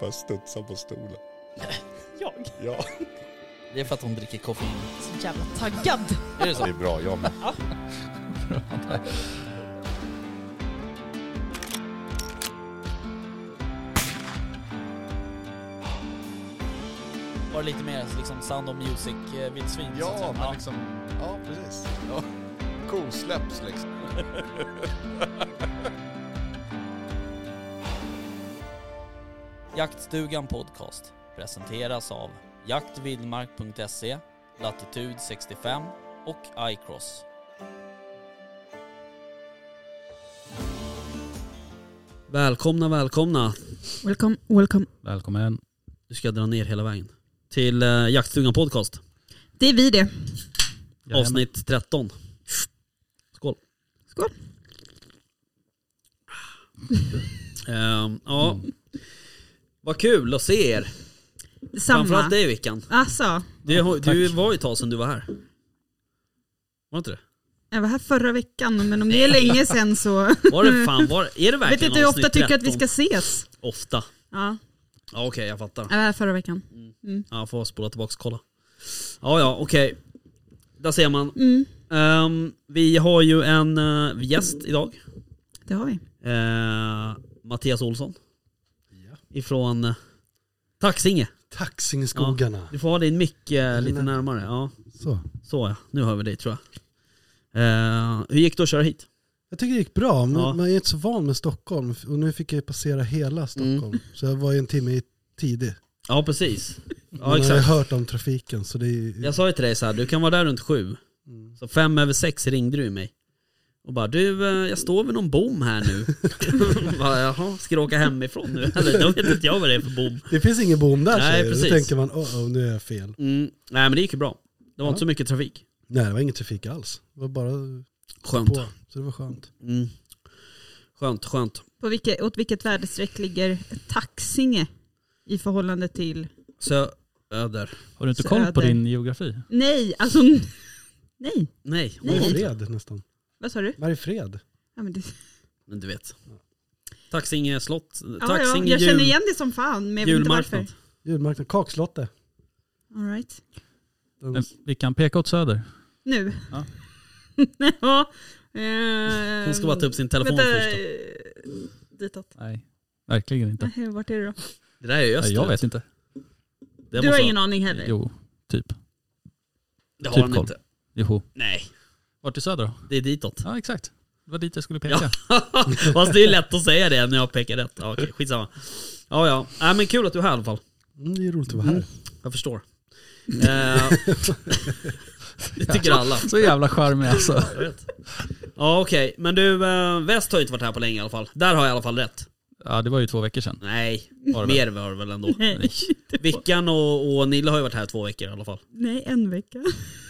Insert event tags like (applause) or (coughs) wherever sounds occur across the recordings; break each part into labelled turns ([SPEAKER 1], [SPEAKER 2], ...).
[SPEAKER 1] Bara studsar på stolen.
[SPEAKER 2] Jag?
[SPEAKER 1] Ja.
[SPEAKER 3] Det är för att hon dricker koffein.
[SPEAKER 2] Så jävla taggad.
[SPEAKER 3] Är det
[SPEAKER 1] Det
[SPEAKER 3] så?
[SPEAKER 1] är bra, jag med.
[SPEAKER 3] Var det lite mer liksom Sound of eh, Music-vildsvin?
[SPEAKER 1] Ja, men liksom... Ja, precis. Ja. Kosläpps liksom.
[SPEAKER 3] Jaktstugan Podcast presenteras av jaktvildmark.se, Latitude 65 och iCross. Välkomna, välkomna.
[SPEAKER 4] Welcome, welcome.
[SPEAKER 5] Välkommen.
[SPEAKER 3] Du ska dra ner hela vägen. Till eh, Jaktstugan Podcast,
[SPEAKER 4] Det är vi det.
[SPEAKER 5] Jajamän.
[SPEAKER 3] avsnitt 13. Skål.
[SPEAKER 4] Skål.
[SPEAKER 3] Ehm, ja. Vad kul att se er. Framförallt
[SPEAKER 4] Samma.
[SPEAKER 3] dig Vickan.
[SPEAKER 4] Alltså,
[SPEAKER 3] Du, har- du
[SPEAKER 5] Tack.
[SPEAKER 3] var ju ett tag sedan du var här. Var det inte det?
[SPEAKER 4] jag var här förra veckan men om det är länge
[SPEAKER 3] (laughs)
[SPEAKER 4] sedan så...
[SPEAKER 3] Var det fan, var, är det verkligen
[SPEAKER 4] Mm. Vet inte hur ofta
[SPEAKER 3] avsnitt
[SPEAKER 4] tycker att vi
[SPEAKER 3] 13?
[SPEAKER 4] ska Mm. ses.
[SPEAKER 3] Ofta.
[SPEAKER 4] Ja,
[SPEAKER 3] Ja okej, jag fattar.
[SPEAKER 4] jag var här förra veckan.
[SPEAKER 3] Ja, jag får spola tillbaka och kolla. Ja, ja, okej. Där ser man.
[SPEAKER 4] Mm,
[SPEAKER 3] Ehm, vi har ju en eh, gäst idag.
[SPEAKER 4] det har vi.
[SPEAKER 3] Eh, Mattias Olsson. Ifrån uh, Taxinge.
[SPEAKER 6] Taxingskogarna.
[SPEAKER 3] Du får ha din mick eh, lite närmare. Ja,
[SPEAKER 6] Så.
[SPEAKER 3] så ja. Nu hör vi dig tror jag. Eh, hur gick det att köra hit?
[SPEAKER 6] Jag tycker det gick bra, men
[SPEAKER 3] Ja. Mm.
[SPEAKER 6] man är inte så van med Stockholm. Och nu fick jag ju passera hela Stockholm. Så jag var ju en timme i- tidig.
[SPEAKER 3] Ja, precis. (laughs) Ja,
[SPEAKER 6] men jag har ju
[SPEAKER 3] exakt.
[SPEAKER 6] hört om trafiken så det är ju...
[SPEAKER 3] Jag sa ju till dig så här, du kan vara där runt sju.
[SPEAKER 6] Mm.
[SPEAKER 3] Så fem över sex ringde du mig. Och bara, du eh, jag står vid någon bom här nu.
[SPEAKER 4] (laughs)
[SPEAKER 3] (laughs) bara, Jaha, ska du åka hemifrån nu? (laughs) Eller då vet inte jag vad det är för bom.
[SPEAKER 6] Det finns ingen bom där
[SPEAKER 3] Nej,
[SPEAKER 6] säger du.
[SPEAKER 3] precis.
[SPEAKER 6] Då tänker man, oh, oh, nu är jag fel.
[SPEAKER 3] Mm. Nej men det gick ju bra. Det var
[SPEAKER 6] Ja.
[SPEAKER 3] inte så mycket trafik.
[SPEAKER 6] Nej, det var ingen trafik alls. Det var bara
[SPEAKER 3] Skönt.
[SPEAKER 6] på. Så det var skönt.
[SPEAKER 3] Mm. Skönt, skönt.
[SPEAKER 4] På vilket, åt vilket väderstreck ligger Taxinge i förhållande till...
[SPEAKER 3] Så öder.
[SPEAKER 5] Har du inte
[SPEAKER 4] Så
[SPEAKER 5] koll på
[SPEAKER 4] öder.
[SPEAKER 5] din geografi?
[SPEAKER 4] Nej, alltså... Nej,
[SPEAKER 3] Nej, hon var inte.
[SPEAKER 6] Mariefred nästan.
[SPEAKER 4] vad sa du?
[SPEAKER 6] Mariefred.
[SPEAKER 4] Ja, men det,
[SPEAKER 3] Men du vet. Taxinge slott.
[SPEAKER 4] ja, ja,
[SPEAKER 3] Taxinge
[SPEAKER 4] jag känner
[SPEAKER 3] jul-
[SPEAKER 4] igen det som fan men jag vet inte varför.
[SPEAKER 3] julmarknad.
[SPEAKER 6] Julmarknad. Kakslottet.
[SPEAKER 4] All right.
[SPEAKER 6] Den,
[SPEAKER 5] Men Vi kan peka åt söder.
[SPEAKER 4] Nu.
[SPEAKER 5] Ja.
[SPEAKER 4] (laughs) ja. eh,
[SPEAKER 3] Hon ska bara ta upp sin telefon
[SPEAKER 4] Vänta,
[SPEAKER 3] först. Då.
[SPEAKER 4] eh, Ditåt.
[SPEAKER 5] Nej, verkligen inte.
[SPEAKER 4] Nej, Vart är det då?
[SPEAKER 3] Det där är ju
[SPEAKER 5] Nej,
[SPEAKER 3] österut.
[SPEAKER 5] jag vet inte.
[SPEAKER 3] Det
[SPEAKER 4] du
[SPEAKER 3] måste
[SPEAKER 4] har
[SPEAKER 3] vara-
[SPEAKER 4] ingen aning heller?
[SPEAKER 5] Jo, typ.
[SPEAKER 3] Det har
[SPEAKER 5] typ
[SPEAKER 3] han
[SPEAKER 5] koll.
[SPEAKER 3] inte.
[SPEAKER 5] Jo.
[SPEAKER 3] Nej,
[SPEAKER 5] Vart är söder då?
[SPEAKER 3] det är ditåt. (laughs)
[SPEAKER 5] Ja, exakt. Det var dit jag skulle peka.
[SPEAKER 3] Ja. Fast det är lätt att säga det när jag pekar rätt. Ja, okej, skitsamma. Ja, ja. Äh, men kul att du är här i alla fall.
[SPEAKER 6] mm, det är roligt att vara här.
[SPEAKER 3] Jag förstår. Eh, (laughs) det tycker alla.
[SPEAKER 5] Så jävla charmig alltså.
[SPEAKER 3] Jag vet. Ja, okej. Men du, eh, väst har ju inte varit här på länge i alla fall. Där har jag i alla fall rätt.
[SPEAKER 5] Ja, det var ju två veckor sedan.
[SPEAKER 3] Nej,
[SPEAKER 5] Var det väl?
[SPEAKER 3] mer har du väl ändå.
[SPEAKER 4] Nej,
[SPEAKER 3] Vickan och, och Nilla har ju varit här två veckor i alla fall.
[SPEAKER 4] (laughs) nej, en vecka.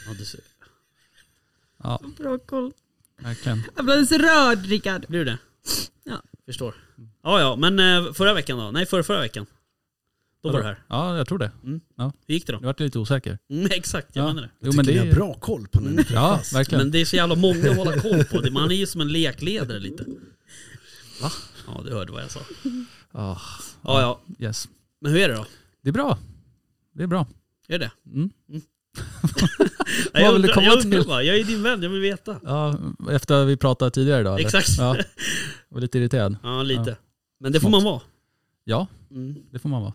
[SPEAKER 3] Ja, du ser.
[SPEAKER 5] Ja,
[SPEAKER 4] Bra koll.
[SPEAKER 5] verkligen.
[SPEAKER 4] Jag blev så rörd Rickard.
[SPEAKER 3] Blir du det?
[SPEAKER 4] Ja.
[SPEAKER 3] Förstår. Ja, ja. Men eh, förra veckan då? Nej, förra, förra veckan. Då var du här.
[SPEAKER 5] Ja, jag tror det.
[SPEAKER 3] Hur gick det då?
[SPEAKER 5] Jag vart lite osäker.
[SPEAKER 3] Mm, exakt, jag
[SPEAKER 5] Ja.
[SPEAKER 3] menar det.
[SPEAKER 5] Jo,
[SPEAKER 6] Tycker ni har bra koll på när ni
[SPEAKER 5] Ja,
[SPEAKER 6] träffas.
[SPEAKER 5] verkligen.
[SPEAKER 3] Men det är så jävla många att
[SPEAKER 5] (laughs)
[SPEAKER 3] hålla koll på. Det- Man är ju som en lekledare lite.
[SPEAKER 5] Va?
[SPEAKER 3] Ja, du hörde vad jag sa.
[SPEAKER 5] Ah,
[SPEAKER 3] Ja, ja.
[SPEAKER 5] yes.
[SPEAKER 3] Men hur är det då?
[SPEAKER 5] Det är bra. Det är bra.
[SPEAKER 3] Är det?
[SPEAKER 5] Mm.
[SPEAKER 3] Nej, jag
[SPEAKER 5] vill du
[SPEAKER 3] undrar,
[SPEAKER 5] komma
[SPEAKER 3] jag, undrar
[SPEAKER 5] till?
[SPEAKER 3] bara, jag är din vän, jag vill veta.
[SPEAKER 5] Ja, efter vi pratade tidigare idag. eller?
[SPEAKER 3] Exakt.
[SPEAKER 5] Ja, jag var lite irriterad.
[SPEAKER 3] Ja, lite.
[SPEAKER 5] Ja.
[SPEAKER 3] Men det får man vara.
[SPEAKER 5] Ja,
[SPEAKER 3] Mm.
[SPEAKER 5] det får man vara.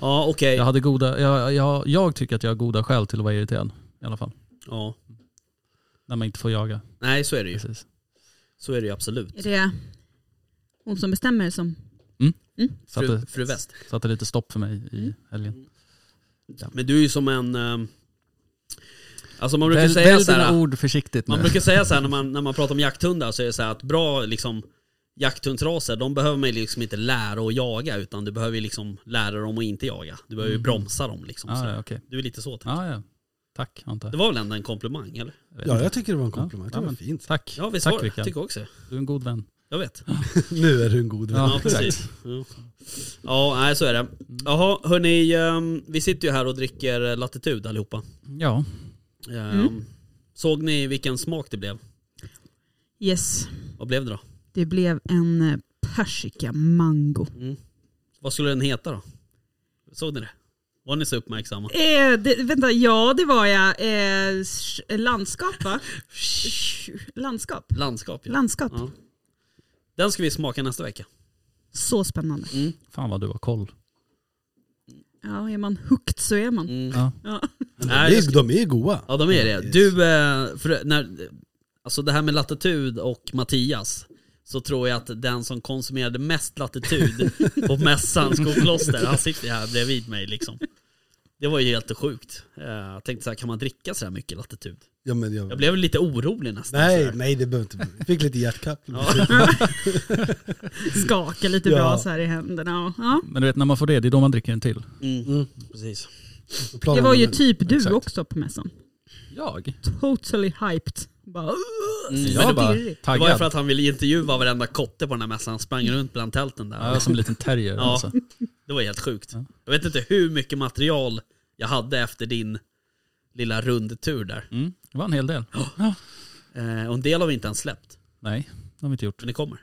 [SPEAKER 3] Ja, okej.
[SPEAKER 5] Jag, hade goda, jag, jag, jag tycker att jag har goda skäl till att vara irriterad i alla fall.
[SPEAKER 3] Ja.
[SPEAKER 5] När man inte får jaga.
[SPEAKER 3] Nej, så är det ju.
[SPEAKER 5] Precis.
[SPEAKER 3] Så är det ju absolut.
[SPEAKER 4] Är det hon som bestämmer som...
[SPEAKER 5] Så att
[SPEAKER 3] Fru,
[SPEAKER 5] det
[SPEAKER 3] fru West.
[SPEAKER 5] satte lite stopp för mig
[SPEAKER 3] Mm.
[SPEAKER 5] i helgen.
[SPEAKER 3] Men du är ju som en... ehm, Alltså man brukar
[SPEAKER 5] Väl,
[SPEAKER 3] säga
[SPEAKER 5] väl
[SPEAKER 3] så här,
[SPEAKER 5] dina ord försiktigt nu.
[SPEAKER 3] Man brukar säga så här när man, när man pratar om jakthundar så är det så här att bra liksom jakthundsraser, de behöver man ju liksom inte lära att jaga utan du behöver ju liksom lära dem att inte jaga. Du behöver ju
[SPEAKER 5] Mhm.
[SPEAKER 3] bromsa dem liksom. så
[SPEAKER 5] ah,
[SPEAKER 3] där.
[SPEAKER 5] ja, okej.
[SPEAKER 3] Du är lite så. tänker
[SPEAKER 5] Ah, ja. Tack antar
[SPEAKER 3] jag.
[SPEAKER 5] jag.
[SPEAKER 3] Det var väl ändå en komplimang eller?
[SPEAKER 5] jag. vet
[SPEAKER 6] Ja,
[SPEAKER 5] inte.
[SPEAKER 6] jag tycker det var en komplimang.
[SPEAKER 5] Ja,
[SPEAKER 6] det var
[SPEAKER 5] men-
[SPEAKER 6] fint.
[SPEAKER 5] Tack.
[SPEAKER 3] Ja visst
[SPEAKER 5] Tack
[SPEAKER 3] var det.
[SPEAKER 5] Rickard.
[SPEAKER 3] Tycker jag också.
[SPEAKER 5] Du är en god vän.
[SPEAKER 3] Jag vet.
[SPEAKER 6] Nu är du en god vän.
[SPEAKER 5] Ja,
[SPEAKER 3] Ja, precis. Ja. ja, nej så är
[SPEAKER 5] Mm.
[SPEAKER 3] det. Jaha, hörni. ehm, Vi sitter ju här och dricker latitud allihopa.
[SPEAKER 5] Mm. Ja,
[SPEAKER 3] Ehm,
[SPEAKER 5] Mm.
[SPEAKER 3] Såg ni vilken smak det blev?
[SPEAKER 4] Yes,
[SPEAKER 3] Vad blev det då?
[SPEAKER 4] det blev en eh, Persika mango.
[SPEAKER 3] Vad skulle den heta då? Såg ni det? Var ni så uppmärksamma?
[SPEAKER 4] Eh, det, vänta, ja det var jag. Eh, sh- landskap va? Sh- landskap.
[SPEAKER 3] Landskap ja.
[SPEAKER 4] Landskap.
[SPEAKER 3] Ja. Den ska vi smaka nästa vecka.
[SPEAKER 4] Så spännande.
[SPEAKER 5] Fan vad du har koll.
[SPEAKER 4] Ja, är man hooked så är man.
[SPEAKER 3] Mm.
[SPEAKER 5] Ja.
[SPEAKER 4] Ja.
[SPEAKER 3] Nej, jag ska-
[SPEAKER 6] de är goa.
[SPEAKER 3] Ja de är det. Du, eh, för när, alltså det här med latitud och Mattias, så tror jag att den som konsumerade mest
[SPEAKER 5] (laughs)
[SPEAKER 3] latitud på mässan, Skokloster, han sitter här bredvid mig liksom. Det var ju helt sjukt. Eh, Jag tänkte så här, kan man dricka så här mycket latitud?
[SPEAKER 6] Ja, men jag,
[SPEAKER 3] Jag blev lite orolig nästan. så
[SPEAKER 6] nej,
[SPEAKER 3] här.
[SPEAKER 6] nej det behöver inte bli. Fick
[SPEAKER 3] (laughs)
[SPEAKER 6] lite hjärtklapp.
[SPEAKER 4] Skaka lite
[SPEAKER 6] Ja.
[SPEAKER 4] bra så här i händerna. Och, ja.
[SPEAKER 5] Men du vet när man får det, det är då man dricker en till.
[SPEAKER 3] Mm.
[SPEAKER 6] Mm.
[SPEAKER 3] Precis.
[SPEAKER 4] Det
[SPEAKER 6] Planen
[SPEAKER 4] var ju
[SPEAKER 6] men-
[SPEAKER 4] typ du
[SPEAKER 5] Exakt.
[SPEAKER 4] också på mässan.
[SPEAKER 5] Jag?
[SPEAKER 4] Totally hyped. Bara,
[SPEAKER 3] Mm.
[SPEAKER 5] Jag bara
[SPEAKER 4] pirrigt.
[SPEAKER 3] Det var ju för
[SPEAKER 5] taggad.
[SPEAKER 3] att han ville intervjua varenda kotte på den här mässan. Han sprang runt bland tälten där.
[SPEAKER 5] Ja, jag är som en liten terrier.
[SPEAKER 3] Ja.
[SPEAKER 5] Alltså.
[SPEAKER 3] Det var helt sjukt.
[SPEAKER 5] Ja.
[SPEAKER 3] Jag vet inte hur mycket material jag hade efter din lilla rundtur där.
[SPEAKER 5] Mm. Det var en hel del.
[SPEAKER 3] Eh, och en del har vi inte ens släppt.
[SPEAKER 5] Nej, det har vi inte gjort.
[SPEAKER 3] Men det kommer.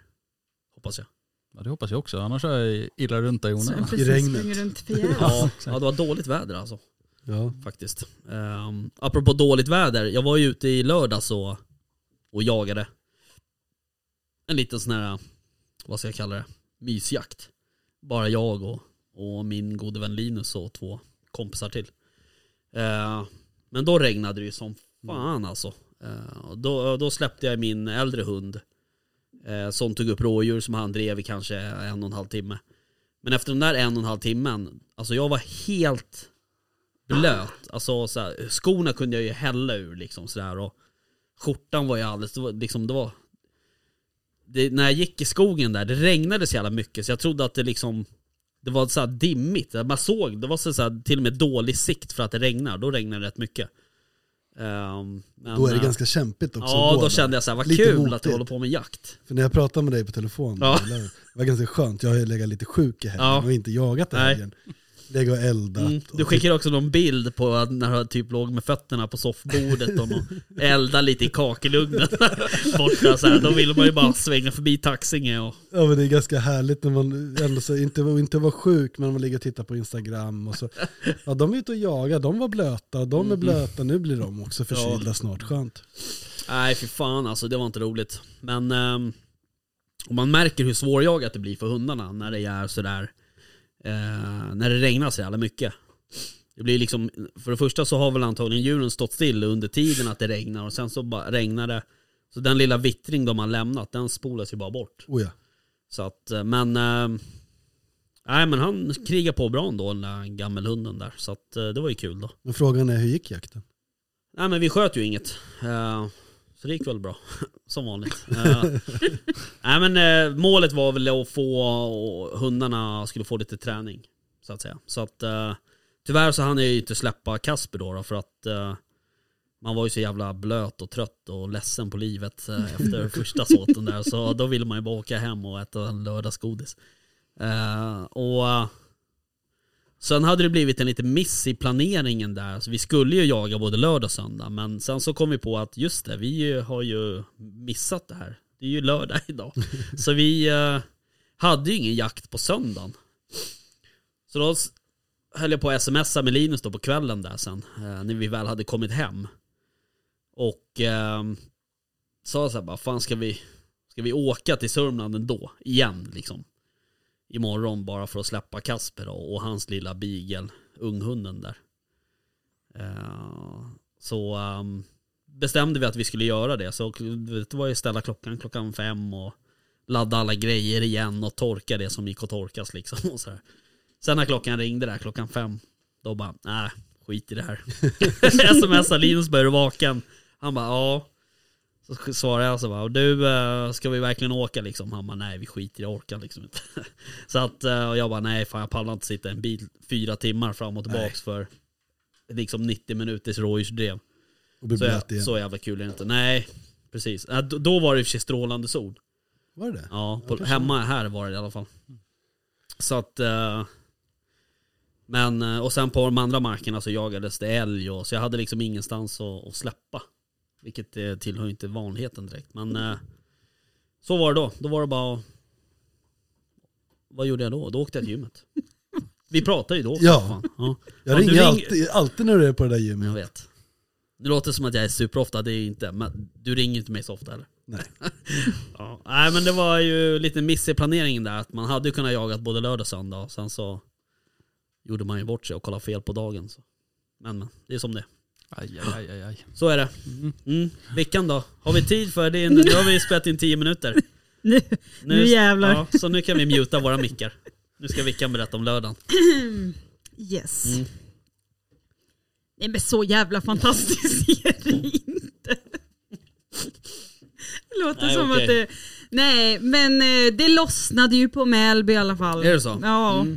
[SPEAKER 3] Hoppas jag.
[SPEAKER 5] Ja, det hoppas jag också. Annars är jag illa runt där i
[SPEAKER 4] Så
[SPEAKER 5] onödan.
[SPEAKER 4] jag precis
[SPEAKER 6] regnet.
[SPEAKER 4] springer runt för jävla.
[SPEAKER 3] Ja, ja, det var dåligt väder alltså.
[SPEAKER 6] Ja.
[SPEAKER 3] Faktiskt. Um, apropå dåligt väder. Jag var ju ute i lördags och, och jagade. En liten sån här, vad ska jag kalla det, mysjakt. Bara jag och, och min gode vän Linus och två kompisar till. Eh, men då regnade det ju som fan alltså. Eh, och då, då släppte jag min äldre hund. eh, som tog upp rådjur som han drev i kanske en och en halv timme. Men efter den där en och en halv timmen, alltså jag var helt blöt. Alltså så här, skorna kunde jag ju hälla ur liksom sådär och skjortan var ju alldeles, det var, liksom det var det, när jag gick i skogen där, det regnade så jävla mycket så jag trodde att det liksom Det var så här dimmigt, man såg, det var så här, till och med dålig sikt för att det regnar, då regnar det rätt mycket Ehm, men,
[SPEAKER 6] Då är det
[SPEAKER 3] eh,
[SPEAKER 6] ganska kämpigt också.
[SPEAKER 3] Ja
[SPEAKER 6] att gå
[SPEAKER 3] då
[SPEAKER 6] där.
[SPEAKER 3] kände jag så här, vad
[SPEAKER 6] Lite
[SPEAKER 3] kul att du
[SPEAKER 6] motigt.
[SPEAKER 3] håller på med jakt
[SPEAKER 6] För när jag pratade med dig på telefon,
[SPEAKER 3] Ja.
[SPEAKER 6] det var ganska skönt. Jag har ju legat lite sjuk i helgen
[SPEAKER 3] Ja.
[SPEAKER 6] och inte jagat i
[SPEAKER 3] Nej.
[SPEAKER 6] helgen. Lägga och eldat.
[SPEAKER 3] Mm. Du
[SPEAKER 6] och
[SPEAKER 3] skickade också någon bild på att när han typ låg med fötterna på soffbordet och någon- elda lite i kakelugnen (laughs) borta så här. Då vill man ju bara svänga förbi Taxinge och...
[SPEAKER 6] Ja men det är ganska härligt när man ändå så inte, inte var sjuk men man ligger och tittar på Instagram och så. Ja de är ute och jagar, de var blöta, de
[SPEAKER 3] Mm.
[SPEAKER 6] är blöta, nu blir de också förkylda snart, skönt.
[SPEAKER 3] Nej för fan alltså, det var inte roligt. Men ehm, och man märker hur svårjagat det blir för hundarna när det är sådär, eh, när det regnar så jävla mycket. Det blir liksom, för det första så har väl antagligen djuren stått still under tiden att det regnar och sen så bara regnar det. Så den lilla vittring de har lämnat, den spolas ju bara bort.
[SPEAKER 6] Oh, ja.
[SPEAKER 3] Så att, eh, men... eh, Nej men han krigar på bra ändå den där gammelhunden där. Så att eh, det var ju kul då.
[SPEAKER 6] Men frågan är hur gick jakten?
[SPEAKER 3] Nej men vi sköt ju inget. Eh, Så det gick väl bra. (laughs) Som vanligt. Eh, Nej men eh, målet var väl att få och hundarna skulle få lite träning. Så att säga. Så att eh, tyvärr så hann jag ju inte släppa Kasper då, då för att eh, man var ju så jävla blöt och trött och ledsen på livet eh, efter första såten där. Så då ville man ju bara åka hem och äta en lördagsgodis. Eh, och eh, Sen hade det blivit en liten miss i planeringen där. Så vi skulle ju jaga både lördag och söndag. Men sen så kom vi på att just det, vi har ju missat det här. Det är ju lördag (laughs) idag. Så vi eh, hade ju ingen jakt på söndagen. Så då s- höll jag på att smsa med Linus då på kvällen där sen. eh, När vi väl hade kommit hem. Och ehm, sa så här bara, fan ska vi, ska vi åka till Sörmland ändå? Igen liksom. Imorgon bara för att släppa Kasper och, och hans lilla beagle, unghunden där. Eh, så ehm, bestämde vi att vi skulle göra det. Så du vet, det var ju ställa klockan klockan fem och ladda alla grejer igen och torka det som gick att torkas liksom. (laughs) Och så här. Sen när klockan ringde där klockan fem, då bara, nej, skit i det här. (laughs) Smsar Linus, börjar du vaken? Han bara, ja. Så sk- svarar jag så bara, du, eh, ska vi verkligen åka liksom? Han bara, nej vi skiter i det, jag orkar liksom inte. (laughs) så att, eh, och jag bara, nej fan jag pallar inte sitta i en bil fyra timmar fram och tillbaks för liksom 90 minuters rådjursdrev.
[SPEAKER 6] Och bli
[SPEAKER 3] Så,
[SPEAKER 6] blöt
[SPEAKER 3] jag,
[SPEAKER 6] igen.
[SPEAKER 3] så jävla kul är det inte. Nej, precis. Äh, då- Då var det i och för sig strålande sol.
[SPEAKER 6] Var det det?
[SPEAKER 3] Ja,
[SPEAKER 6] Ja,
[SPEAKER 3] på,
[SPEAKER 6] kanske.
[SPEAKER 3] hemma här var det i alla fall. Så att... eh, men, eh, och sen på de andra markerna så jagades det älg och så jag hade liksom ingenstans att, att släppa. Vilket eh, tillhör ju inte vanligheten direkt. Men eh, så var det då. Då var det bara att Vad gjorde jag då? Då åkte jag till gymmet. Vi pratade ju då också.
[SPEAKER 6] Ja.
[SPEAKER 3] Fan. Ja.
[SPEAKER 6] Jag
[SPEAKER 3] Ja, du
[SPEAKER 6] ringer
[SPEAKER 3] ring-
[SPEAKER 6] alltid, alltid när du är på det där
[SPEAKER 3] Jag
[SPEAKER 6] gymmet.
[SPEAKER 3] vet. Det låter som att jag är superofta, det är jag inte. Men du ringer ju inte mig så ofta heller.
[SPEAKER 6] Nej.
[SPEAKER 3] (laughs) ja. Nej men det var ju lite miss i planeringen där. Att man hade ju kunnat jagat både lördag och söndag. Och sen så gjorde man ju bort sig och kollade fel på dagen. Så. Men men, det är som det är.
[SPEAKER 5] Aj, aj, aj, aj, aj.
[SPEAKER 3] Så är det. Mm. Vickan då? Har vi tid för det? Nu har vi spelat in 10 minuter.
[SPEAKER 4] (laughs) Nu, Nu jävlar.
[SPEAKER 3] Ja, så nu kan vi muta våra mickar. Nu ska Vickan berätta om lördagen.
[SPEAKER 4] yes.
[SPEAKER 3] Mm.
[SPEAKER 4] Nej men så jävla fantastiskt (laughs) är det inte. Det låter
[SPEAKER 3] Nej,
[SPEAKER 4] som
[SPEAKER 3] okej.
[SPEAKER 4] att det... Nej men eh, det lossnade ju på Mälby i alla fall.
[SPEAKER 3] Är det så? Mm.
[SPEAKER 4] Ja.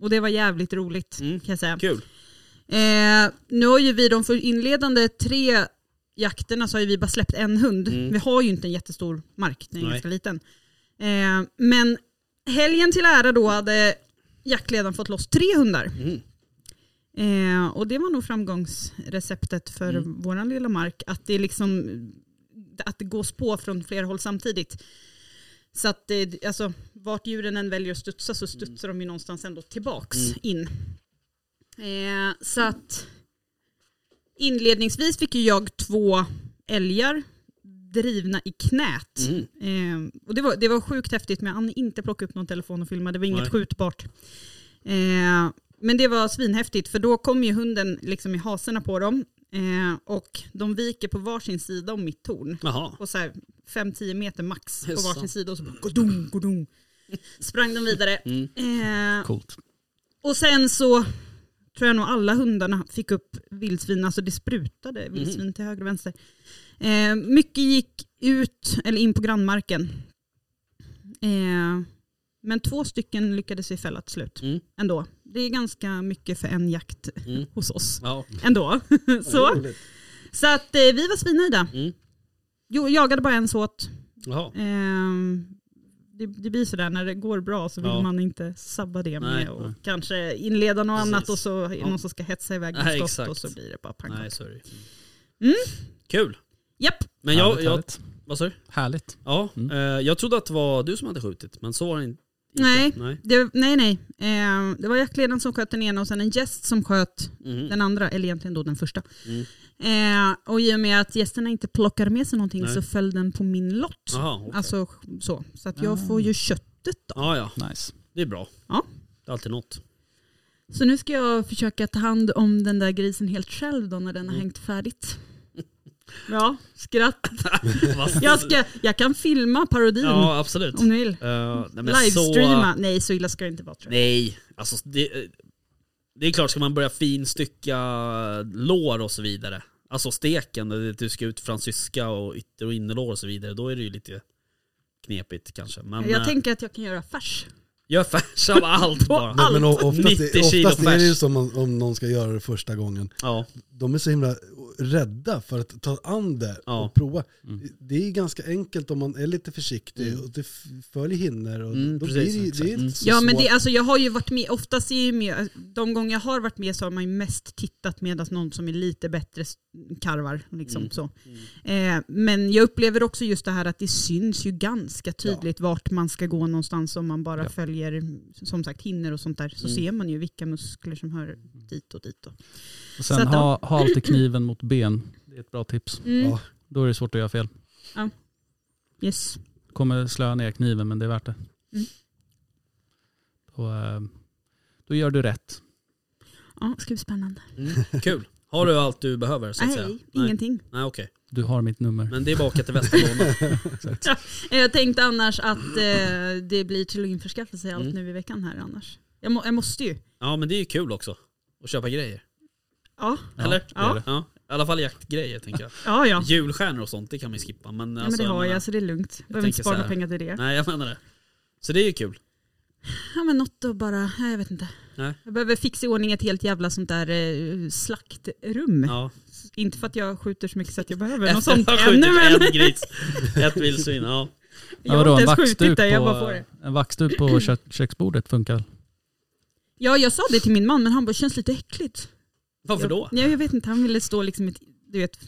[SPEAKER 4] Och det var jävligt roligt kan jag säga.
[SPEAKER 3] Kul.
[SPEAKER 4] Eh, nu har ju vi de för inledande tre jakterna så har ju vi bara släppt en hund. Vi har ju inte en jättestor mark, den är
[SPEAKER 3] Nej.
[SPEAKER 4] ganska liten. Eh, men helgen till ära då hade jaktledaren fått loss tre hundar. Eh, och det var nog framgångsreceptet för våran lilla mark. Att det liksom att det gås på från flera håll samtidigt. Så att det, alltså, vart djuren än väljer att studsa så studsar de ju någonstans ändå tillbaks in. Eh, så att inledningsvis fick ju jag två älgar drivna i knät. Eh, och det, var, det var sjukt häftigt men jag hann inte plocka upp någon telefon och filma, det var inget
[SPEAKER 3] Nej.
[SPEAKER 4] skjutbart. Eh, men det var svinhäftigt för då kom ju hunden liksom i haserna på dem eh, och de viker på varsin sida om mitt torn
[SPEAKER 3] Jaha.
[SPEAKER 4] på så här 5-10 meter max på
[SPEAKER 3] Jaså.
[SPEAKER 4] varsin sida och så bara godung, godung. Sprang de vidare. Eh,
[SPEAKER 5] Coolt.
[SPEAKER 4] och sen så tror jag nog alla hundarna fick upp vildsvin, alltså det sprutade vildsvin
[SPEAKER 3] Mhm.
[SPEAKER 4] till höger och vänster. Eh, mycket gick ut eller in på grannmarken. Eh, men två stycken lyckades vi fälla till slut
[SPEAKER 3] Mm.
[SPEAKER 4] ändå. Det är ganska mycket för en jakt
[SPEAKER 3] Mm.
[SPEAKER 4] hos oss
[SPEAKER 3] Ja.
[SPEAKER 4] ändå. (laughs) så
[SPEAKER 6] Roligt.
[SPEAKER 4] så att, eh, vi var svinnöjda.
[SPEAKER 3] Mm.
[SPEAKER 4] Jo, jagade bara en såt.
[SPEAKER 3] Jaha.
[SPEAKER 4] Ehm, det, det blir sådär när det går bra så vill
[SPEAKER 3] Ja.
[SPEAKER 4] man inte sabba det med
[SPEAKER 3] Nej,
[SPEAKER 4] och
[SPEAKER 3] nej.
[SPEAKER 4] kanske inleda något
[SPEAKER 3] Precis.
[SPEAKER 4] annat och så är det
[SPEAKER 3] Ja.
[SPEAKER 4] någon som ska hetsa iväg
[SPEAKER 3] Nej,
[SPEAKER 4] med skott
[SPEAKER 3] exakt.
[SPEAKER 4] och så blir det bara pang.
[SPEAKER 3] Nej,
[SPEAKER 4] Nej.
[SPEAKER 3] sorry.
[SPEAKER 4] Mm.
[SPEAKER 3] Kul.
[SPEAKER 4] Japp,
[SPEAKER 3] Men jag,
[SPEAKER 5] härligt,
[SPEAKER 3] jag,
[SPEAKER 5] härligt.
[SPEAKER 3] vad sa du?
[SPEAKER 5] härligt.
[SPEAKER 3] Ja,
[SPEAKER 5] Mm.
[SPEAKER 3] eh, jag trodde att det var du som hade skjutit, men så var det inte.
[SPEAKER 4] Nej.
[SPEAKER 3] Nej.
[SPEAKER 4] det, nej nej. Ehm, det var jaktledaren som sköt den ena och sen en gäst som sköt
[SPEAKER 3] Mhm.
[SPEAKER 4] den andra, eller egentligen då den första.
[SPEAKER 3] Mm.
[SPEAKER 4] Ehm, och i och med att gästerna inte plockade med sig någonting
[SPEAKER 3] Nej.
[SPEAKER 4] så föll den på min lott.
[SPEAKER 3] Jaha, okej. Ah.
[SPEAKER 4] Alltså så. Så att jag får ju köttet då.
[SPEAKER 3] Ja, ja.
[SPEAKER 5] Nice.
[SPEAKER 3] Det är bra.
[SPEAKER 4] Ja.
[SPEAKER 3] Det är alltid något.
[SPEAKER 4] Så nu ska jag försöka ta hand om den där grisen helt själv då när den
[SPEAKER 3] Mm.
[SPEAKER 4] har
[SPEAKER 3] (laughs)
[SPEAKER 4] hängt färdigt. Ja, skratt. Jag, ska, jag kan filma parodin
[SPEAKER 3] Ja, absolut.
[SPEAKER 4] om ni vill.
[SPEAKER 3] Eh, nej, men
[SPEAKER 4] Livestreama.
[SPEAKER 3] Så,
[SPEAKER 4] Nej, så illa ska det inte vara tror jag.
[SPEAKER 3] nej, alltså det, det är klart, ska man börja finstycka lår och så vidare, alltså steken, där du ska ut fransyska och ytter och innerlår och så vidare, då är det ju lite knepigt kanske. Men
[SPEAKER 4] jag
[SPEAKER 3] eh,
[SPEAKER 4] tänker att jag kan göra färs.
[SPEAKER 3] gör färs av allt bara.
[SPEAKER 6] Nej, men o- oftast,
[SPEAKER 3] 90 kilo
[SPEAKER 6] oftast är det ju
[SPEAKER 3] färs.
[SPEAKER 6] som om, om någon ska göra det första gången.
[SPEAKER 3] Ja,
[SPEAKER 6] De är så himla rädda för att ta an det
[SPEAKER 3] Ja. Mm.
[SPEAKER 6] och prova. Det är ju ganska enkelt om man är lite försiktig och det f- följer hinner och
[SPEAKER 3] Mm,
[SPEAKER 6] då
[SPEAKER 3] precis,
[SPEAKER 6] blir det, ju- det är
[SPEAKER 3] exakt.
[SPEAKER 6] inte så
[SPEAKER 4] Ja men
[SPEAKER 6] svårt.
[SPEAKER 4] det, alltså, jag har ju varit med, oftast är jag ju med, de gånger jag har varit med så har man ju mest tittat medan någon som är lite bättre s- karvar. Liksom, så. Eh, men jag upplever också just det här att det syns ju ganska tydligt vart man ska gå någonstans om man bara
[SPEAKER 5] Ja.
[SPEAKER 4] följer som sagt hinner och sånt där. Så ser man ju vilka muskler som hör dit och dit. Och.
[SPEAKER 5] Och
[SPEAKER 4] Så
[SPEAKER 5] sen
[SPEAKER 4] att de-
[SPEAKER 5] ha, ha alltid kniven mot ben. Det är ett bra tips.
[SPEAKER 4] Mm.
[SPEAKER 6] Ja.
[SPEAKER 5] Då är det svårt att göra fel.
[SPEAKER 4] Yes.
[SPEAKER 5] Kommer slöa ner kniven men det är värt det.
[SPEAKER 4] Mm.
[SPEAKER 5] Då, eh, då gör du rätt.
[SPEAKER 4] Ja, ska bli spännande. (laughs)
[SPEAKER 3] mm, kul. Har du allt du behöver så att säga?
[SPEAKER 4] Nej, ingenting.
[SPEAKER 3] Nej, okej.
[SPEAKER 5] Du har mitt nummer.
[SPEAKER 3] Men det är bara att åka till
[SPEAKER 4] (laughs)
[SPEAKER 3] Västerlåna.
[SPEAKER 4] Eh, Jag tänkte annars att eh, det blir till och införskaffelse i allt
[SPEAKER 3] Mm.
[SPEAKER 4] nu i veckan här annars. Jag, må, jag måste ju.
[SPEAKER 3] Ja men det är ju kul också. Att köpa grejer.
[SPEAKER 4] Ja,
[SPEAKER 3] Eller?
[SPEAKER 5] det är det.
[SPEAKER 3] Ja. I alla fall jaktgrejer tänker jag.
[SPEAKER 4] ja. ja.
[SPEAKER 3] Julstjärnor och sånt det kan man ju skippa. Men,
[SPEAKER 4] Ja, men
[SPEAKER 3] alltså,
[SPEAKER 4] det har
[SPEAKER 3] menar-
[SPEAKER 4] jag så det är lugnt. Jag behöver inte
[SPEAKER 3] tänker
[SPEAKER 4] spara
[SPEAKER 3] så här.
[SPEAKER 4] pengar till det.
[SPEAKER 3] Nej jag menar det. Så det är ju kul.
[SPEAKER 4] Ja men något att bara, nej, jag vet inte.
[SPEAKER 3] Nej.
[SPEAKER 4] Jag behöver fixa i ordning ett helt jävla sånt där eh, slaktrum.
[SPEAKER 3] Ja.
[SPEAKER 4] Inte för att jag skjuter så mycket så att jag
[SPEAKER 3] (laughs)
[SPEAKER 4] behöver något
[SPEAKER 3] Efter
[SPEAKER 4] sånt
[SPEAKER 3] att ha skjutit
[SPEAKER 4] ännu men
[SPEAKER 3] en gris, ett vildsvin. Ja.
[SPEAKER 4] (laughs) jag har
[SPEAKER 5] vadå,
[SPEAKER 4] inte
[SPEAKER 5] en
[SPEAKER 4] ens skjutit
[SPEAKER 5] vaxduk
[SPEAKER 4] det, jag
[SPEAKER 5] på-
[SPEAKER 4] bara får det.
[SPEAKER 5] En
[SPEAKER 4] (clears throat)
[SPEAKER 5] vaxduk på kö- köksbordet funkar väl?
[SPEAKER 4] Ja jag sa det till min man men han bara, känns lite äckligt.
[SPEAKER 3] Varför
[SPEAKER 4] jag,
[SPEAKER 3] då?
[SPEAKER 4] Ja, jag vet inte, han ville stå liksom ett, du vet,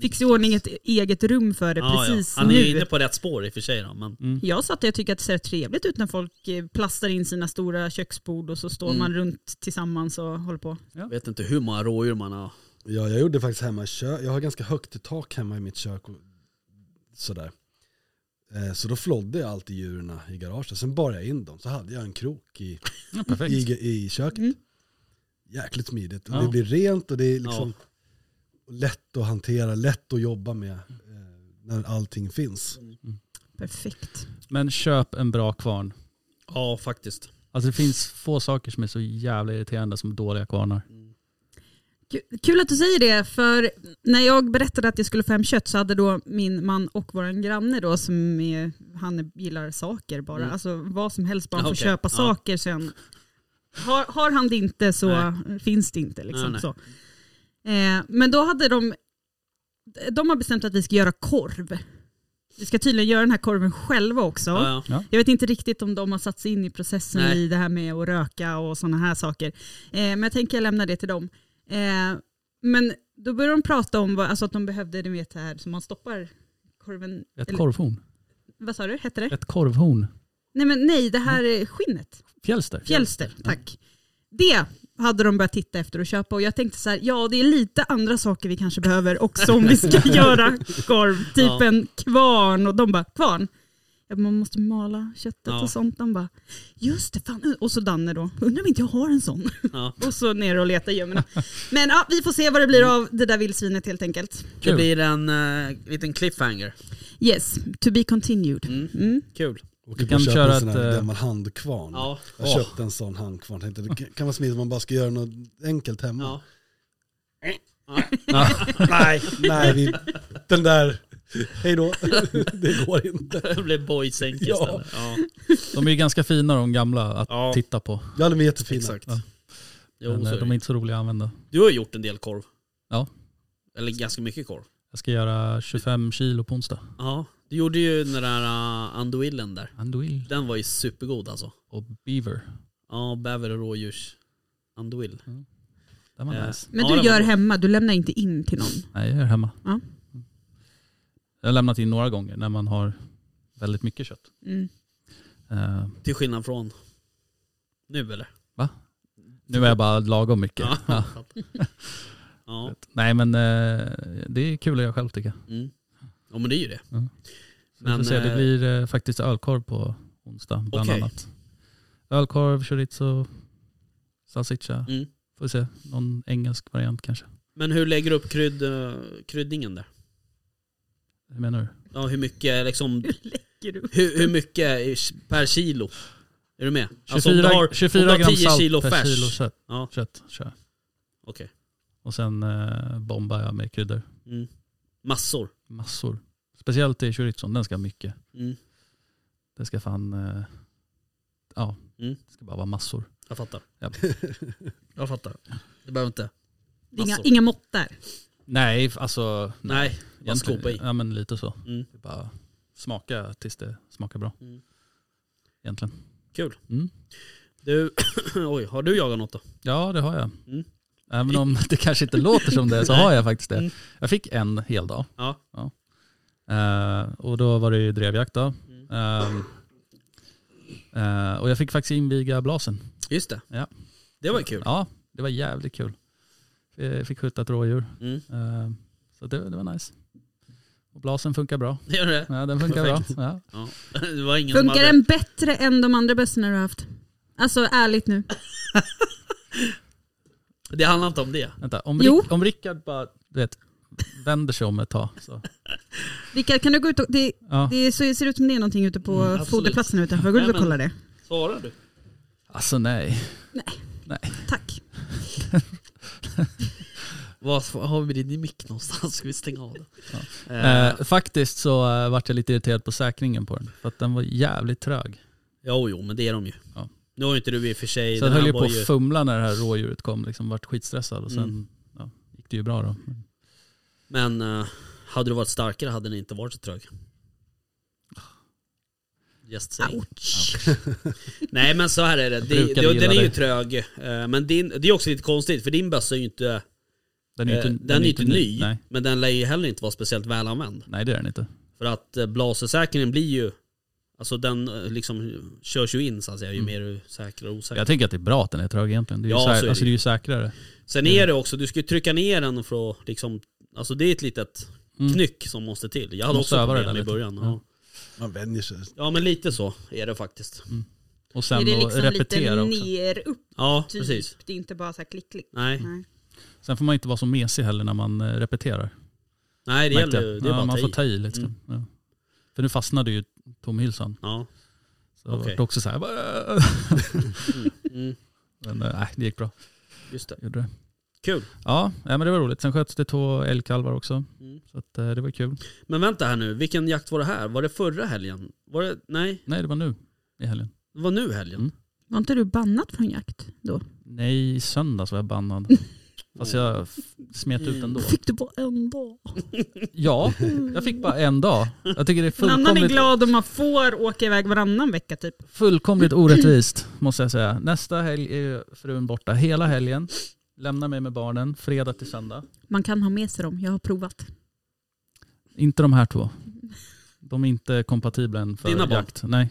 [SPEAKER 4] fixa i ordning ett eget rum för det
[SPEAKER 3] Ja, ja.
[SPEAKER 4] precis
[SPEAKER 3] Han är
[SPEAKER 4] nu.
[SPEAKER 3] ju inne på rätt spår i och för sig då, men
[SPEAKER 4] Jag satt och jag tycker att det ser trevligt ut när folk eh, plastar in sina stora köksbord och så står
[SPEAKER 3] Mm.
[SPEAKER 4] man runt tillsammans och håller på.
[SPEAKER 3] jag vet inte hur många rådjur man har.
[SPEAKER 6] Ja, jag gjorde faktiskt hemma i kök. Jag har ganska högt i tak hemma i mitt kök. Och sådär. Eh, Så då flodde jag alltid djuren i garaget. Sen bar jag in dem. Så hade jag en krok i,
[SPEAKER 5] Ja, perfekt.
[SPEAKER 6] i, i köket.
[SPEAKER 4] Mm.
[SPEAKER 6] Jäkligt smidigt. Och
[SPEAKER 5] Ja.
[SPEAKER 6] Det blir rent och det är liksom lätt att hantera, lätt att jobba med eh, när allting finns.
[SPEAKER 3] Mm.
[SPEAKER 4] Perfekt.
[SPEAKER 5] Men köp en bra kvarn.
[SPEAKER 3] Ja, faktiskt.
[SPEAKER 5] Alltså det finns få saker som är så jävla irriterande som dåliga kvarnar.
[SPEAKER 4] Ku- Kul att du säger det, för när jag berättade att jag skulle få hem kött så hade då min man och vår granne då som är, han gillar saker bara,
[SPEAKER 3] Mm. Ah,
[SPEAKER 4] alltså vad som helst bara han får
[SPEAKER 3] Okej,
[SPEAKER 4] köpa
[SPEAKER 3] ja.
[SPEAKER 4] saker sen. Har, har han det inte så finns det inte
[SPEAKER 3] Nej,
[SPEAKER 4] liksom
[SPEAKER 3] nej.
[SPEAKER 4] så. Eh, men då hade de, de har bestämt att vi ska göra korv. Vi ska tydligen göra den här korven själva också.
[SPEAKER 3] Ja, ja.
[SPEAKER 4] Jag vet inte riktigt om de har satt sig in i processen
[SPEAKER 3] Nej.
[SPEAKER 4] i det här med att röka och sådana här saker. Eh, men jag tänker jag lämnar det till dem. Eh, men då började de prata om vad, alltså att de behövde, ni vet det här som man stoppar korven,
[SPEAKER 5] Ett
[SPEAKER 4] Eller-
[SPEAKER 5] korvhorn.
[SPEAKER 4] vad sa du, hette det?
[SPEAKER 5] Ett Mm. korvhorn.
[SPEAKER 4] Nej, men nej, det här är skinnet,
[SPEAKER 5] Fjälster.
[SPEAKER 4] fjälster, tack. Det hade de börjat titta efter och köpa och jag tänkte så här, ja det är lite andra saker vi kanske behöver också om
[SPEAKER 3] (laughs)
[SPEAKER 4] vi ska göra korv, typ
[SPEAKER 3] Ja.
[SPEAKER 4] en kvarn och de bara, kvarn? Ja, Man måste mala köttet
[SPEAKER 3] Ja.
[SPEAKER 4] och sånt. De bara, just det, fan. Och så Danne då, undrar om inte jag har en sån.
[SPEAKER 3] Ja.
[SPEAKER 4] (laughs) Och så ner och leta i gömmorna. Men ja, vi får se vad det blir av det där vildsvinet helt enkelt.
[SPEAKER 3] Det
[SPEAKER 5] Kul.
[SPEAKER 3] blir en eh, liten cliffhanger.
[SPEAKER 4] Yes, to be continued.
[SPEAKER 3] Mm.
[SPEAKER 4] Mm.
[SPEAKER 3] Kul.
[SPEAKER 6] Och
[SPEAKER 5] Vi
[SPEAKER 6] kan
[SPEAKER 5] kan
[SPEAKER 6] köpa
[SPEAKER 5] köra
[SPEAKER 6] en sån här
[SPEAKER 5] ett, eh,
[SPEAKER 6] gammal handkvarn.
[SPEAKER 3] Ja.
[SPEAKER 6] Jag
[SPEAKER 3] Åh.
[SPEAKER 6] köpte en sån handkvarn. Tänkte, det kan- kan vara smidigt om man bara ska göra något enkelt hemma.
[SPEAKER 3] Ja.
[SPEAKER 5] Ja.
[SPEAKER 6] Nej, nej
[SPEAKER 3] (laughs)
[SPEAKER 6] vi, den där, hej då. (laughs) Det går inte.
[SPEAKER 3] Det blir boysänk
[SPEAKER 6] Ja.
[SPEAKER 3] istället. Ja.
[SPEAKER 5] De är ju ganska fina de gamla att
[SPEAKER 3] Ja.
[SPEAKER 5] titta på.
[SPEAKER 6] Ja, (laughs) de är jättefina.
[SPEAKER 3] Exakt.
[SPEAKER 5] Ja.
[SPEAKER 3] Jo,
[SPEAKER 5] Men,
[SPEAKER 3] så
[SPEAKER 5] eh,
[SPEAKER 3] är
[SPEAKER 5] de är
[SPEAKER 3] det.
[SPEAKER 5] inte så roliga att använda.
[SPEAKER 3] Du har ju gjort en del korv.
[SPEAKER 5] Ja.
[SPEAKER 3] Eller ganska mycket korv.
[SPEAKER 5] Jag ska göra 25 kilo på onsdag.
[SPEAKER 3] Ja. Du gjorde ju den där uh, andouillen där.
[SPEAKER 5] Anduil
[SPEAKER 3] Den var ju supergod alltså.
[SPEAKER 5] och beaver.
[SPEAKER 3] Ja, bäver och rådjurs andouille.
[SPEAKER 5] Den var
[SPEAKER 3] Eh,
[SPEAKER 5] nice.
[SPEAKER 4] Men
[SPEAKER 3] ja,
[SPEAKER 4] du
[SPEAKER 3] den var
[SPEAKER 4] gör
[SPEAKER 3] god.
[SPEAKER 4] hemma, du lämnar inte in till någon.
[SPEAKER 5] Nej, jag gör hemma.
[SPEAKER 4] Ja.
[SPEAKER 5] Mm. Jag har lämnat in några gånger när man har väldigt mycket kött.
[SPEAKER 4] Mm. (laughs)
[SPEAKER 5] Eh,
[SPEAKER 3] Till skillnad från nu eller?
[SPEAKER 5] nu är jag bara lagom mycket.
[SPEAKER 3] (laughs)
[SPEAKER 5] Ja.
[SPEAKER 3] ja.
[SPEAKER 5] Nej men eh, det är kul att göra själv tycker jag.
[SPEAKER 3] Mm. ja, men det är ju det.
[SPEAKER 5] Så vi
[SPEAKER 3] Men,
[SPEAKER 5] får se, det
[SPEAKER 3] eh,
[SPEAKER 5] blir eh, faktiskt ölkorv på onsdag bland
[SPEAKER 3] Okej.
[SPEAKER 5] annat. Ölkorv, chorizo, salsiccia.
[SPEAKER 3] Mm.
[SPEAKER 5] Får se, någon engelsk variant kanske.
[SPEAKER 3] Men hur lägger du upp krydd, eh, kryddningen där?
[SPEAKER 5] Hur menar du?
[SPEAKER 3] Ja, hur mycket liksom,
[SPEAKER 4] Hur lägger du?
[SPEAKER 3] hur, hur mycket är per kilo? Är du med?
[SPEAKER 5] 24,
[SPEAKER 3] Alltså, om du har,
[SPEAKER 5] 24
[SPEAKER 3] om du har
[SPEAKER 5] gram
[SPEAKER 3] 10
[SPEAKER 5] salt
[SPEAKER 3] kilo
[SPEAKER 5] per
[SPEAKER 3] färs.
[SPEAKER 5] kilo kött.
[SPEAKER 3] Ja.
[SPEAKER 5] kött kör jag.
[SPEAKER 3] Okej.
[SPEAKER 5] Och sen eh, bombar jag med kryddor.
[SPEAKER 3] Mm. Massor.
[SPEAKER 5] Massor. Speciellt i chorizon, den ska mycket.
[SPEAKER 3] Mm.
[SPEAKER 5] Den ska fan... Eh, ja,
[SPEAKER 3] Mm.
[SPEAKER 5] det ska bara vara massor.
[SPEAKER 3] Jag fattar.
[SPEAKER 5] Ja.
[SPEAKER 3] Jag fattar. Det behöver inte.
[SPEAKER 4] Det är Inga,
[SPEAKER 3] Massor.
[SPEAKER 4] inga mått där.
[SPEAKER 5] Nej, f- alltså...
[SPEAKER 3] Nej, bara
[SPEAKER 5] egentligen-
[SPEAKER 3] skopa i.
[SPEAKER 5] Ja, men lite så.
[SPEAKER 3] Mm.
[SPEAKER 5] Det är Bara smaka tills det smakar bra.
[SPEAKER 3] Mm.
[SPEAKER 5] Egentligen.
[SPEAKER 3] Kul.
[SPEAKER 5] Mm.
[SPEAKER 3] Du, (coughs) oj, har du jagat något då?
[SPEAKER 5] Ja, det har jag.
[SPEAKER 3] Mm.
[SPEAKER 5] Även om (laughs) det kanske inte låter som det så
[SPEAKER 3] Nej.
[SPEAKER 5] har jag faktiskt det.
[SPEAKER 3] Mm.
[SPEAKER 5] Jag fick en hel dag.
[SPEAKER 3] Ja.
[SPEAKER 5] Eh, och då var det ju drevjakt då.
[SPEAKER 3] Mm.
[SPEAKER 5] Ehm, eh, och jag fick faktiskt inviga blasen.
[SPEAKER 3] Just det.
[SPEAKER 5] Ja.
[SPEAKER 3] Det var ju kul.
[SPEAKER 5] Ja, det var jävligt kul. Eh, Fick skjuta ett rådjur.
[SPEAKER 3] Mm. (laughs)
[SPEAKER 5] Eh, Så det, det var nice. Och blasen funkar bra.
[SPEAKER 3] Det gör det.
[SPEAKER 5] Ja, den funkar bra.
[SPEAKER 3] Perfekt.
[SPEAKER 5] Ja.
[SPEAKER 3] Ja. Det var ingen
[SPEAKER 4] Funkar
[SPEAKER 3] som hade...
[SPEAKER 4] den bättre än de andra bössorna du har haft? Alltså ärligt nu.
[SPEAKER 3] Det handlar inte om det.
[SPEAKER 5] Vänta, om,
[SPEAKER 4] Jo.
[SPEAKER 5] Rick, om Rickard bara du vet, vänder sig om ett tag. Så.
[SPEAKER 4] Rickard, kan du gå ut och... Det,
[SPEAKER 5] Ja. Mm,
[SPEAKER 4] det ser ser ut som det är någonting ute på
[SPEAKER 3] absolut.
[SPEAKER 4] foderplatsen utanför. Gå ut
[SPEAKER 3] Nej,
[SPEAKER 4] och
[SPEAKER 3] men-
[SPEAKER 4] kolla det.
[SPEAKER 3] Svarar du?
[SPEAKER 5] Alltså nej.
[SPEAKER 4] Tack.
[SPEAKER 3] Var har vi din mick någonstans? (laughs) Ska vi stänga av den? Eh,
[SPEAKER 5] Eh, faktiskt så eh, vart jag lite irriterad på säkringen på den. För att den var jävligt trög.
[SPEAKER 3] jo, jo, men det är de ju.
[SPEAKER 5] Ja.
[SPEAKER 3] Nu har ju inte du i och för sig...
[SPEAKER 5] Så
[SPEAKER 3] den
[SPEAKER 5] jag höll
[SPEAKER 3] här
[SPEAKER 5] ju
[SPEAKER 3] var
[SPEAKER 5] på att fumla när det här rådjuret kom. Liksom vart skitstressad och sen
[SPEAKER 3] Mm.
[SPEAKER 5] ja, gick det ju bra då. Men,
[SPEAKER 3] Men eh, hade du varit starkare hade den inte varit så trög. Just saying.
[SPEAKER 4] Ouch.
[SPEAKER 3] (laughs) Nej men så här är det.
[SPEAKER 5] Jag
[SPEAKER 3] det,
[SPEAKER 5] brukade
[SPEAKER 3] det
[SPEAKER 5] gilla
[SPEAKER 3] den är ju
[SPEAKER 5] dig.
[SPEAKER 3] trög. eh, Men din, det är också lite konstigt för din bössa är ju inte
[SPEAKER 5] Den
[SPEAKER 3] Den
[SPEAKER 5] är
[SPEAKER 3] är
[SPEAKER 5] ju inte,
[SPEAKER 3] inte, den är inte ny,
[SPEAKER 5] Nej.
[SPEAKER 3] men den lär ju heller inte vara speciellt välanvänd.
[SPEAKER 5] Nej, det är den inte.
[SPEAKER 3] För att eh, blasersäkringen blir ju, alltså den eh, liksom körs ju in så att säga, ju
[SPEAKER 5] Mm.
[SPEAKER 3] mer du säkrar och osäkrar.
[SPEAKER 5] Jag tänker att det är bra att den är trög egentligen. Det är ju,
[SPEAKER 3] Ja,
[SPEAKER 5] sä-
[SPEAKER 3] så är det
[SPEAKER 5] alltså, det är
[SPEAKER 3] ju.
[SPEAKER 5] ju säkrare.
[SPEAKER 3] Sen är det också, du ska ju trycka ner den för att liksom, alltså det är ett litet
[SPEAKER 5] Mm.
[SPEAKER 3] knyck som måste till. Jag hade
[SPEAKER 5] Måste
[SPEAKER 3] också
[SPEAKER 5] öva det
[SPEAKER 3] problem
[SPEAKER 5] där
[SPEAKER 3] i
[SPEAKER 5] lite.
[SPEAKER 3] början. Ja.
[SPEAKER 5] Ja.
[SPEAKER 6] Man vänjer sig.
[SPEAKER 3] ja men lite så är det faktiskt.
[SPEAKER 5] Mm. Och sen
[SPEAKER 4] är det
[SPEAKER 5] att
[SPEAKER 4] liksom lite
[SPEAKER 5] repetera också.
[SPEAKER 4] ner upp
[SPEAKER 3] Ja
[SPEAKER 4] typ?
[SPEAKER 3] precis.
[SPEAKER 4] Det är inte bara så här klick klick.
[SPEAKER 3] Nej,
[SPEAKER 5] Mm.
[SPEAKER 4] Nej.
[SPEAKER 5] Sen får man inte vara så mesig heller när man eh, repeterar.
[SPEAKER 3] Nej det
[SPEAKER 5] märkte
[SPEAKER 3] gäller ju,
[SPEAKER 5] jag.
[SPEAKER 3] det är
[SPEAKER 5] ja,
[SPEAKER 3] bara
[SPEAKER 5] man
[SPEAKER 3] att
[SPEAKER 5] får
[SPEAKER 3] ta i.
[SPEAKER 5] ta i lite.
[SPEAKER 3] Mm.
[SPEAKER 5] Ja. För nu fastnade ju tomhylsan.
[SPEAKER 3] Ja.
[SPEAKER 5] Så det
[SPEAKER 3] Okej.
[SPEAKER 5] var också så här.
[SPEAKER 3] Mm,
[SPEAKER 5] (laughs) Men eh, nej, det gick bra.
[SPEAKER 3] just det.
[SPEAKER 5] Gjorde det.
[SPEAKER 3] Kul.
[SPEAKER 5] Ja, nej, men det var roligt. Sen sköts det två älgkalvar också.
[SPEAKER 3] Mm.
[SPEAKER 5] Så att, eh, det var kul.
[SPEAKER 3] Men vänta här nu, vilken jakt var det här? Var det förra helgen? Var det, nej,
[SPEAKER 5] Nej, det var nu i helgen.
[SPEAKER 3] det var nu helgen.
[SPEAKER 5] Mm.
[SPEAKER 4] Var inte du bannat från jakt då?
[SPEAKER 5] Nej, i söndags var jag (laughs) bannad. Fast jag f- smet ut ändå.
[SPEAKER 4] Fick du bara en dag?
[SPEAKER 5] (laughs) Ja, jag fick bara en dag. Jag tycker det är
[SPEAKER 4] En annan är
[SPEAKER 5] fullkomligt,
[SPEAKER 4] glad om man får åka iväg varannan vecka typ.
[SPEAKER 5] fullkomligt orättvist, måste jag säga. Nästa helg är frun borta hela helgen. Lämnar mig med barnen fredag till söndag.
[SPEAKER 4] Man kan ha med sig dem, jag har
[SPEAKER 5] (laughs)
[SPEAKER 4] provat.
[SPEAKER 5] Inte de här två. De är inte kompatibla än för
[SPEAKER 3] Dina barn?
[SPEAKER 5] jakt. Nej.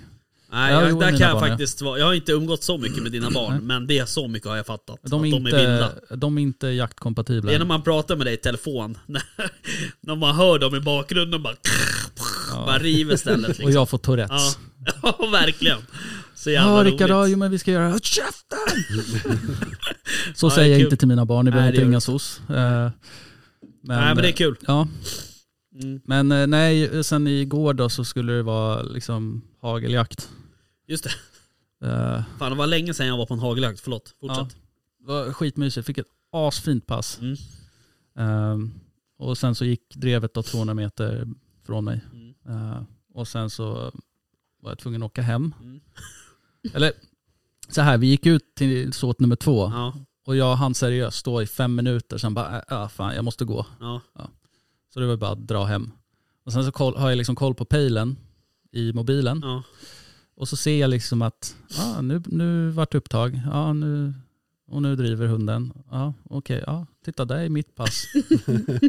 [SPEAKER 3] Nej,
[SPEAKER 5] Ja,
[SPEAKER 3] jag,
[SPEAKER 5] jo,
[SPEAKER 3] där
[SPEAKER 5] mina
[SPEAKER 3] kan jag
[SPEAKER 5] barn, ja.
[SPEAKER 3] faktiskt vara. Jag har inte umgått så mycket med dina barn,
[SPEAKER 5] Nej.
[SPEAKER 3] men det är så mycket har jag fattat.
[SPEAKER 5] De är,
[SPEAKER 3] att de är vilda.
[SPEAKER 5] inte, de är inte jaktkompatibla.
[SPEAKER 3] Det är när
[SPEAKER 5] än.
[SPEAKER 3] man pratar med dig i telefon, (laughs) när, när man hör dem i bakgrunden bara, bara river stället. Liksom.
[SPEAKER 5] Och jag får Tourettes.
[SPEAKER 3] ja. (laughs) ja, verkligen. Så jävla
[SPEAKER 5] Ja, Rickard, ja,
[SPEAKER 3] roligt.
[SPEAKER 5] jo, men vi ska göra... Håll
[SPEAKER 3] (laughs)
[SPEAKER 5] käften! så
[SPEAKER 3] Ja, det är
[SPEAKER 5] säger jag
[SPEAKER 3] kul.
[SPEAKER 5] inte till mina barn, ni behöver
[SPEAKER 3] Nej, det
[SPEAKER 5] inte
[SPEAKER 3] gör
[SPEAKER 5] ringa
[SPEAKER 3] du
[SPEAKER 5] SOS. Eh, Men,
[SPEAKER 3] Nej men det är kul.
[SPEAKER 5] Ja,
[SPEAKER 3] Mm.
[SPEAKER 5] men eh, nej, sen igår då så skulle det vara liksom hageljakt.
[SPEAKER 3] Just det.
[SPEAKER 5] Eh,
[SPEAKER 3] Fan det var länge sedan jag var på en hageljakt, förlåt.
[SPEAKER 5] Ja,
[SPEAKER 3] Fortsätt.
[SPEAKER 5] det var skitmysigt, fick ett asfint pass.
[SPEAKER 3] Mm.
[SPEAKER 5] Eh, och sen så gick drevet då 200 meter från mig.
[SPEAKER 3] Mm.
[SPEAKER 5] Eh, och sen så var jag tvungen att åka hem.
[SPEAKER 3] Mm.
[SPEAKER 5] (laughs) Eller så här, vi gick ut till såt nummer två.
[SPEAKER 3] Ja,
[SPEAKER 5] Och jag hann seriöst stå i fem minuter, sen bara, äh, äh, fan jag måste gå.
[SPEAKER 3] ja.
[SPEAKER 5] Så det var bara att dra hem. Och sen så koll, har jag liksom koll på pejlen i mobilen.
[SPEAKER 3] ja.
[SPEAKER 5] Och så ser jag liksom att, ah, nu, nu vart det upptag, ah, nu, och nu driver hunden. Ja, okej, ja, titta där är mitt pass.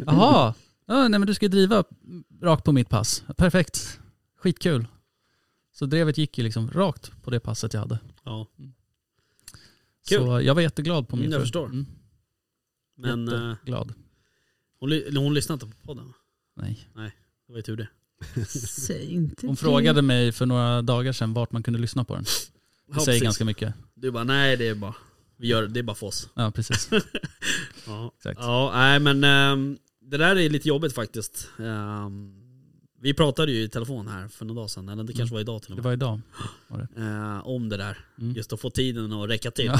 [SPEAKER 5] Jaha, ja, nej men du ska ju driva rakt på mitt pass. Perfekt, skitkul. Så drevet gick ju liksom rakt på det passet jag hade.
[SPEAKER 3] ja. Kul.
[SPEAKER 5] Så jag var jätteglad på min
[SPEAKER 3] Mm, jag
[SPEAKER 5] fru.
[SPEAKER 3] förstår.
[SPEAKER 5] Mm,
[SPEAKER 3] Men eh,
[SPEAKER 5] jätteglad.
[SPEAKER 3] hon, ly- hon lyssnade inte på podden.
[SPEAKER 5] Nej.
[SPEAKER 3] Det var ju tur det.
[SPEAKER 4] Säg inte
[SPEAKER 5] Hon
[SPEAKER 4] det.
[SPEAKER 5] frågade mig för några dagar sedan vart man kunde lyssna på den. Det
[SPEAKER 3] Ja,
[SPEAKER 5] säger
[SPEAKER 3] precis.
[SPEAKER 5] ganska mycket.
[SPEAKER 3] Du bara, nej det är bara, vi gör, det är bara för oss.
[SPEAKER 5] Ja,
[SPEAKER 3] (laughs)
[SPEAKER 5] precis.
[SPEAKER 3] Ja,
[SPEAKER 5] Exakt.
[SPEAKER 3] ja nej men ehm, det där är lite jobbigt faktiskt. Ehm, vi pratade ju i telefon här för några dagar sedan, eller det kanske var idag till och
[SPEAKER 5] Det
[SPEAKER 3] med.
[SPEAKER 5] var idag.
[SPEAKER 3] eh, om det där.
[SPEAKER 5] Mm.
[SPEAKER 3] Just att få tiden att räcka till.
[SPEAKER 5] Ja.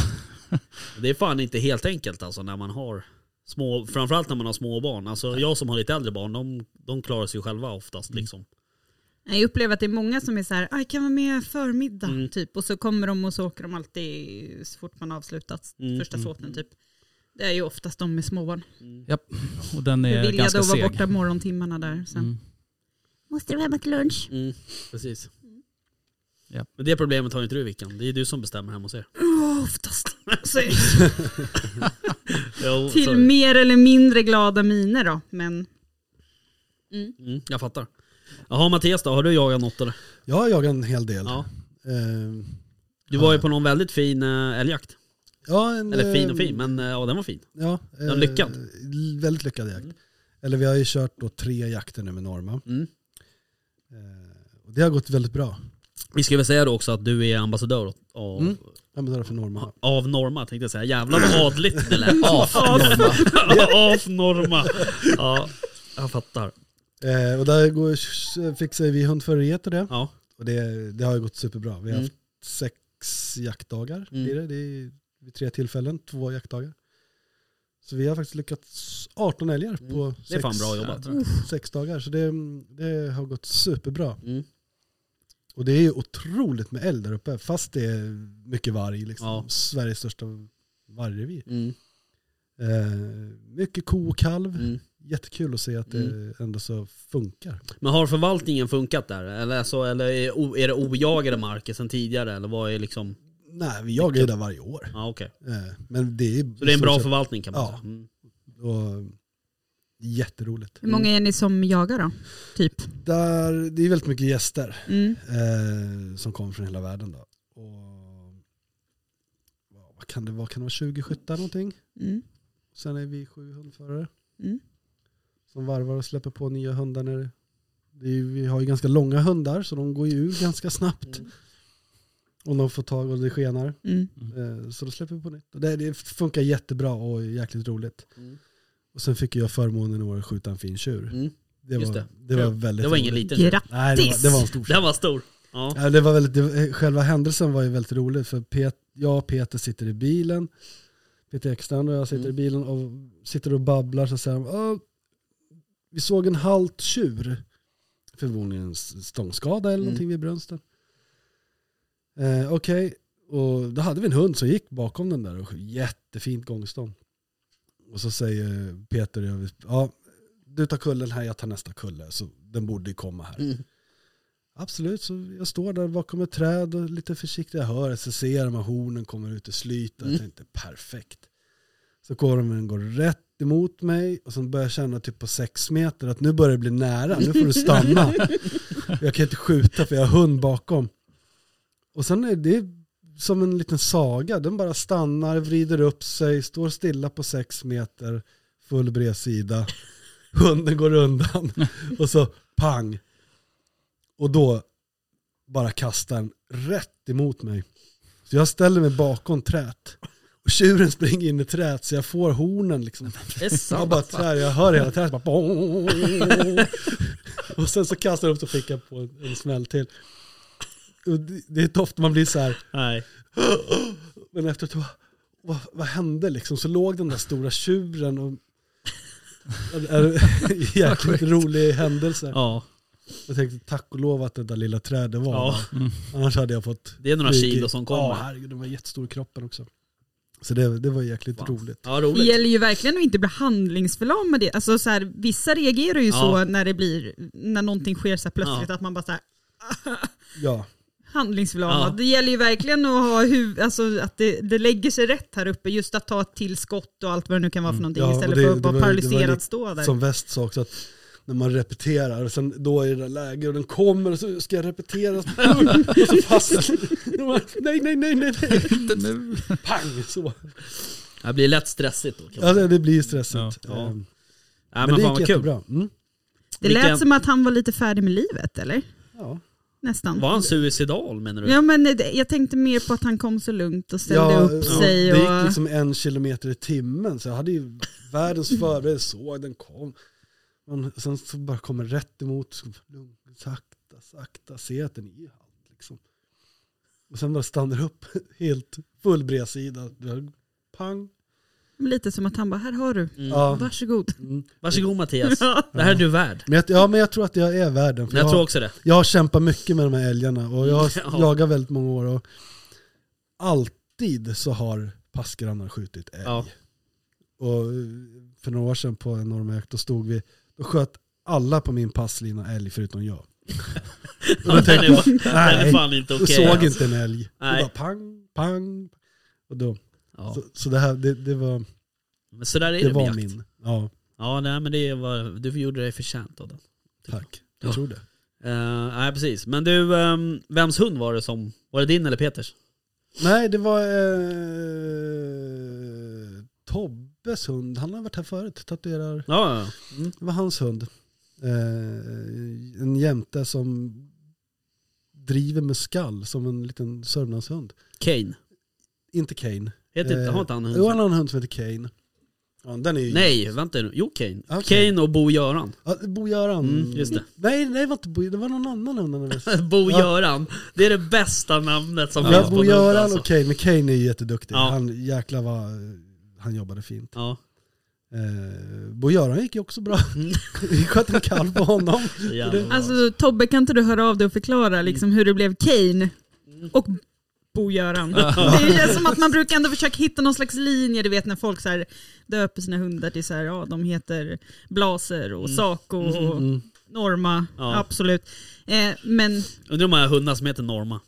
[SPEAKER 3] (laughs) det är fan inte helt enkelt alltså när man har små, framförallt när man har små barn. Alltså jag som har lite äldre barn, de, de klarar sig ju själva oftast
[SPEAKER 5] Mm.
[SPEAKER 3] liksom.
[SPEAKER 4] Nej, Jag upplever att det är många som är så här, "Ah, jag kan vara med förmiddag
[SPEAKER 3] Mm.
[SPEAKER 4] typ. Och så kommer de och så åker de alltid så fort man har avslutat
[SPEAKER 3] Mm,
[SPEAKER 4] första
[SPEAKER 3] mm,
[SPEAKER 4] såten typ. Det är ju oftast de med småbarn.
[SPEAKER 5] Och den
[SPEAKER 4] Hur
[SPEAKER 5] är
[SPEAKER 4] vill jag
[SPEAKER 5] ganska
[SPEAKER 4] då vara
[SPEAKER 5] seg.
[SPEAKER 4] borta morgontimmarna där sen.
[SPEAKER 5] Mm.
[SPEAKER 4] Måste du hemma till lunch?
[SPEAKER 3] Mm, precis.
[SPEAKER 5] Ja.
[SPEAKER 3] Men det problemet har ju inte du Vickan, det är du som bestämmer hemma hos er. (laughs)
[SPEAKER 4] Oh, oftast. Så är det.
[SPEAKER 3] Jo,
[SPEAKER 4] till
[SPEAKER 3] sorry.
[SPEAKER 4] mer eller mindre glada miner då. Men
[SPEAKER 3] mm, jag fattar. Jaha Mattias då, har du jagat något eller?
[SPEAKER 6] Jag har jagat en hel del.
[SPEAKER 3] Ja.
[SPEAKER 6] Eh,
[SPEAKER 3] Du var ju på någon väldigt fin eh, älgjakt.
[SPEAKER 6] ja, en,
[SPEAKER 3] Eller fin och
[SPEAKER 6] eh,
[SPEAKER 3] fin, men eh, ja den var fin.
[SPEAKER 6] Ja,
[SPEAKER 3] Den var lyckad.
[SPEAKER 6] eh, Väldigt lyckad jakt.
[SPEAKER 3] Mm.
[SPEAKER 6] Eller vi har ju kört då tre jakter nu med Norma.
[SPEAKER 3] Mm.
[SPEAKER 6] Eh, och det har gått väldigt bra.
[SPEAKER 3] Vi ska väl säga då också att du är ambassadör åt- av,
[SPEAKER 6] Mm. Jag betalar för Norma.
[SPEAKER 3] av Norma tänkte jag säga. Jävlar vad adligt det lät.
[SPEAKER 5] Ja, fan, Norma.
[SPEAKER 3] (laughs) av Norma. Ja, jag fattar.
[SPEAKER 6] Eh, och där går, fixar vi hundförarget och det.
[SPEAKER 3] Ja.
[SPEAKER 6] Och det, det har ju gått superbra. Vi har
[SPEAKER 3] Mm.
[SPEAKER 6] haft sex jaktdagar.
[SPEAKER 3] Mm.
[SPEAKER 6] blir Det, det är vid tre tillfällen, två jaktdagar. Så vi har faktiskt lyckats 18 älgar
[SPEAKER 3] Mm.
[SPEAKER 6] på
[SPEAKER 3] Det är fan
[SPEAKER 6] sex,
[SPEAKER 3] bra jobbat.
[SPEAKER 6] sex dagar. Så det, det har gått superbra.
[SPEAKER 3] Mm.
[SPEAKER 6] Och det är ju otroligt med eld där uppe, fast det är mycket varg. Liksom.
[SPEAKER 3] Ja.
[SPEAKER 6] Sveriges största vargrevir.
[SPEAKER 3] Mm.
[SPEAKER 6] Eh, mycket ko och kalv.
[SPEAKER 3] Mm.
[SPEAKER 6] Jättekul att se att det ändå så funkar.
[SPEAKER 3] Men har förvaltningen funkat där? Eller, alltså, eller är, o- är det ojagade marker sedan tidigare? Eller vad är liksom...
[SPEAKER 6] Nej, vi jagar ju där varje år.
[SPEAKER 3] Ja, okej.
[SPEAKER 6] Eh, men det är,
[SPEAKER 3] Så det är en bra
[SPEAKER 6] så-
[SPEAKER 3] förvaltning kan man
[SPEAKER 6] Ja.
[SPEAKER 3] säga. Mm.
[SPEAKER 6] Och jätteroligt. Mm.
[SPEAKER 4] Hur många är ni som jagar då? Typ.
[SPEAKER 6] Där, det är väldigt mycket gäster
[SPEAKER 4] Mm.
[SPEAKER 6] eh, som kommer från hela världen. Då. Och, ja, vad kan det vara? Kan det vara 20 skyttar någonting?
[SPEAKER 4] Mm.
[SPEAKER 6] Sen är vi sju hundförare
[SPEAKER 4] Mm.
[SPEAKER 6] som varvar och släpper på nya hundar. När det, det är, ju- vi har ju ganska långa hundar så de går ju ur ganska snabbt.
[SPEAKER 3] Mm.
[SPEAKER 6] Om de får tag och det skenar.
[SPEAKER 4] Mm.
[SPEAKER 6] Eh, Så då släpper vi på nytt. Och Det, det funkar jättebra och är jäkligt roligt.
[SPEAKER 1] Mm.
[SPEAKER 6] Och sen fick jag förmånen i år att skjuta en fin tjur.
[SPEAKER 1] Mm.
[SPEAKER 6] Det var,
[SPEAKER 3] Just
[SPEAKER 6] det.
[SPEAKER 3] det.
[SPEAKER 6] var
[SPEAKER 3] Kul.
[SPEAKER 6] väldigt
[SPEAKER 3] Det var ingen
[SPEAKER 6] roligt.
[SPEAKER 3] liten
[SPEAKER 4] Grattis!
[SPEAKER 6] Nej, det var, det var en stor tjur.
[SPEAKER 3] Den var stor. Ja.
[SPEAKER 6] Ja, det var väldigt, det, var- själva händelsen var ju väldigt rolig för Pet, jag och Peter sitter i bilen. Peter Ekstrand och jag sitter i
[SPEAKER 1] Mm.
[SPEAKER 6] bilen och sitter och babblar så säger han, "Åh, vi såg en halt tjur. Förmodligen en s- stångskada eller
[SPEAKER 1] Mm.
[SPEAKER 6] någonting vid brunsten. Eh, Okej, och då hade vi en hund som gick bakom den där och jättefint gångstånd. Och så säger Peter, och jag, ja, du tar kullen här, jag tar nästa kulle. Så den borde ju komma här.
[SPEAKER 1] Mm.
[SPEAKER 6] Absolut, så jag står där bakom ett träd och lite försiktigt. Jag hör, så ser jag de här hornen kommer ut i slytet. Jag
[SPEAKER 1] Mm.
[SPEAKER 6] tänkte perfekt. Så korven går rätt emot mig och sen börjar jag känna typ på sex meter att nu börjar det bli nära, nu får du stanna. jag kan inte skjuta för jag har hund bakom. Och sen är det som en liten saga, den bara stannar, vrider upp sig, står stilla på sex meter, full bredsida. Hunden går undan och så pang. Och då bara kastar den rätt emot mig. Så jag ställer mig bakom träet. Och tjuren springer in i träet så jag får hornen liksom.
[SPEAKER 3] Det är
[SPEAKER 6] Så jag
[SPEAKER 3] sant. alltså.
[SPEAKER 6] bara trär, jag hör hela trädet bara bong. Och sen så kastar jag upp så fick jag på en, en smäll till. Och det, det är ofta man blir så här,
[SPEAKER 3] Nej.
[SPEAKER 6] men efteråt, vad, vad, vad hände liksom? Så låg den där stora
[SPEAKER 3] (laughs)
[SPEAKER 6] tjuren och... en Jäkligt rolig händelse.
[SPEAKER 3] Ja,
[SPEAKER 6] Jag tänkte tack och lov att det där lilla trädet var
[SPEAKER 3] Ja.
[SPEAKER 6] där. Annars hade jag fått...
[SPEAKER 3] Mm. det är några
[SPEAKER 6] flyg i-
[SPEAKER 3] kilo som
[SPEAKER 6] Ja,
[SPEAKER 3] kommer.
[SPEAKER 6] herregud, den var jättestor i kroppen också. Så det, det var jäkligt
[SPEAKER 3] Fan.
[SPEAKER 6] roligt.
[SPEAKER 3] Ja,
[SPEAKER 4] Det
[SPEAKER 3] roligt.
[SPEAKER 4] gäller ju verkligen att inte bli handlingsförlamad. i- Alltså så här, vissa reagerar ju
[SPEAKER 3] Ja.
[SPEAKER 4] så när det blir, när någonting sker så här plötsligt att man bara så här,
[SPEAKER 6] Ja,
[SPEAKER 4] handlingsförlamad.
[SPEAKER 3] Ja.
[SPEAKER 4] Det gäller ju verkligen att ha huv- alltså att det, det lägger sig rätt här uppe. Just att ta ett tillskott och allt vad det nu kan vara för någonting
[SPEAKER 6] Mm. Ja, och
[SPEAKER 4] istället
[SPEAKER 6] det-
[SPEAKER 4] för att
[SPEAKER 6] det
[SPEAKER 4] bara
[SPEAKER 6] var- det var
[SPEAKER 4] paralyserad
[SPEAKER 6] lite
[SPEAKER 4] stå där.
[SPEAKER 6] som väst sa också att när man repeterar, och sen då är det där läge och den kommer och så ska
[SPEAKER 3] (laughs)
[SPEAKER 6] jag repetera. Och så fastnar Nej, nej, nej, nej, nej.
[SPEAKER 5] Inte nu.
[SPEAKER 6] Pang, så.
[SPEAKER 3] Det blir lätt stressigt då. kan man-
[SPEAKER 6] Alltså, det blir stressigt.
[SPEAKER 5] Ja,
[SPEAKER 3] ja.
[SPEAKER 6] Ehm,
[SPEAKER 3] Nej,
[SPEAKER 6] Men
[SPEAKER 3] men fan
[SPEAKER 6] det gick
[SPEAKER 3] vad kul.
[SPEAKER 6] jättebra. Mm.
[SPEAKER 4] det
[SPEAKER 3] vilken-
[SPEAKER 4] lät som att han var lite färdig med livet eller?
[SPEAKER 6] Ja.
[SPEAKER 4] Nästan.
[SPEAKER 3] Var han suicidal menar du?
[SPEAKER 4] Ja men det, jag tänkte mer på att han kom så lugnt och ställde upp sig.
[SPEAKER 6] Det gick
[SPEAKER 4] Och,
[SPEAKER 6] liksom en kilometer i timmen så jag hade ju
[SPEAKER 4] (laughs)
[SPEAKER 6] världens förberedelse, såg den kom. Men sen så bara kommer rätt emot, så lugnt, sakta, sakta, se att den är halt liksom. Och sen bara stannar upp (laughs) helt full bredsida,
[SPEAKER 4] Mm.
[SPEAKER 6] pang.
[SPEAKER 4] Lite som att han bara, här har du,
[SPEAKER 3] Mm.
[SPEAKER 6] Ja.
[SPEAKER 4] varsågod.
[SPEAKER 6] Mm.
[SPEAKER 3] Varsågod Mattias. Det här är du värd.
[SPEAKER 6] Men jag, ja men jag tror att jag är värden. För
[SPEAKER 3] Jag
[SPEAKER 6] jag,
[SPEAKER 3] tror också det.
[SPEAKER 6] jag har kämpat mycket med de här älgarna och jag har
[SPEAKER 3] (laughs) Ja.
[SPEAKER 6] jagat väldigt många år och alltid så har passgrannar skjutit älg.
[SPEAKER 3] Ja.
[SPEAKER 6] Och för några år sedan på en normjakt, då stod vi, då sköt alla på min passlina älg förutom jag.
[SPEAKER 3] (laughs) Ja, Den är, fan- den är
[SPEAKER 6] nej,
[SPEAKER 3] fan inte
[SPEAKER 6] Du
[SPEAKER 3] okej.
[SPEAKER 6] såg
[SPEAKER 3] alltså.
[SPEAKER 6] inte en älg. Det
[SPEAKER 3] Nej.
[SPEAKER 6] bara pang, pang. Och då,
[SPEAKER 3] Alltså, Ja.
[SPEAKER 6] så, så det här, det, det var,
[SPEAKER 3] Men så där är det,
[SPEAKER 6] det
[SPEAKER 3] med
[SPEAKER 6] var
[SPEAKER 3] jakt.
[SPEAKER 6] min. Ja,
[SPEAKER 3] Ja, nej, men det var, du gjorde dig förtjänt av den.
[SPEAKER 6] tack. Jag
[SPEAKER 3] Ja.
[SPEAKER 6] tror det.
[SPEAKER 3] Eh, nej, precis. Men du, ehm, vems hund var det som... Var det din eller Peters?
[SPEAKER 6] Nej, det var eh, Tobbes hund. Han har varit här förut, tatuerar
[SPEAKER 3] Ja, ja, ja.
[SPEAKER 6] Det var hans hund. Eh, en jämte som driver med skall som en liten Sörmlandshund.
[SPEAKER 3] Kane.
[SPEAKER 6] Inte Kane.
[SPEAKER 3] Heter inte,
[SPEAKER 6] Eh,
[SPEAKER 3] har inte han en
[SPEAKER 6] Jo, han
[SPEAKER 3] hund?
[SPEAKER 6] har en hund som heter Kane. Ja, den är ju...
[SPEAKER 3] Mm. Nej, vänta nu. Jo, Kane.
[SPEAKER 6] Okej.
[SPEAKER 3] Kane och Bo-Göran. (laughs)
[SPEAKER 6] Ja, Bo-Göran.
[SPEAKER 3] Mm, just det.
[SPEAKER 6] Nej, nej, det var inte Bo, det var någon annan hund.
[SPEAKER 3] (laughs)
[SPEAKER 6] han hade.
[SPEAKER 3] Bo-Göran. Det är det bästa namnet som
[SPEAKER 6] Ja,
[SPEAKER 3] finns på en hund
[SPEAKER 6] Bo-Göran
[SPEAKER 3] alltså.
[SPEAKER 6] och Kane, men Kane är ju jätteduktig.
[SPEAKER 3] Ja.
[SPEAKER 6] Han, jäklar vad han jobbade fint.
[SPEAKER 3] Ja,
[SPEAKER 6] Eh, Bo-Göran gick ju också bra. (laughs) Vi sköt en kalv på honom.
[SPEAKER 3] det är jävla bra.
[SPEAKER 4] Alltså Tobbe kan inte du höra av dig och förklara
[SPEAKER 3] Mm.
[SPEAKER 4] liksom, hur det blev Kane och Bo-Göran? Det känns som att man brukar ändå försöka hitta någon slags linje, du vet när folk så här, döper sina hundar till så här, ja de heter Blaser och Saco och
[SPEAKER 6] Mm.
[SPEAKER 4] Norma,
[SPEAKER 3] Ja.
[SPEAKER 4] absolut. Eh, men,
[SPEAKER 3] Undrar hur många hundar som heter Norma.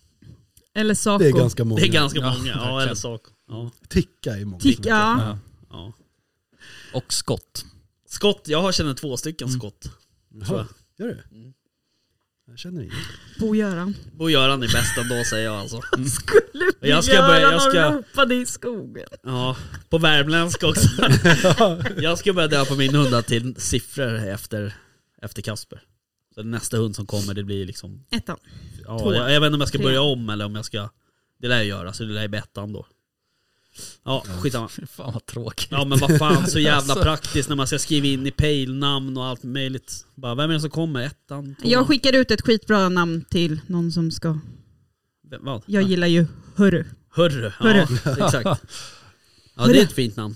[SPEAKER 4] eller Saco.
[SPEAKER 6] Det är ganska många.
[SPEAKER 3] Det är ganska
[SPEAKER 5] Ja,
[SPEAKER 3] många. Ja,
[SPEAKER 5] verkligen.
[SPEAKER 3] eller sak. Ja,
[SPEAKER 6] Ticka i många.
[SPEAKER 4] Tick, ja.
[SPEAKER 5] Ja.
[SPEAKER 3] ja.
[SPEAKER 5] Och (laughs) skott.
[SPEAKER 3] Skott, jag har känner två stycken
[SPEAKER 5] Mm.
[SPEAKER 3] skott. tror
[SPEAKER 6] Jaha,
[SPEAKER 3] jag.
[SPEAKER 6] gör du?
[SPEAKER 3] Mm.
[SPEAKER 6] Jag känner inget.
[SPEAKER 4] Bo-Göran.
[SPEAKER 3] Bo-Göran är bäst ändå säger jag alltså.
[SPEAKER 4] Skulle
[SPEAKER 3] Jag ska börja- jag ska-
[SPEAKER 4] och ropade i skogen.
[SPEAKER 3] Ja, på värmländska också. jag ska börja döpa min hund till siffror efter, efter Kasper. Så nästa hund som kommer det blir liksom
[SPEAKER 4] Ettan. Två.
[SPEAKER 3] Ja, jag, jag vet inte om jag ska
[SPEAKER 4] Tre.
[SPEAKER 3] börja om eller om jag ska... Det lär jag göra, så det lär jag bli ettan då. Ja, skitsamma.
[SPEAKER 5] Fy fan vad tråkigt.
[SPEAKER 3] Ja men vad fan, så jävla
[SPEAKER 5] Alltså.
[SPEAKER 3] praktiskt när man ska skriva in i pejlnamn och allt möjligt. Bara, vem är det som kommer? Ettan? Tvåan?
[SPEAKER 4] Jag skickar ut ett skitbra namn till någon som ska...
[SPEAKER 3] Vem- Vad?
[SPEAKER 4] Jag gillar ju Hörru.
[SPEAKER 3] Hörru.
[SPEAKER 4] Hörru.
[SPEAKER 3] Ja, exakt. Ja, det är ett fint namn.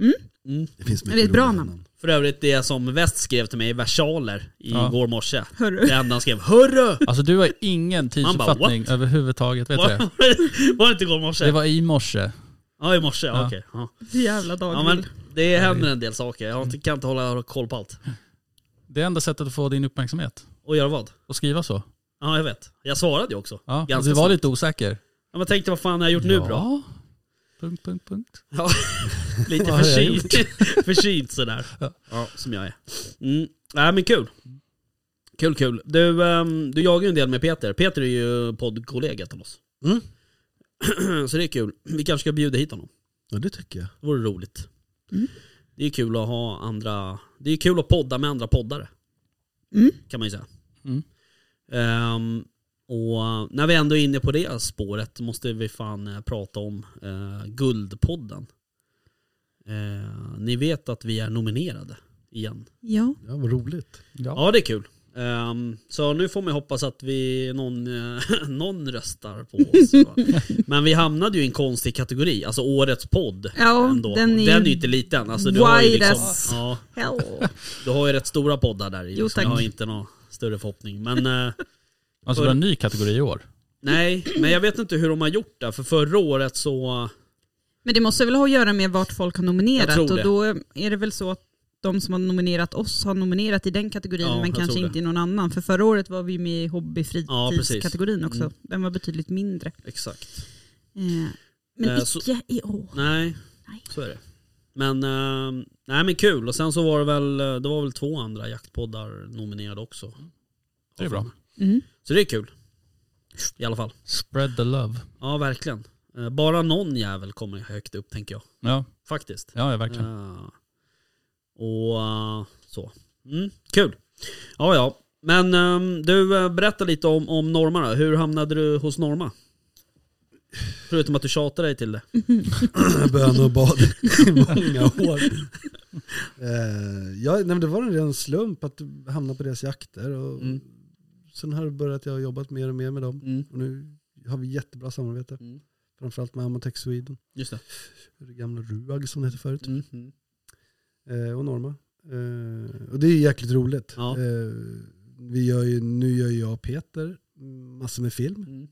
[SPEAKER 4] Mm.
[SPEAKER 3] Mm.
[SPEAKER 6] Det finns mycket
[SPEAKER 4] det är ett bra
[SPEAKER 6] roligare
[SPEAKER 4] namn.
[SPEAKER 3] För övrigt, det som West skrev till mig i versaler
[SPEAKER 5] Ja.
[SPEAKER 3] igår morse.
[SPEAKER 4] Hörru.
[SPEAKER 3] Det enda han skrev, hörru!
[SPEAKER 5] Alltså du har ingen
[SPEAKER 3] Man bara,
[SPEAKER 5] tidsuppfattning överhuvudtaget. Vet du det?
[SPEAKER 3] Var det inte igår morse?
[SPEAKER 5] Det var i morse.
[SPEAKER 3] Ja, i morse. Ja.
[SPEAKER 5] Ja.
[SPEAKER 3] Okej. Ja.
[SPEAKER 4] (laughs) Jävla
[SPEAKER 3] Ja,
[SPEAKER 4] dagvill.
[SPEAKER 3] men det händer en del saker. Jag har inte- kan inte hålla koll på allt.
[SPEAKER 5] Det är enda sättet att få din uppmärksamhet.
[SPEAKER 3] Och göra vad?
[SPEAKER 5] Att skriva så.
[SPEAKER 3] Ja, jag vet. Jag svarade ju också.
[SPEAKER 5] Ja,
[SPEAKER 3] Ganska
[SPEAKER 5] du var
[SPEAKER 3] snabbt.
[SPEAKER 5] lite osäker.
[SPEAKER 3] Ja, men tänkte vad fan har jag gjort nu
[SPEAKER 5] ja.
[SPEAKER 3] bra?
[SPEAKER 5] Punkt, punkt, punkt.
[SPEAKER 3] Ja, lite
[SPEAKER 5] Vad har jag
[SPEAKER 3] förkyld. (laughs) förkyld sådär.
[SPEAKER 5] Ja.
[SPEAKER 3] Ja, som jag är. Mm. Nej men kul. Kul kul. Du, ehm, du jagar ju en del med Peter. Peter är ju poddkollega till oss.
[SPEAKER 6] Mm.
[SPEAKER 3] (clears throat)
[SPEAKER 5] Mm.
[SPEAKER 3] Så det är kul. Vi kanske ska bjuda hit honom.
[SPEAKER 6] Ja det tycker jag.
[SPEAKER 3] Det vore roligt.
[SPEAKER 4] Mm.
[SPEAKER 3] Det är kul att ha andra... Det är kul att podda med andra poddare.
[SPEAKER 4] Mm.
[SPEAKER 3] Kan man ju säga.
[SPEAKER 5] Mm.
[SPEAKER 3] Ehm, och när vi ändå är inne på det spåret måste vi fan eh, prata om eh, Guldpodden. Eh, ni vet att vi är nominerade igen.
[SPEAKER 4] Ja.
[SPEAKER 6] Ja, vad roligt. (clears throat)
[SPEAKER 5] Ja.
[SPEAKER 3] Ja, det är kul. Ehm, så nu får man ju hoppas att vi, någon, eh, (laughs) någon röstar på oss.
[SPEAKER 4] (laughs)
[SPEAKER 3] va? Men vi hamnade ju i en konstig kategori, alltså årets podd.
[SPEAKER 4] Ja,
[SPEAKER 3] ändå.
[SPEAKER 4] den är ju
[SPEAKER 3] ju inte liten. Alltså, du, har ju
[SPEAKER 4] wide
[SPEAKER 3] liksom,
[SPEAKER 4] as-
[SPEAKER 3] ja,
[SPEAKER 4] Hell.
[SPEAKER 3] du har ju rätt stora poddar där i,
[SPEAKER 4] Jo,
[SPEAKER 3] liksom.
[SPEAKER 4] tack.
[SPEAKER 3] Jag har inte någon större förhoppning. Men, eh, (laughs)
[SPEAKER 5] Alltså det var en ny kategori i år.
[SPEAKER 3] nej, men jag vet inte hur de har gjort där. För förra året så...
[SPEAKER 4] Men det måste väl ha att göra med vart folk har
[SPEAKER 3] Jag
[SPEAKER 4] nominerat
[SPEAKER 3] tror
[SPEAKER 4] och
[SPEAKER 3] det.
[SPEAKER 4] då är det väl så att de som har nominerat oss har nominerat i den kategorin
[SPEAKER 3] Ja,
[SPEAKER 4] men
[SPEAKER 3] jag
[SPEAKER 4] kanske
[SPEAKER 3] tror
[SPEAKER 4] inte i någon annan. För förra året var vi med i
[SPEAKER 3] Ja, precis.
[SPEAKER 4] hobbyfritidskategorin också.
[SPEAKER 3] Mm.
[SPEAKER 4] Den var betydligt mindre.
[SPEAKER 3] Exakt.
[SPEAKER 4] Eh, Men
[SPEAKER 3] Eh,
[SPEAKER 4] icke
[SPEAKER 3] så-
[SPEAKER 4] i år.
[SPEAKER 3] Nej,
[SPEAKER 4] Nej.
[SPEAKER 3] så är det. Men, eh, nej men kul. Och sen så var det väl, eh, det var väl två andra jaktpoddar nominerade också.
[SPEAKER 5] Det är bra.
[SPEAKER 4] Mm.
[SPEAKER 3] Så det är kul. I alla fall.
[SPEAKER 5] Spread the love.
[SPEAKER 3] Ja, verkligen. Eh, Bara någon jävel kommer högt upp tänker jag.
[SPEAKER 5] Ja,
[SPEAKER 3] Faktiskt.
[SPEAKER 5] ja ja, verkligen.
[SPEAKER 3] Ja. Ah. och eh, så. Mm, kul. Ja, ja. Men ehm, du, eh, berätta lite om, om Norma då. Hur hamnade du hos Norma? Förutom att du tjatade dig till det.
[SPEAKER 6] Jag bönade och bad i många år. Eh, ja, nej, men det var en ren slump att hamna på deras jakter. Och
[SPEAKER 3] Mm.
[SPEAKER 6] Sen har det börjat, jag har jobbat mer och mer med dem.
[SPEAKER 3] Mm.
[SPEAKER 6] Och nu har vi jättebra samarbete.
[SPEAKER 3] Mm.
[SPEAKER 6] Framförallt med Amatec Sweden.
[SPEAKER 3] Just det.
[SPEAKER 6] Det gamla RUAG som det hette förut.
[SPEAKER 3] Mm. Mm.
[SPEAKER 6] Eh, och Norma. Eh, och det är ju jäkligt roligt.
[SPEAKER 3] Ja.
[SPEAKER 6] Eh, vi gör ju, nu gör ju jag och Peter massor med film.
[SPEAKER 3] Mm.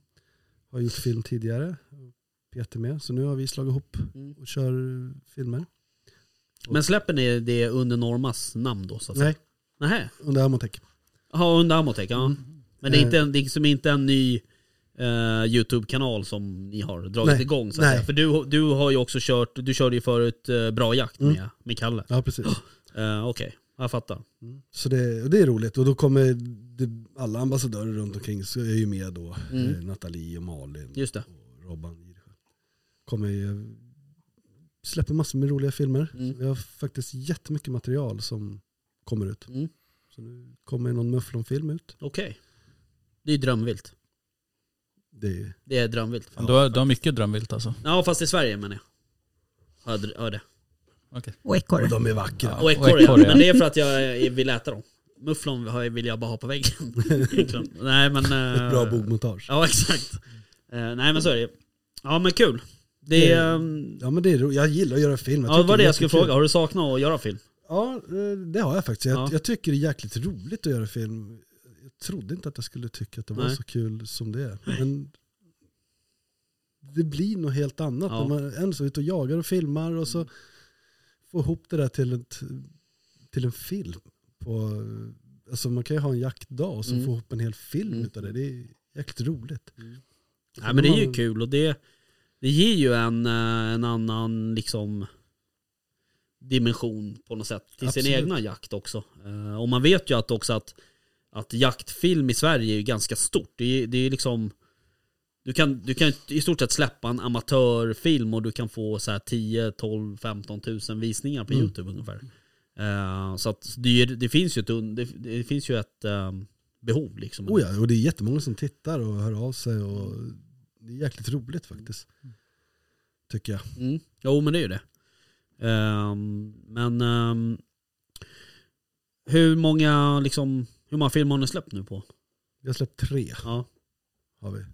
[SPEAKER 6] Har gjort film tidigare. Peter med. Så nu har vi slagit ihop
[SPEAKER 3] Mm.
[SPEAKER 6] och kör filmer.
[SPEAKER 3] Men släpper ni det under Normas namn då? Så att säga?
[SPEAKER 6] Nej,
[SPEAKER 3] Nej. Mm.
[SPEAKER 6] under Amatec.
[SPEAKER 3] Ja, under Amotech. Ja. Men det är, inte en, det är liksom inte en ny eh, YouTube-kanal som ni har dragit
[SPEAKER 6] Nej.
[SPEAKER 3] igång. Så att
[SPEAKER 6] Nej.
[SPEAKER 3] säga. För du, du har ju också kört, du körde ju förut eh, Bra Jakt med, med Kalle.
[SPEAKER 6] Ja, precis.
[SPEAKER 3] Eh, Okej, jag fattar.
[SPEAKER 6] (gasps) Mm. Så det, och det är roligt. Och då kommer det, alla ambassadörer runt omkring så är ju med då.
[SPEAKER 3] Mm.
[SPEAKER 6] Eh, Nathalie och Malin
[SPEAKER 3] Just det.
[SPEAKER 6] och Robban Girsjö. Kommer ju släpper massor med roliga filmer.
[SPEAKER 3] Mm.
[SPEAKER 6] Vi har faktiskt jättemycket material som kommer ut.
[SPEAKER 3] Mm.
[SPEAKER 6] Så nu kommer någon mufflonfilm ut.
[SPEAKER 3] Okej. Det är drömvilt.
[SPEAKER 6] Det är,
[SPEAKER 3] Det är drömvilt.
[SPEAKER 5] Du, har, du har mycket drömvilt alltså.
[SPEAKER 3] Ja, fast i Sverige menar jag. Hörde, hörde.
[SPEAKER 4] Och
[SPEAKER 6] och
[SPEAKER 4] ekorre.
[SPEAKER 6] de är vackra.
[SPEAKER 5] Ja.
[SPEAKER 3] Och
[SPEAKER 5] och
[SPEAKER 3] ekorre,
[SPEAKER 5] ekorre.
[SPEAKER 3] men det är för att jag eh, vill äta dem. Mufflon har jag- vill jag bara ha på väggen. Egentligen. Nej men... eh,
[SPEAKER 6] Ett bra bogmontage.
[SPEAKER 3] Ja, exakt. Eh, nej men så är det Ja men kul. Det är... ehm,
[SPEAKER 6] Ja men det är roligt. Jag gillar att göra film.
[SPEAKER 3] Ja, det
[SPEAKER 6] tycker
[SPEAKER 3] var det
[SPEAKER 6] är
[SPEAKER 3] jag skulle
[SPEAKER 6] jättekul.
[SPEAKER 3] fråga. Har du saknat att göra film?
[SPEAKER 6] Ja, eh, det har jag faktiskt. Jag,
[SPEAKER 3] Ja.
[SPEAKER 6] jag tycker det är jäkligt roligt att göra film. Jag trodde inte att jag skulle tycka att det var
[SPEAKER 3] Nej.
[SPEAKER 6] så kul som det är. Men det blir något helt annat
[SPEAKER 3] Ja.
[SPEAKER 6] när man är så ute och jagar och filmar och så får ihop det där till, ett, till en film. På, alltså man kan ju ha en jaktdag och så
[SPEAKER 3] Mm.
[SPEAKER 6] få ihop en hel film
[SPEAKER 3] Mm.
[SPEAKER 6] utav det. Det är jäkligt roligt.
[SPEAKER 3] Nej men det är ju kul och det, det ger ju en, eh, en annan liksom dimension på något sätt till sin
[SPEAKER 6] Absolut.
[SPEAKER 3] egna jakt också. Eh, Och man vet ju att också att, att jaktfilm i Sverige är ju ganska stort. Det är, det är liksom du kan, du kan i stort sett släppa en amatörfilm och du kan få så här 10, 12, 15 tusen visningar på
[SPEAKER 6] Mm.
[SPEAKER 3] YouTube ungefär. Eh, så att det, är- det finns ju ett, un- det, det finns ju ett eh, behov liksom.
[SPEAKER 6] Oh ja, och det är jättemånga som tittar och hör av sig och det är jäkligt roligt faktiskt. Tycker jag.
[SPEAKER 3] Mm. Jo men det är ju det. Ehm, men ehm, hur många liksom, hur många filmer har ni släppt nu på?
[SPEAKER 6] Vi har släppt tre
[SPEAKER 3] Ja.
[SPEAKER 6] har vi.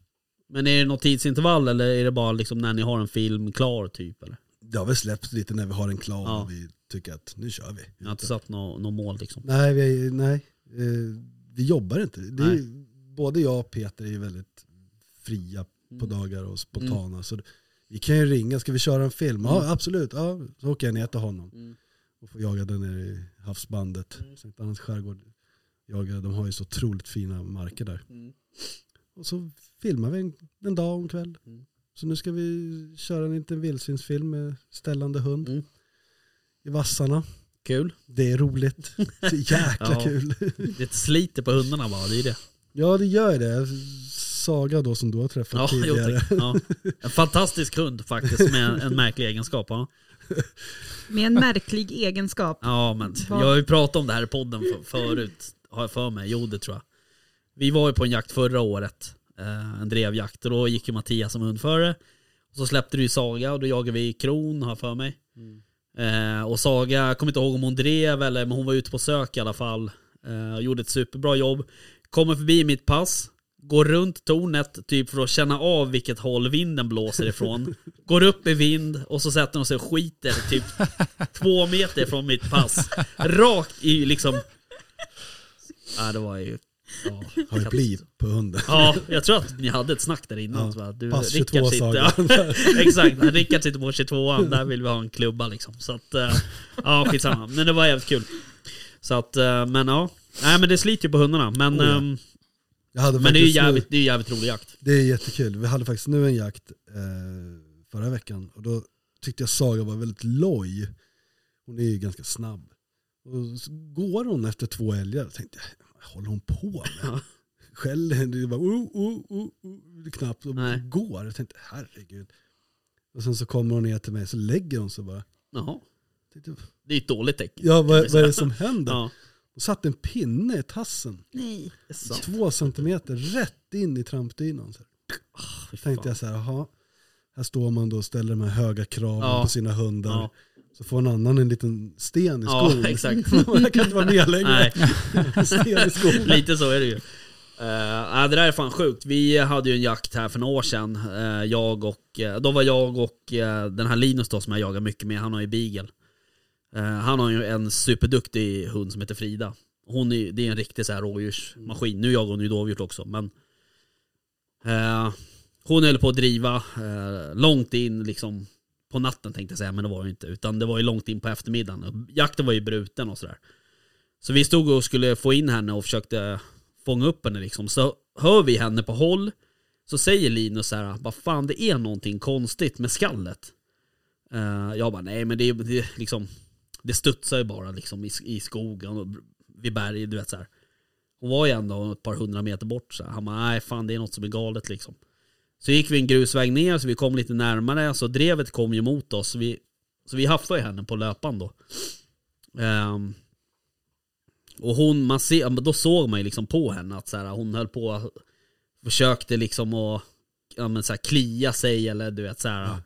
[SPEAKER 3] Men är det något tidsintervall eller är det bara liksom när ni har en film klar typ? Eller?
[SPEAKER 6] Det har väl släppts lite när vi har en klar
[SPEAKER 3] Ja.
[SPEAKER 6] och vi tycker att nu kör vi.
[SPEAKER 3] Ni har inte satt något nå mål liksom?
[SPEAKER 6] Nej, vi, nej eh, vi jobbar inte. Det är, både jag och Peter är ju väldigt fria på
[SPEAKER 3] Mm.
[SPEAKER 6] dagar och spontana. Så det- vi kan ju ringa, ska vi köra en film? Ja, absolut. Ja, så åker jag ner till honom
[SPEAKER 3] Mm.
[SPEAKER 6] och får jaga den nere i havsbandet. Sankt Annans skärgård. Jaga, de har ju så otroligt fina marker där.
[SPEAKER 3] Mm.
[SPEAKER 6] Och så filmar vi en, en dag och en kväll.
[SPEAKER 3] Mm.
[SPEAKER 6] Så nu ska vi köra en liten vildsvinsfilm med ställande hund
[SPEAKER 3] Mm.
[SPEAKER 6] i vassarna.
[SPEAKER 3] Kul.
[SPEAKER 6] Det är roligt. Det är jäkla
[SPEAKER 3] (laughs) Ja.
[SPEAKER 6] kul.
[SPEAKER 3] Det sliter på hundarna bara, det är det.
[SPEAKER 6] Ja det gör det. Saga då som du har träffat
[SPEAKER 3] Ja, jo,
[SPEAKER 6] tidigare.
[SPEAKER 3] tack. ja. En fantastisk hund faktiskt med en märklig egenskap. Ja,
[SPEAKER 4] Med en
[SPEAKER 3] (laughs)
[SPEAKER 4] märklig egenskap.
[SPEAKER 3] ja men jag har ju pratat om det här i podden för, förut, har jag för mig. Jo det tror jag. Vi var ju på en jakt förra året, eh, en drevjakt, och då gick ju Mattias som hundförare. Och så släppte du ju Saga och då jagade vi kron, har jag för mig. Eh, och Saga, jag kommer inte ihåg om hon drev eller, men hon var ute på sök i alla fall. Eh, och gjorde ett superbra jobb. Kommer förbi mitt pass, går runt tornet typ för att känna av vilket håll vinden blåser
[SPEAKER 6] (laughs)
[SPEAKER 3] ifrån. går upp i vind och så sätter hon sig och skiter typ två meter från mitt pass. Rakt i liksom... Ja, det var ju... Ja,
[SPEAKER 6] Har ett liv på hunden.
[SPEAKER 3] Ja, jag tror att ni hade ett snack där innan.
[SPEAKER 6] Ja,
[SPEAKER 3] så att du,
[SPEAKER 6] pass
[SPEAKER 3] Rickard
[SPEAKER 6] 22
[SPEAKER 3] sitter,
[SPEAKER 6] Saga.
[SPEAKER 3] ja, (laughs) Exakt, Rickard sitter på 22an, där vill vi ha en klubba liksom. Så att, eh, ja skitsamma. Men det var jävligt kul. Så att, eh, men ja. Nej men det sliter ju på hundarna. Men,
[SPEAKER 6] Oh, ja.
[SPEAKER 3] ehm,
[SPEAKER 6] Jag hade
[SPEAKER 3] men det är ju
[SPEAKER 6] faktiskt nu-
[SPEAKER 3] jävligt, det är ju jävligt rolig jakt.
[SPEAKER 6] Det är jättekul. Vi hade faktiskt nu en jakt eh, förra veckan och då tyckte jag Saga var väldigt loj. Hon är ju ganska snabb. Och så går hon efter två älgar och tänkte jag, vad håller hon på med?
[SPEAKER 3] (laughs) Ja.
[SPEAKER 6] Skäller henne, det är bara oh, oh, oh, oh, knappt och
[SPEAKER 3] Nej.
[SPEAKER 6] går. Jag tänkte herregud. Och sen så kommer hon ner till mig så lägger hon sig bara.
[SPEAKER 3] Jaha.
[SPEAKER 6] Tänkte,
[SPEAKER 3] Det är ju ett dåligt tecken.
[SPEAKER 6] Ja vad, vad är det som händer?
[SPEAKER 3] Ja.
[SPEAKER 6] Hon satte en pinne i tassen.
[SPEAKER 4] Nej.
[SPEAKER 3] Så,
[SPEAKER 6] Två centimeter rätt in i trampdynan. Så här.
[SPEAKER 3] Ah, fy fan.
[SPEAKER 6] tänkte jag så här, jaha. Här står man då och ställer de här höga kraven
[SPEAKER 3] Ja.
[SPEAKER 6] på sina hundar.
[SPEAKER 3] Ja,
[SPEAKER 6] Så får en annan en liten sten i skon.
[SPEAKER 3] ja (laughs) exakt.
[SPEAKER 6] (laughs) jag kan inte vara med längre.
[SPEAKER 3] Nej.
[SPEAKER 6] En (laughs) sten i skon.
[SPEAKER 3] (laughs) Lite så är det ju. Eh, nej, det där är fan sjukt. Vi hade ju en jakt här för några år sedan. Eh, jag och, eh, då var jag och eh, den här Linus då som jag jagar mycket med, han har ju beagle. Eh, han har ju en superduktig hund som heter Frida. Hon är, det är en riktig så här rådjursmaskin. Nu jagar hon ju dovhjort också men eh, Hon höll på att driva eh, långt in liksom på natten tänkte jag säga men det var det ju inte. Utan det var ju långt in på eftermiddagen. Och Jakten var ju bruten och sådär. Så vi stod och skulle få in henne och försökte fånga upp henne liksom. Så hör vi henne på håll. Så säger Linus så här, vad fan det är någonting konstigt med skallet. Eh, jag bara, nej men det, är- det är liksom, det studsar ju bara liksom i, i skogen och vid berg, du vet så här. Hon var ju ändå ett par hundra meter bort så här. Han bara, nej fan det är något som är galet liksom. Så gick vi en grusväg ner så vi kom lite närmare, så drevet kom ju mot oss. Vi, så vi haffade ju henne på löpan då. Ehm, och hon, man ser, ja, men då såg man ju liksom på henne att så här, hon höll på och försökte liksom att ja, men så här, klia sig eller du vet så här.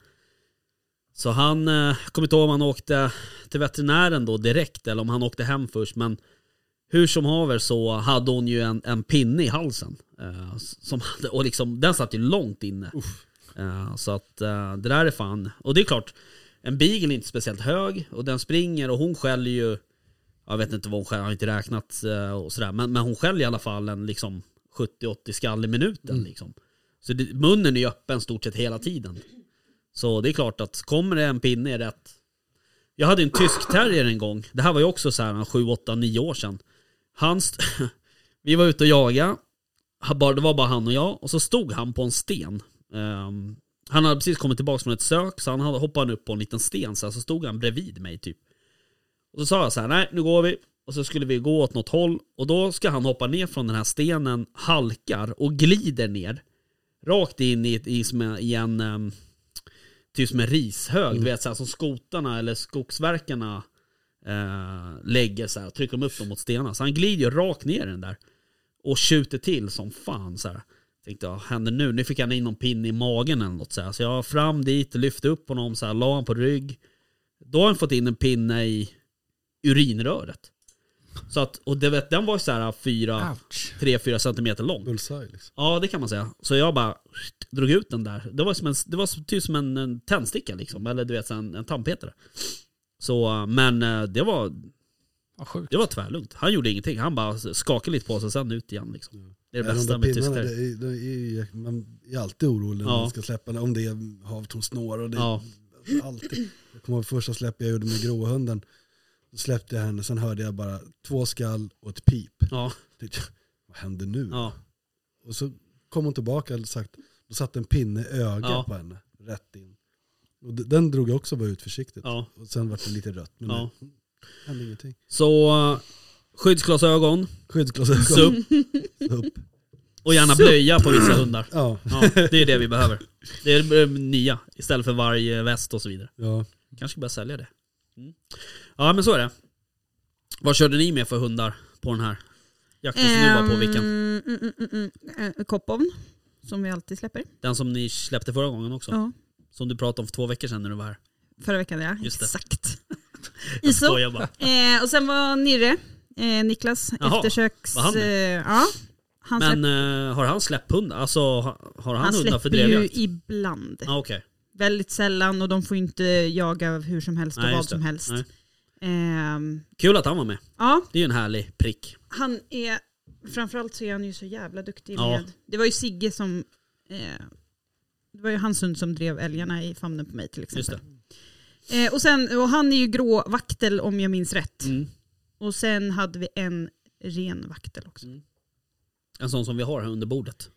[SPEAKER 3] Så han, eh, jag kommer inte ihåg om han åkte till veterinären då direkt eller om han åkte hem först men hur som haver så hade hon ju en, en pinne i halsen. Eh, som hade, och liksom, den satt ju långt inne. Eh, så att eh, det där är fan, och det är klart, en beagle är inte speciellt hög och den springer och hon skäller ju jag vet inte vad hon själv har inte räknat eh, och sådär. Men, men hon skäller i alla fall en liksom 70-80 skall i minuten. Liksom. Så det, munnen är ju öppen stort sett hela tiden. Så det är klart att kommer det en pinne är rätt. Jag hade en tysk terrier en gång. Det här var ju också så här 7, 8, 9 år sedan. Han st- (laughs) Vi var ute och jagade. Han bara- Det var bara han och jag. Och så stod han på en sten. Ehm, han hade precis kommit tillbaka från ett sök så han hade- hoppade upp på en liten sten så, här, så stod han bredvid mig typ. Och så sa jag så här, nej nu går vi. Och så skulle vi gå åt något håll och då ska han hoppa ner från den här stenen, halkar och glider ner. Rakt in i, i, som en- i en, em, ehm, typ som en rishög, du vet så här, som skotarna eller skogsverkarna eh, lägger så här, trycker de upp dem mot stenarna. Så han glider ju rakt ner i den där. Och tjuter till som fan så här. Tänkte vad händer nu? Nu fick han in någon pinne i magen eller något så här. Så jag fram dit, lyfte upp honom så här, la han på rygg. Då har han fått in en pinne i urinröret. Så att, och det vet, den var så här fyra,
[SPEAKER 5] Ouch.
[SPEAKER 3] tre, fyra centimeter lång.
[SPEAKER 6] Bullseye liksom.
[SPEAKER 3] Ja, det kan man säga. Så jag bara drog ut den där. Det var, som en, det var som- typ som en, en tändsticka liksom, eller du vet så här, en, en tandpetare. Så, men eh, det var,
[SPEAKER 5] Vad sjukt.
[SPEAKER 3] det var tvärlugnt. Han gjorde ingenting. Han bara skakade lite på sig, sen ut igen liksom. Det är det
[SPEAKER 6] Nej,
[SPEAKER 3] bästa
[SPEAKER 6] de
[SPEAKER 3] med
[SPEAKER 6] där pinnarna,
[SPEAKER 3] tyskar.
[SPEAKER 6] det är, det är, ju- man är alltid orolig när
[SPEAKER 3] Ja.
[SPEAKER 6] man ska släppa den. Om det är havtornsnår och det
[SPEAKER 3] Ja.
[SPEAKER 6] alltid. Jag kommer ihåg första släpp jag gjorde med gråhunden. Då släppte jag henne, sen hörde jag bara två skall och ett pip.
[SPEAKER 3] Ja,
[SPEAKER 6] Tänkte jag, Vad händer nu?
[SPEAKER 3] ja,
[SPEAKER 6] Och så kom hon tillbaka och sagt, då satt en pinne i ögat
[SPEAKER 3] Ja.
[SPEAKER 6] på henne, rätt in. Och d- den drog jag också bara ut försiktigt.
[SPEAKER 3] ja,
[SPEAKER 6] Och sen var det lite rött, men
[SPEAKER 3] ja.
[SPEAKER 6] det hände ingenting.
[SPEAKER 3] Så eh, skyddsglasögon,
[SPEAKER 6] Skyddsglasögon
[SPEAKER 3] SUP
[SPEAKER 6] upp.
[SPEAKER 3] och gärna blöja på vissa hundar.
[SPEAKER 6] Ja,
[SPEAKER 3] Ja, det är det vi behöver. Det är eh, nya istället för varje väst och så vidare.
[SPEAKER 6] ja.
[SPEAKER 3] Kanske börja sälja det.
[SPEAKER 4] Mm.
[SPEAKER 3] Ja men så är det. Vad körde ni med för hundar på den här jakten som du var på vilken?
[SPEAKER 4] Ehm, mm, mm, mm, mm. Eh, Koppon, som vi alltid släpper.
[SPEAKER 3] Den som ni släppte förra gången också.
[SPEAKER 4] Ja.
[SPEAKER 3] Som du pratade om för två veckor sedan när du var här.
[SPEAKER 4] Förra veckan ja,
[SPEAKER 3] Just det.
[SPEAKER 4] exakt.
[SPEAKER 3] Jag
[SPEAKER 4] ISO.
[SPEAKER 3] skojar bara.
[SPEAKER 4] Eh, och sen var Nirre, eh, Niklas,
[SPEAKER 3] Jaha,
[SPEAKER 4] eftersöks...
[SPEAKER 3] var han
[SPEAKER 4] eh,
[SPEAKER 3] med?
[SPEAKER 4] ja, han, släpp,
[SPEAKER 3] Men eh, har han släpphundar? Alltså ha- har han,
[SPEAKER 4] han
[SPEAKER 3] hundar för
[SPEAKER 4] släpper ju
[SPEAKER 3] drevjakt?
[SPEAKER 4] ibland.
[SPEAKER 3] Ah, okej.
[SPEAKER 4] Väldigt sällan och de får ju inte jaga hur som helst och
[SPEAKER 3] Nej,
[SPEAKER 4] vad
[SPEAKER 3] just det.
[SPEAKER 4] som helst.
[SPEAKER 3] Nej.
[SPEAKER 4] Ehm,
[SPEAKER 3] Kul att han var med.
[SPEAKER 4] ja,
[SPEAKER 3] Det är ju en härlig prick.
[SPEAKER 4] han är... Framförallt så är han ju så jävla duktig
[SPEAKER 3] Ja.
[SPEAKER 4] med... Det var ju Sigge som... Eh, det var ju hans hund som drev älgarna i famnen på mig till exempel.
[SPEAKER 3] Just det.
[SPEAKER 4] Eh, och, sen, och han är ju grå vaktel om jag minns rätt.
[SPEAKER 3] Mm.
[SPEAKER 4] Och sen hade vi en ren vaktel också.
[SPEAKER 3] En sån som vi har här under bordet.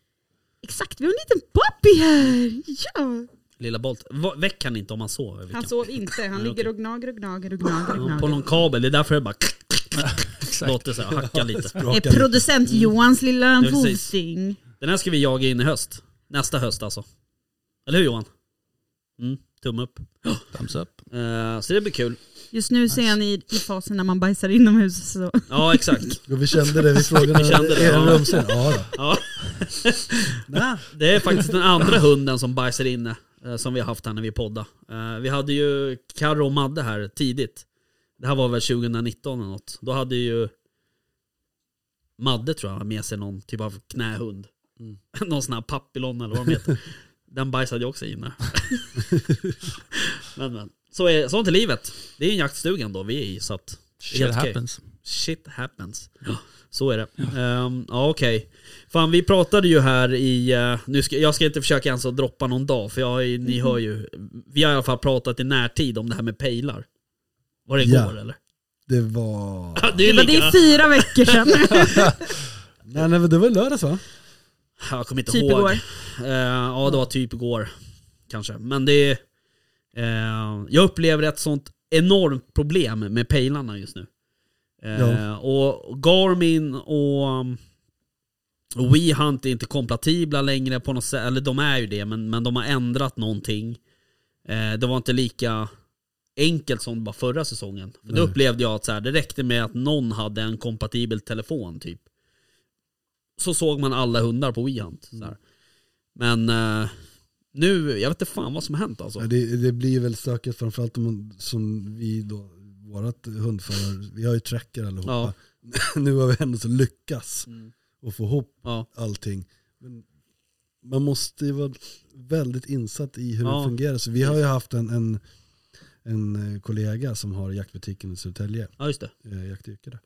[SPEAKER 4] Exakt, vi har en liten puppy här! Ja.
[SPEAKER 3] Lilla Bolt. Va- Väck han inte om han sover? Vilken?
[SPEAKER 4] Han sov inte, han
[SPEAKER 3] Nej,
[SPEAKER 4] ligger och gnager och gnager och gnager. Och
[SPEAKER 3] Ja, På
[SPEAKER 4] gnager.
[SPEAKER 3] någon kabel. Det är därför det
[SPEAKER 4] (laughs)
[SPEAKER 3] bara
[SPEAKER 5] Exakt.
[SPEAKER 3] låter så här, hacka lite.
[SPEAKER 4] Eh,
[SPEAKER 6] Sprakade.
[SPEAKER 4] producent Johans lilla
[SPEAKER 3] Mm. Ja, precis.
[SPEAKER 4] vovsing.
[SPEAKER 3] Den här ska vi jaga in i höst. Nästa höst alltså. Eller hur Johan? Mm, tumme upp. (gasps)
[SPEAKER 5] Thumbs up.
[SPEAKER 3] Eh, så det blir kul.
[SPEAKER 4] Just nu ser han i, i fasen när man bajsar inomhus. Så.
[SPEAKER 3] Ja exakt.
[SPEAKER 6] Och vi kände det, vi
[SPEAKER 3] (laughs)
[SPEAKER 6] frågade
[SPEAKER 3] Vi kände det,
[SPEAKER 6] är
[SPEAKER 3] ja.
[SPEAKER 6] det rumsen? Ja då.
[SPEAKER 3] Ja. (laughs) det är faktiskt den andra hunden som bajsar inne. eh, Som vi har haft här när vi podda. Vi hade ju Karro och Madde här tidigt. Det här var väl 2019 eller något. Då hade ju Madde tror jag med sig någon typ av knähund. (laughs) Någon sån här papillon eller vad de heter. Den bajsade ju också inne. men men. Så är, sånt är livet. Det är en jaktstuga ändå vi är i så att
[SPEAKER 5] Shit
[SPEAKER 3] Helt okej.
[SPEAKER 5] happens.
[SPEAKER 3] Shit happens. Så är det. Ehm, ja okej. Fan vi pratade ju här i, eh, nu ska, jag ska inte försöka ens att droppa någon dag för jag, är- ni hör ju, vi har i alla fall pratat i närtid om det här med pejlar. Var det igår
[SPEAKER 6] Ja.
[SPEAKER 3] eller? (laughs)
[SPEAKER 6] Det var...
[SPEAKER 3] Ja, det
[SPEAKER 4] Det,
[SPEAKER 3] är
[SPEAKER 4] var, det
[SPEAKER 3] lika.
[SPEAKER 4] är fyra
[SPEAKER 3] (laughs)
[SPEAKER 4] veckor sedan.
[SPEAKER 6] Nej, nej men det var lördags va?
[SPEAKER 3] Jag kommer inte
[SPEAKER 4] typ
[SPEAKER 3] ihåg.
[SPEAKER 4] igår. Mm.
[SPEAKER 3] Eh, ja, det var typ igår. Kanske. Men det är... Eh, jag upplever ett sånt enormt problem med pejlarna just nu. Eh,
[SPEAKER 6] Ja.
[SPEAKER 3] Och Garmin och, um, och WeHunt är inte kompatibla längre på något sätt. Eller de är ju det, men, men de har ändrat någonting. Eh, det var inte lika enkelt som det var förra säsongen. För då
[SPEAKER 6] Nej.
[SPEAKER 3] upplevde jag att så här, det räckte med att någon hade en kompatibel telefon typ. Så såg man alla hundar på WeHunt. Så här. Men eh, nu, jag vet inte fan vad som har hänt alltså.
[SPEAKER 6] Ja, det, det blir väl stökigt framförallt om man, som vi då, vårat hundförare, vi har ju tracker allihopa. (laughs) nu har vi ändå så lyckas
[SPEAKER 3] Mm.
[SPEAKER 6] och få ihop
[SPEAKER 3] Ja.
[SPEAKER 6] allting. Men man måste ju vara väldigt insatt i hur
[SPEAKER 3] Ja.
[SPEAKER 6] det fungerar. Så vi har ju haft en, en, en eh, kollega som har jaktbutiken i Södertälje,
[SPEAKER 3] ja, just det.
[SPEAKER 6] eh, jaktyrke där.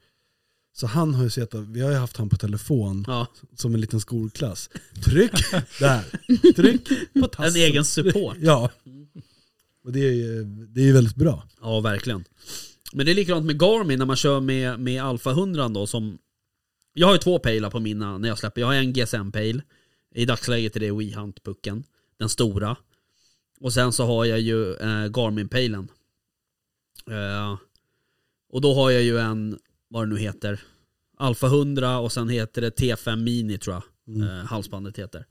[SPEAKER 6] Så han har ju sett, att- vi har ju haft han på telefon
[SPEAKER 3] Ja.
[SPEAKER 6] som en liten skolklass. Tryck
[SPEAKER 3] (laughs)
[SPEAKER 6] där, tryck på tassen.
[SPEAKER 3] En egen support.
[SPEAKER 6] Ja. Och det är ju det är ju väldigt bra.
[SPEAKER 3] Ja, verkligen. Men det är likadant med Garmin när man kör med, med Alfa 100 då som... Jag har ju två pejlar på mina när jag släpper. Jag har en GSM-pejl. I dagsläget är det WeHunt-pucken. Den stora. Och sen så har jag ju eh, Garmin-pejlen. Eh, Och då har jag ju en, vad det nu heter, Alfa 100 och sen heter det T5 Mini tror jag eh, halsbandet heter.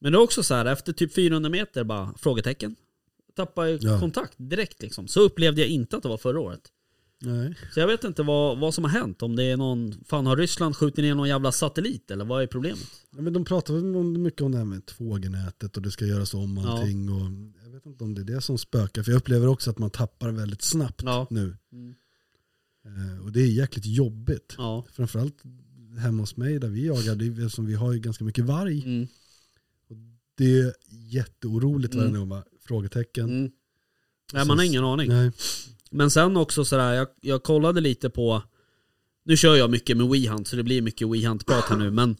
[SPEAKER 3] Men det är också så här, efter typ 400 meter bara frågetecken. Tappar ju
[SPEAKER 6] Ja.
[SPEAKER 3] kontakt direkt liksom. Så upplevde jag inte att det var förra året.
[SPEAKER 6] Nej.
[SPEAKER 3] Så jag vet inte vad, vad som har hänt. Om det är någon, fan har Ryssland skjutit ner någon jävla satellit eller vad är problemet?
[SPEAKER 6] Ja, Men de pratar väl om- mycket om det här med 2G-nätet och det ska göras om
[SPEAKER 3] Ja.
[SPEAKER 6] allting. Och jag vet inte om det är det som spökar, för jag upplever också att man tappar väldigt snabbt
[SPEAKER 3] Ja.
[SPEAKER 6] nu.
[SPEAKER 3] Mm.
[SPEAKER 6] Eh, Och det är jäkligt jobbigt.
[SPEAKER 3] Ja.
[SPEAKER 6] Framförallt hemma hos mig där vi jagar, det är- eftersom vi har ju ganska mycket varg.
[SPEAKER 3] Mm.
[SPEAKER 6] Det är jätteoroligt
[SPEAKER 3] Mm.
[SPEAKER 6] varje gång, bara, frågetecken.
[SPEAKER 3] Mm. Nej man har ingen aning.
[SPEAKER 6] Nej.
[SPEAKER 3] Men sen också sådär, jag, jag kollade lite på Nu kör jag mycket med WeHunt så det blir mycket WeHunt-prat här nu men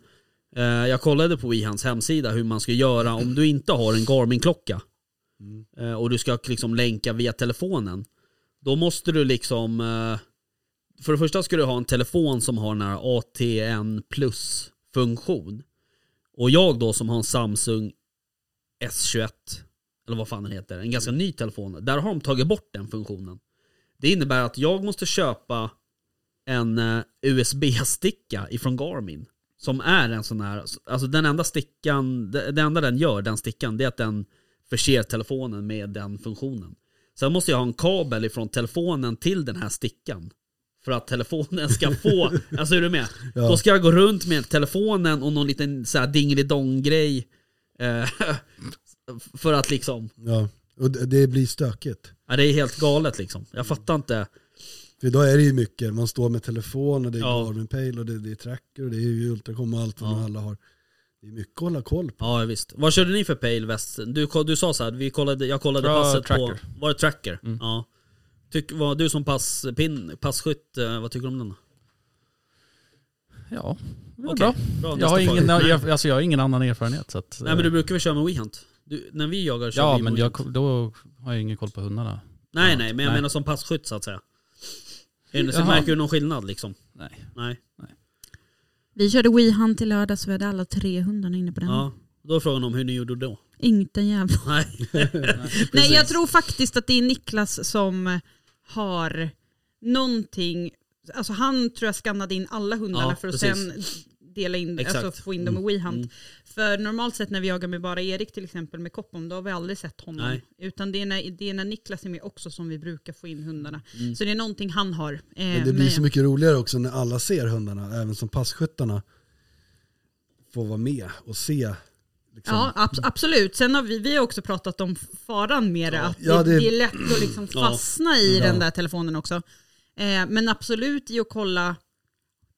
[SPEAKER 3] eh, Jag kollade på WeHunts hemsida hur man ska göra om du inte har en Garmin-klocka
[SPEAKER 6] Mm.
[SPEAKER 3] eh, och du ska liksom länka via telefonen. Då måste du liksom eh, För det första ska du ha en telefon som har den här ATN plus-funktion. Och jag då som har en Samsung S21 eller vad fan den heter, en ganska ny telefon. Där har de tagit bort den funktionen. Det innebär att jag måste köpa en eh, USB-sticka ifrån Garmin. Som är en sån här, alltså den enda stickan, det det enda den gör, den stickan, det är att den förser telefonen med den funktionen. Sen måste jag ha en kabel ifrån telefonen till den här stickan. För att telefonen ska få, alltså är du med?
[SPEAKER 6] Ja.
[SPEAKER 3] Då ska jag gå runt med telefonen och någon liten så här dingelidong-grej. Eh, (laughs) för att liksom,
[SPEAKER 6] Ja. Och det- det blir stökigt.
[SPEAKER 3] ja, det är helt galet liksom. Jag fattar inte.
[SPEAKER 6] För idag är det ju mycket, man står med telefon och det är
[SPEAKER 3] Ja.
[SPEAKER 6] Garmin Pale och det, det är tracker och det är ju Ultracom och allt vad
[SPEAKER 3] Ja.
[SPEAKER 6] alla har. Det är mycket att hålla koll på.
[SPEAKER 3] Ja visst. Vad körde ni för Pale West? Du, ko- du sa så här, vi kollade, jag kollade
[SPEAKER 5] Ja,
[SPEAKER 3] passet
[SPEAKER 5] tracker. Mm.
[SPEAKER 3] på... Var det tracker? Ja. Tyck, vad, du som passpin, passskytt, eh, vad tycker du om den då?
[SPEAKER 5] Ja, det var
[SPEAKER 3] Okej.
[SPEAKER 5] bra.
[SPEAKER 3] Bra,
[SPEAKER 5] Jag har,
[SPEAKER 3] nästa
[SPEAKER 5] ingen,
[SPEAKER 3] fråga. Nej.
[SPEAKER 5] jag, alltså jag har ingen annan erfarenhet. Så att, eh,
[SPEAKER 3] Nej men du brukar väl köra med WeHunt? Du, när vi jagar kör
[SPEAKER 5] ja,
[SPEAKER 3] vi
[SPEAKER 5] men
[SPEAKER 3] med
[SPEAKER 5] jag,
[SPEAKER 3] WeHunt.
[SPEAKER 5] då har jag ingen koll på hundarna.
[SPEAKER 3] Nej nej, men jag
[SPEAKER 5] Nej.
[SPEAKER 3] menar som passskytt så att säga. Är det, så
[SPEAKER 5] Jaha.
[SPEAKER 3] märker du någon skillnad liksom?
[SPEAKER 5] Nej.
[SPEAKER 3] Nej.
[SPEAKER 4] Vi körde WeHunt till lördag så vi hade alla tre hundarna inne på den.
[SPEAKER 5] Mm.
[SPEAKER 3] Ja. Då är frågan om hur ni gjorde då? (laughs)
[SPEAKER 4] Inte en jävla...
[SPEAKER 3] Nej.
[SPEAKER 4] Nej jag tror faktiskt att det är Niklas som har någonting, alltså han tror jag skannade in alla hundarna
[SPEAKER 3] Ja,
[SPEAKER 4] för att
[SPEAKER 3] precis.
[SPEAKER 4] sen dela in,
[SPEAKER 3] Exakt.
[SPEAKER 4] alltså få in dem i WeHunt.
[SPEAKER 3] Mm.
[SPEAKER 4] För normalt sett när vi jagar med bara Erik till exempel med Koppom, då har vi aldrig sett honom.
[SPEAKER 3] Nej.
[SPEAKER 4] Utan det är, när, det är när Niklas är med också som vi brukar få in hundarna.
[SPEAKER 3] Mm.
[SPEAKER 4] Så det är någonting han har. eh,
[SPEAKER 6] Men det blir
[SPEAKER 4] med-
[SPEAKER 6] så mycket roligare också när alla ser hundarna, även som passkyttarna får vara med och se. Liksom.
[SPEAKER 4] Ja, abs- absolut. Sen har vi, vi har också pratat om faran med det. Att
[SPEAKER 6] Ja,
[SPEAKER 4] det,
[SPEAKER 6] det-
[SPEAKER 4] det är lätt att liksom
[SPEAKER 3] Ja.
[SPEAKER 4] fastna i
[SPEAKER 6] Ja.
[SPEAKER 4] den där telefonen också. Eh, men absolut i att kolla,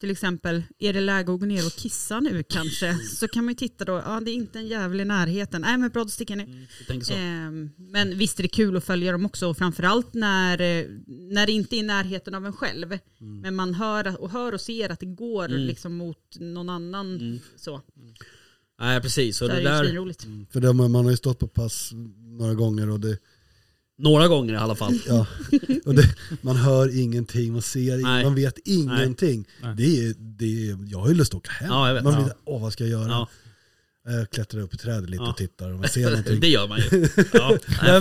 [SPEAKER 4] till exempel, är det läge att gå ner och kissa nu
[SPEAKER 6] (laughs)
[SPEAKER 4] kanske? Så kan man ju titta då, ja det är inte en jävel i närheten. Nej men bra, då sticker jag ner.
[SPEAKER 3] Jag tänker Mm, så.
[SPEAKER 4] Eh, men visst är det kul att följa dem också, och framförallt när, eh, när det inte är i närheten av en själv. Men man hör och, hör och ser att det går
[SPEAKER 3] Mm.
[SPEAKER 4] liksom mot någon annan.
[SPEAKER 3] Mm.
[SPEAKER 4] Så,
[SPEAKER 3] Nej precis, så,
[SPEAKER 4] så
[SPEAKER 3] det
[SPEAKER 4] är det ju
[SPEAKER 3] där,
[SPEAKER 4] svinroligt.
[SPEAKER 6] För det, man har ju stått på pass några gånger och, det,
[SPEAKER 3] några gånger i alla
[SPEAKER 5] (laughs)
[SPEAKER 3] fall. (laughs)
[SPEAKER 6] ja, och det, man hör ingenting, man ser ingenting,
[SPEAKER 3] Nej.
[SPEAKER 6] man vet ingenting.
[SPEAKER 5] Nej.
[SPEAKER 6] Det är, det är, jag har ju lust att åka hem.
[SPEAKER 3] Ja, jag vet.
[SPEAKER 6] man
[SPEAKER 3] Ja.
[SPEAKER 6] vet, åh vad ska jag göra?
[SPEAKER 3] Ja,
[SPEAKER 6] Jag klättrar upp i trädet lite
[SPEAKER 3] Ja.
[SPEAKER 6] och tittar och
[SPEAKER 3] (laughs)
[SPEAKER 6] man ser någonting.
[SPEAKER 3] det gör man ju.
[SPEAKER 5] (laughs)
[SPEAKER 3] Ja,
[SPEAKER 6] Nej,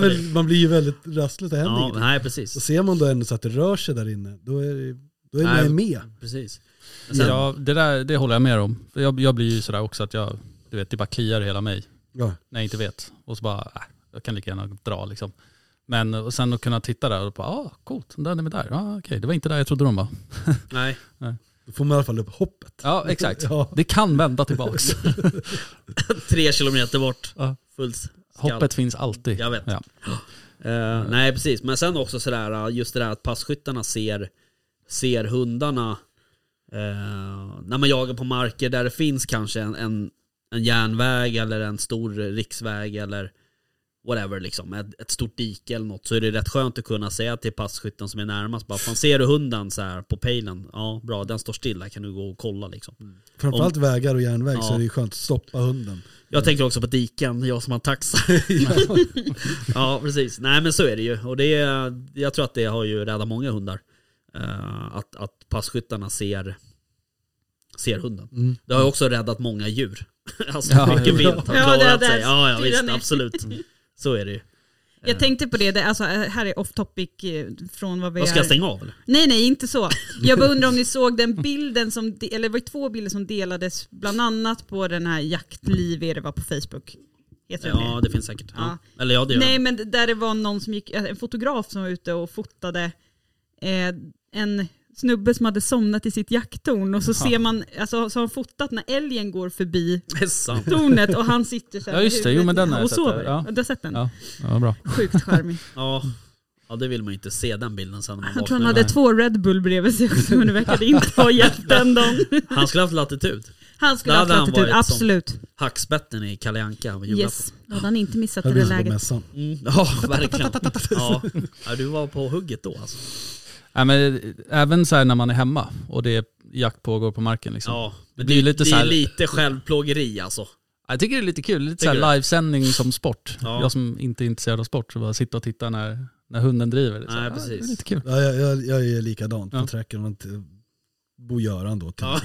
[SPEAKER 3] nej, för
[SPEAKER 6] men man blir ju väldigt rastlös, det händer
[SPEAKER 3] ja,
[SPEAKER 6] ingenting.
[SPEAKER 3] nej
[SPEAKER 6] Så
[SPEAKER 3] precis.
[SPEAKER 6] ser man då ändå så att det rör sig där inne, då är, det- då är
[SPEAKER 3] Nej.
[SPEAKER 6] man ju med.
[SPEAKER 3] precis. Men sen-
[SPEAKER 5] Ja, det, där, det håller jag med om. För Jag, jag blir ju sådär också att jag, du vet, det bara kliar i hela mig
[SPEAKER 6] Ja.
[SPEAKER 5] när jag inte vet. Och så bara, äh, jag kan lika gärna dra liksom. Men och sen att kunna titta där och bara, ah coolt, den där den är där. Ah, Okej, det var inte där jag trodde de var.
[SPEAKER 3] Nej.
[SPEAKER 6] Då får man i alla fall upp hoppet.
[SPEAKER 5] (laughs) Ja, exakt.
[SPEAKER 6] Ja.
[SPEAKER 5] Det kan
[SPEAKER 3] (laughs)
[SPEAKER 5] vända tillbaks.
[SPEAKER 3] Tre kilometer bort.
[SPEAKER 5] Ja.
[SPEAKER 3] Fullt skall.
[SPEAKER 5] Hoppet finns alltid.
[SPEAKER 3] Jag vet.
[SPEAKER 5] Ja.
[SPEAKER 3] Eh, nej, precis. Men sen också sådär, eh, just det där att passkyttarna ser, ser hundarna eh, när man jagar på marker där det finns kanske en, en, en järnväg eller en stor riksväg eller whatever liksom, ett, ett stort dike eller något, så är det rätt skönt att kunna säga till passkytten som är närmast bara, fan ser du hunden så här på pejlen? Ja, bra, den står stilla, kan du gå och kolla liksom.
[SPEAKER 6] Framförallt vägar och järnväg så
[SPEAKER 3] Ja.
[SPEAKER 6] är det ju skönt att stoppa hunden.
[SPEAKER 3] Jag tänker också på diken, jag som har taxa. ja, precis. Nej men så är det ju. Och det är, jag tror att det har ju räddat många hundar. Eh, att, att passkyttarna ser, ser hunden.
[SPEAKER 6] Mm.
[SPEAKER 3] Det har ju också räddat många djur. (laughs) alltså
[SPEAKER 5] Ja,
[SPEAKER 3] mycket
[SPEAKER 5] ja.
[SPEAKER 3] vilt har
[SPEAKER 4] Ja, det-
[SPEAKER 3] klarat
[SPEAKER 4] det-
[SPEAKER 3] sig. Ja, ja
[SPEAKER 4] det är (laughs)
[SPEAKER 3] visst,
[SPEAKER 4] det.
[SPEAKER 3] absolut. Så är det ju.
[SPEAKER 5] Eh.
[SPEAKER 4] Jag tänkte på det, det alltså, här är off topic eh, från vad vi
[SPEAKER 3] Vad ska jag
[SPEAKER 4] är.
[SPEAKER 3] stänga av eller?
[SPEAKER 4] Nej, nej, inte så. Jag
[SPEAKER 5] (laughs)
[SPEAKER 4] bara undrar om ni såg den bilden som, de- eller det var ju två bilder som delades, bland annat på den här jaktliv är det var på Facebook. Heter den
[SPEAKER 3] Ja det finns säkert. Ja. Eller ja det gör Nej.
[SPEAKER 4] Nej men där det var någon som gick, eh, en fotograf som var ute och fotade eh, en snubbe som hade somnat i sitt jakttorn och så ser man, alltså så har han fotat när älgen går förbi
[SPEAKER 3] (laughs) det. är sant.
[SPEAKER 4] tornet och han sitter så här
[SPEAKER 5] Ja, just det. Jo,
[SPEAKER 4] med
[SPEAKER 5] men den
[SPEAKER 4] huvudet
[SPEAKER 5] har
[SPEAKER 4] och
[SPEAKER 5] jag
[SPEAKER 4] sover.
[SPEAKER 5] sett. Ja.
[SPEAKER 4] Du har sett den?
[SPEAKER 5] Ja, ja bra.
[SPEAKER 4] Sjukt charmig.
[SPEAKER 3] Ja. ja det vill man ju inte se den bilden sen när man
[SPEAKER 4] Han tror
[SPEAKER 3] vaknar.
[SPEAKER 4] han hade två Red Bull bredvid sig också men
[SPEAKER 3] (laughs)
[SPEAKER 4] det verkade inte ha hjälpt den dagen.
[SPEAKER 3] Han skulle haft latitud.
[SPEAKER 4] (laughs) Han skulle
[SPEAKER 3] Där
[SPEAKER 4] ha haft
[SPEAKER 3] hade han
[SPEAKER 4] latitud,
[SPEAKER 3] varit som-
[SPEAKER 4] absolut.
[SPEAKER 3] Hackspetten i Kalle Anka var
[SPEAKER 4] Yes, då hade han inte missat det
[SPEAKER 6] Hade
[SPEAKER 4] där
[SPEAKER 6] du på
[SPEAKER 4] läget.
[SPEAKER 6] mässan.
[SPEAKER 3] Mm. (laughs) Ja verkligen. Ja. ja du var på hugget då alltså.
[SPEAKER 5] Nej, men, även så här när man är hemma och det är jakt pågår på marken. Liksom.
[SPEAKER 3] Ja.
[SPEAKER 5] Det
[SPEAKER 3] Men
[SPEAKER 5] blir
[SPEAKER 3] det, lite
[SPEAKER 5] lite
[SPEAKER 3] det
[SPEAKER 5] så här-
[SPEAKER 3] är lite självplågeri alltså.
[SPEAKER 5] Jag tycker det är lite kul, lite
[SPEAKER 3] Tycker
[SPEAKER 5] så
[SPEAKER 3] du?
[SPEAKER 5] här livesändning som sport.
[SPEAKER 3] Ja.
[SPEAKER 5] Jag som inte är intresserad av sport, så bara sitta och titta när, när hunden driver. Det är, så
[SPEAKER 3] Nej,
[SPEAKER 5] här,
[SPEAKER 3] precis.
[SPEAKER 5] Ja, det är lite kul.
[SPEAKER 6] Ja, jag, jag, jag är likadant på
[SPEAKER 5] Ja.
[SPEAKER 6] tracken. Man inte- Bo Göran då till
[SPEAKER 3] Ja.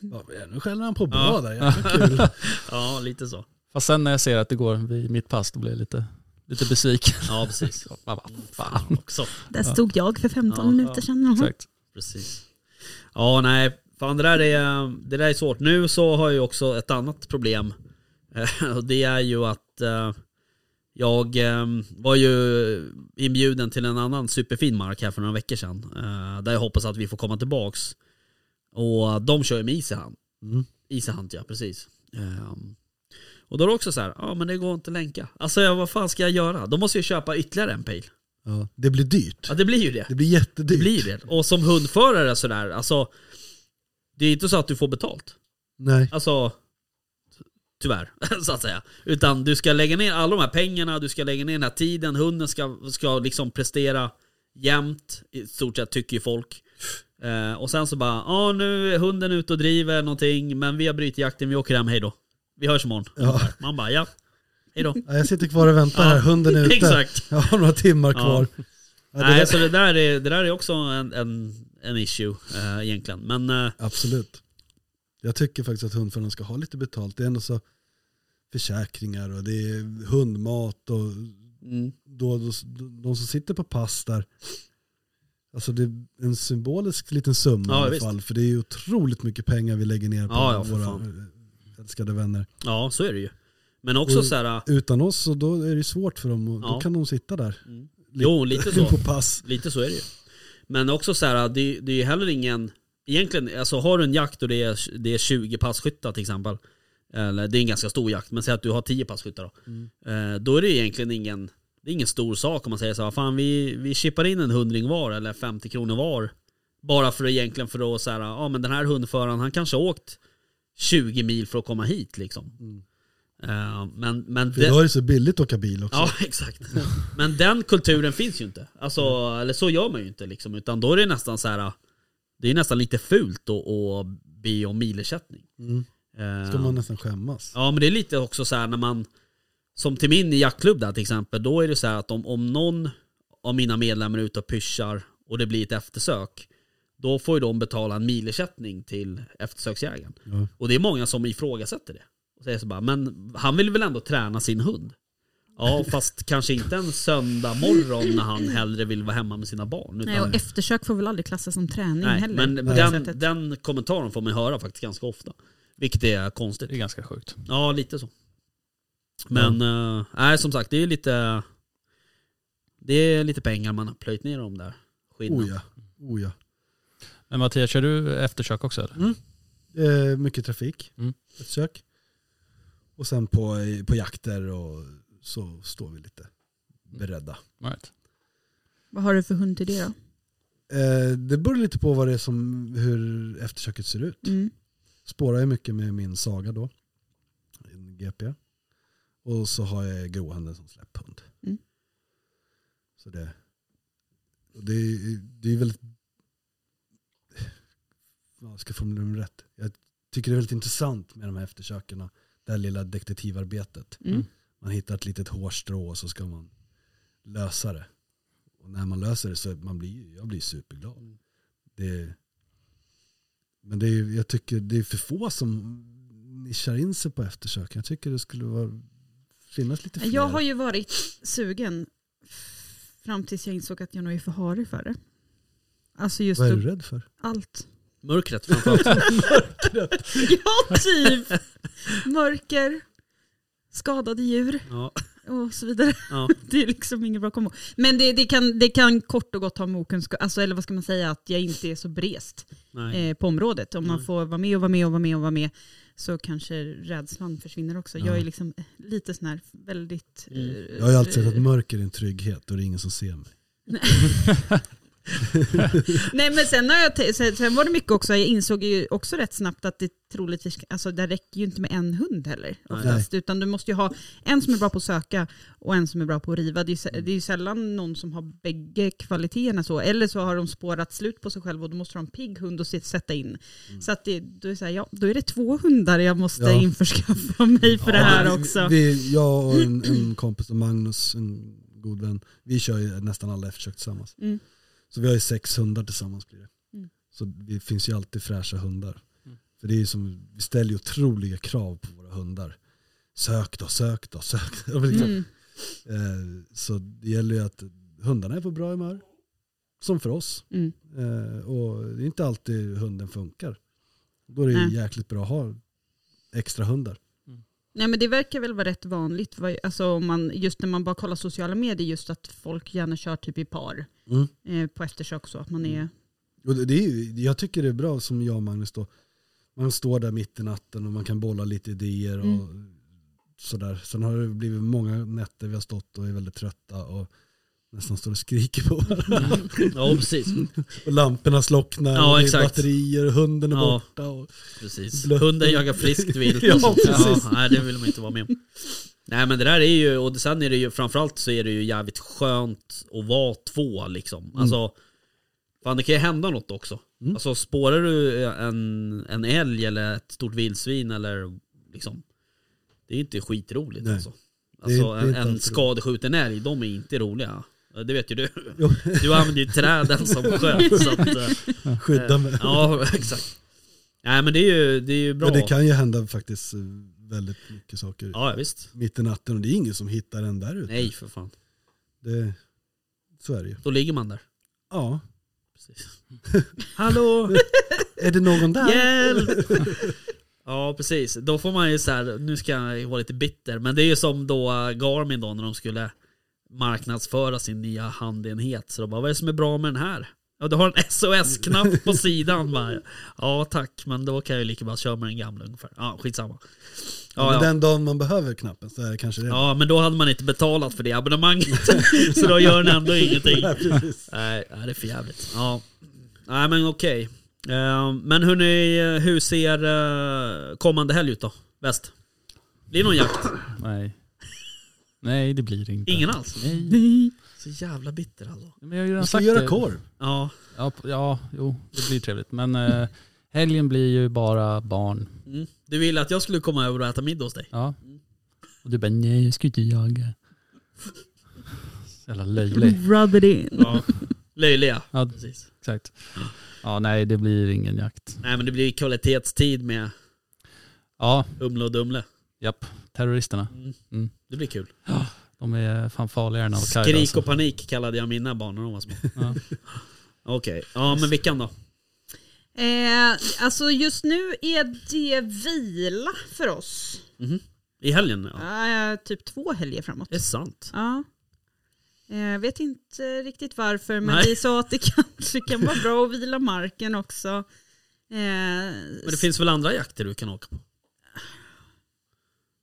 [SPEAKER 6] ja, Nu skäller han på bra
[SPEAKER 3] Ja.
[SPEAKER 6] där, jävla kul.
[SPEAKER 3] Ja lite så.
[SPEAKER 5] Fast sen när jag ser att det går vid mitt pass, då blir jag lite, lite
[SPEAKER 6] (laughs)
[SPEAKER 5] besviken.
[SPEAKER 3] Ja precis.
[SPEAKER 5] Så, man bara, fan.
[SPEAKER 3] Också.
[SPEAKER 4] Där stod jag för 15
[SPEAKER 3] Ja,
[SPEAKER 4] minuter sedan.
[SPEAKER 5] Exakt.
[SPEAKER 3] Precis. Ja, nej. Fan, det, där är, det där är svårt. Nu så har jag ju också ett annat problem. Eh, (laughs) Och det är ju att eh, jag eh, var ju inbjuden till en annan superfin mark här för några veckor sedan. eh, Där jag hoppas att vi får komma tillbaks. Och de kör ju med Isehunt.
[SPEAKER 6] Mm.
[SPEAKER 3] Isehunt ja, precis. Eh, Och då är det också så här, ja men det går inte att länka. Alltså jag, vad fan ska jag göra? Då måste jag köpa ytterligare en pil.
[SPEAKER 6] Ja, det blir dyrt.
[SPEAKER 3] Ja det blir ju det.
[SPEAKER 6] Det blir
[SPEAKER 3] Det
[SPEAKER 6] jättedyrt.
[SPEAKER 3] blir det. Och som hundförare sådär, alltså. Det är inte så att du får betalt.
[SPEAKER 6] Nej.
[SPEAKER 3] Alltså, tyvärr, (laughs) så att säga. Utan du ska lägga ner alla de här pengarna, du ska lägga ner den här tiden, hunden ska, ska liksom prestera jämt, i stort sett tycker ju folk. Eh, och sen så bara, ja nu är hunden ute och driver någonting, men vi har brutit jakten, vi åker hem, hej då. Vi hörs imorgon.
[SPEAKER 6] Ja.
[SPEAKER 3] Man bara, ja, hej då.
[SPEAKER 6] Ja, jag sitter kvar och väntar här, hunden är (laughs)
[SPEAKER 3] (laughs)
[SPEAKER 6] ute.
[SPEAKER 3] Exakt.
[SPEAKER 6] Jag har några timmar kvar. Ja, det
[SPEAKER 3] Nej,
[SPEAKER 6] där-
[SPEAKER 3] så det där är, det där är också en, en, en issue eh, egentligen. Men eh,
[SPEAKER 6] Absolut. Jag tycker faktiskt att hundförarna ska ha lite betalt. Det är ändå så försäkringar och det är hundmat och
[SPEAKER 3] Mm.
[SPEAKER 6] då, då, de som sitter på pass där. Alltså det är en symbolisk liten summa
[SPEAKER 3] Ja,
[SPEAKER 6] i alla
[SPEAKER 3] visst.
[SPEAKER 6] fall. För det är ju otroligt mycket pengar vi lägger ner på
[SPEAKER 3] Ja, ja, för
[SPEAKER 6] våra
[SPEAKER 3] fan.
[SPEAKER 6] älskade vänner.
[SPEAKER 3] Ja, så är det ju. Men också
[SPEAKER 6] Och-
[SPEAKER 3] så här, äh,
[SPEAKER 6] Utan oss så då är det ju svårt för dem. Och Då
[SPEAKER 3] Ja.
[SPEAKER 6] kan de sitta där.
[SPEAKER 3] jo lite
[SPEAKER 6] (laughs)
[SPEAKER 3] så.
[SPEAKER 6] På pass.
[SPEAKER 3] Lite så är det ju. Men också så här, äh, det, det är ju heller ingen, egentligen, alltså har du en jakt och det är, det är 20 passkyttar till exempel, eller det är en ganska stor jakt, men säg att du har 10 passkyttar då. Eh, då är det egentligen ingen, det är ingen stor sak om man säger så här, "Vad fan vi, vi chippar in en hundring var eller 50 kronor var. Bara för att egentligen för att så här, ja men den här hundföraren han kanske har åkt 20 mil för att komma hit liksom. Eh, men, men
[SPEAKER 6] För idag är det så billigt att åka bil också.
[SPEAKER 3] Ja, (laughs) exakt. Men den kulturen finns ju inte. Alltså, eller så gör man ju inte liksom. Utan då är det nästan så här, det är nästan lite fult att, att be om milersättning.
[SPEAKER 6] Mm.
[SPEAKER 3] Eh,
[SPEAKER 6] Ska man nästan skämmas.
[SPEAKER 3] Ja, men det är lite också så här när man, som till min jaktklubb där till exempel, då är det så här att om, om någon av mina medlemmar är ute och pyschar och det blir ett eftersök, då får ju de betala en milersättning till eftersöksjägaren.
[SPEAKER 6] Ja.
[SPEAKER 3] Och det är många som ifrågasätter det. Och säger så bara, men han vill väl ändå träna sin hund? Ja, fast kanske inte en söndag morgon när han hellre vill vara hemma med sina barn. Utan,
[SPEAKER 4] Nej, och eftersök får väl aldrig klassas som träning
[SPEAKER 3] nej,
[SPEAKER 4] heller.
[SPEAKER 3] men
[SPEAKER 4] på det
[SPEAKER 3] den,
[SPEAKER 4] sättet.
[SPEAKER 3] den kommentaren får man höra faktiskt ganska ofta. Vilket är konstigt.
[SPEAKER 5] Det är ganska sjukt.
[SPEAKER 3] Ja, lite så. Men eh, nej, som sagt, det är lite Det är lite pengar man har plöjt ner om där. Skillnad.
[SPEAKER 6] Oh ja. Oh ja.
[SPEAKER 5] Men Mattias, kör du eftersök också eller?
[SPEAKER 6] Eh, mycket trafik,
[SPEAKER 5] Mm.
[SPEAKER 6] ett sök. Och sen på, på jakter och så står vi lite beredda.
[SPEAKER 5] Right.
[SPEAKER 4] Vad har du för hund till det då?
[SPEAKER 6] Eh, det beror lite på vad det är som, hur eftersöket ser ut.
[SPEAKER 4] Mm.
[SPEAKER 6] Spårar jag mycket med min Saga då, en GP. Och så har jag gråhanden som släpphund.
[SPEAKER 4] Mm.
[SPEAKER 6] Så det, och det, är- det är väldigt, ja, jag ska formulera mig rätt. Jag tycker det är väldigt intressant med de här eftersökerna. Det här lilla detektivarbetet.
[SPEAKER 4] Mm.
[SPEAKER 6] Man hittar ett litet hårstrå och så ska man lösa det. Och när man löser det så man blir jag blir superglad.
[SPEAKER 4] Mm.
[SPEAKER 6] Det, men det är, jag tycker det är för få som nischar in sig på eftersök. Jag tycker det skulle vara finnas lite fler.
[SPEAKER 4] Jag har ju varit sugen fram tills jag insåg att jag nog är för harig för det. Alltså just
[SPEAKER 6] Vad är
[SPEAKER 4] upp
[SPEAKER 6] du rädd för?
[SPEAKER 4] allt. (laughs)
[SPEAKER 3] Mörkret
[SPEAKER 6] (laughs)
[SPEAKER 3] framförallt.
[SPEAKER 4] Ja, typ. Mörker, skadade djur
[SPEAKER 3] Ja,
[SPEAKER 4] och så vidare.
[SPEAKER 3] ja.
[SPEAKER 4] (laughs) Det är liksom inget bra kombo. Men det, det, kan, det kan kort och gott ha med okunskap, alltså, eller vad ska man säga, att jag inte är så brest
[SPEAKER 3] Nej.
[SPEAKER 4] eh, på området. Om man
[SPEAKER 3] Nej.
[SPEAKER 4] får vara med och vara med och vara med och vara med så kanske rädslan försvinner också. Jag är liksom eh, lite sån här väldigt...
[SPEAKER 3] Mm.
[SPEAKER 4] eh,
[SPEAKER 6] Jag har ju alltid sett att mörker är en trygghet och det är ingen som ser mig.
[SPEAKER 4] Nej men sen, har jag te- sen, sen var det mycket också, jag insåg ju också rätt snabbt att det troligtvis, alltså det räcker ju inte med en hund heller oftast, utan du måste ju ha en som är bra på att söka och en som är bra på att riva. Det är ju, sä- det är ju sällan någon som har bägge kvaliteterna så, eller så har de spårat slut på sig själv och då måste de ha en pigg hund att se- sätta in. Så att det, då, är det så här, ja, då är det två hundar jag måste
[SPEAKER 6] Mm. Ja.
[SPEAKER 4] införskaffa mig för det här
[SPEAKER 6] vi,
[SPEAKER 4] också.
[SPEAKER 6] Vi, jag och en, en kompis, och Magnus, en god vän, vi kör ju nästan alla eftersök tillsammans.
[SPEAKER 4] Mm.
[SPEAKER 6] Så vi har ju sex hundar tillsammans. Blir det.
[SPEAKER 4] Mm.
[SPEAKER 6] Så det finns ju alltid fräscha hundar. För det är ju som, vi ställer ju otroliga krav på våra hundar. Sök då, sök då, sök då. Liksom.
[SPEAKER 4] Mm.
[SPEAKER 6] Eh, så det gäller ju att hundarna är på bra humör. Som för oss.
[SPEAKER 4] Mm.
[SPEAKER 6] Eh, och det är inte alltid hunden funkar. Då är det
[SPEAKER 4] Nej.
[SPEAKER 6] ju jäkligt bra att ha extra hundar.
[SPEAKER 4] Nej men det verkar väl vara rätt vanligt, vad- alltså om man, just när man bara kollar sociala medier, just att folk gärna kör typ i par
[SPEAKER 6] Mm.
[SPEAKER 4] eh, på eftersök så, att man är...
[SPEAKER 6] Och det, det är, ju- jag tycker det är bra som jag och Magnus då. Man står där mitt i natten och man kan bolla lite idéer och
[SPEAKER 3] Mm.
[SPEAKER 6] sådär. Sen har det blivit många nätter vi har stått och är väldigt trötta och nästan står och skriker på varandra.
[SPEAKER 3] ja precis.
[SPEAKER 6] Och lamporna slocknar
[SPEAKER 3] Ja,
[SPEAKER 6] och det är
[SPEAKER 3] exakt.
[SPEAKER 6] batterier och hunden är
[SPEAKER 3] Ja.
[SPEAKER 6] borta. Och,
[SPEAKER 3] precis.
[SPEAKER 6] Blött.
[SPEAKER 3] Hunden jagar friskt vilt.
[SPEAKER 6] (laughs) Ja, precis.
[SPEAKER 3] nej, det vill man inte vara med om. Nej men det där är ju, och sen är det ju framförallt så är det ju jävligt skönt att vara två liksom.
[SPEAKER 6] Mm.
[SPEAKER 3] Alltså, fan det kan ju hända något också. Alltså spårar du en, en älg eller ett stort vildsvin eller liksom, det är inte skitroligt
[SPEAKER 6] Nej.
[SPEAKER 3] alltså.
[SPEAKER 6] är
[SPEAKER 3] Alltså
[SPEAKER 6] inte- det är
[SPEAKER 3] en,
[SPEAKER 6] inte alls
[SPEAKER 3] en
[SPEAKER 6] roligt.
[SPEAKER 3] skadeskjuten älg, de är inte roliga. Det vet ju du.
[SPEAKER 6] Jo.
[SPEAKER 3] Du använder ju träden
[SPEAKER 6] (laughs)
[SPEAKER 3] som sköt. så att, eh,
[SPEAKER 6] skydda mig.
[SPEAKER 3] Ja, (laughs) exakt. Nej men det är ju, det är ju bra.
[SPEAKER 6] Men det kan ju hända faktiskt eh, väldigt mycket saker
[SPEAKER 3] Ja, visst.
[SPEAKER 6] mitt i natten och det är ingen som hittar en där ute.
[SPEAKER 3] Nej för fan.
[SPEAKER 6] Det, så är det ju.
[SPEAKER 3] Då ligger man där.
[SPEAKER 6] Ja. (laughs)
[SPEAKER 3] Precis. Hallå!
[SPEAKER 6] Är det någon där?
[SPEAKER 3] Hjälp! Ja precis, då får man ju så här, nu ska jag vara lite bitter, men det är ju som då eh, Garmin då när de skulle marknadsföra sin nya handenhet. Så de bara, vad är det som är bra med den här? Ja du har en SOS-knapp på sidan bara. Ja tack, men då kan jag ju lika bra köra med den gamla ungefär. Ja skitsamma.
[SPEAKER 6] men Den dagen man behöver knappen så är det kanske det.
[SPEAKER 3] Ja, men då hade man inte betalat för det abonnemanget. (laughs) så då gör den ändå ingenting. Nej, nej, det är för jävligt. Ja. Nej, men okej. Eh, Men hörni, eh, hur ser eh, kommande helg ut då? Väst? Blir det någon jakt?
[SPEAKER 5] Nej. Nej, det blir det inte.
[SPEAKER 3] Ingen alls?
[SPEAKER 5] Nej.
[SPEAKER 3] Så jävla bitter alltså.
[SPEAKER 5] Men jag har
[SPEAKER 6] Vi
[SPEAKER 5] ju redan
[SPEAKER 6] ska
[SPEAKER 5] sagt
[SPEAKER 6] göra
[SPEAKER 5] det.
[SPEAKER 6] korv.
[SPEAKER 3] Ja,
[SPEAKER 5] Ja, p- ja, jo, det blir trevligt.
[SPEAKER 6] (laughs)
[SPEAKER 5] Men eh, helgen blir ju bara barn.
[SPEAKER 3] mm. du ville att jag skulle komma över och äta middag hos dig?
[SPEAKER 5] Ja.
[SPEAKER 6] Mm.
[SPEAKER 5] Och du bara, nej jag ska inte jaga. Så Jävla löjlig.
[SPEAKER 4] Rub it in.
[SPEAKER 3] Ja. Löjliga.
[SPEAKER 5] Ja,
[SPEAKER 3] Precis.
[SPEAKER 5] exakt.
[SPEAKER 6] Mm.
[SPEAKER 5] Ja, nej det blir ingen jakt.
[SPEAKER 3] Nej men det blir kvalitetstid med
[SPEAKER 5] Ja,
[SPEAKER 3] Humle och Dumle.
[SPEAKER 5] japp. Terroristerna.
[SPEAKER 3] Det blir kul.
[SPEAKER 5] De är fan farligare än al-Qaida.
[SPEAKER 3] Skrik
[SPEAKER 5] alltså.
[SPEAKER 3] och panik kallade jag mina barn när de var små.
[SPEAKER 5] Ja.
[SPEAKER 3] (laughs) Okej, ja men vilken då?
[SPEAKER 4] Eh, alltså just nu är det vila för oss.
[SPEAKER 3] I helgen? Ja.
[SPEAKER 4] Eh, typ två helger framåt.
[SPEAKER 3] Det är sant.
[SPEAKER 4] Ja. Eh, Jag vet inte riktigt varför, men
[SPEAKER 3] Nej.
[SPEAKER 4] vi sa att det kanske kan (laughs) vara bra att vila marken också. Eh,
[SPEAKER 3] Men det finns väl andra jakter du kan åka på?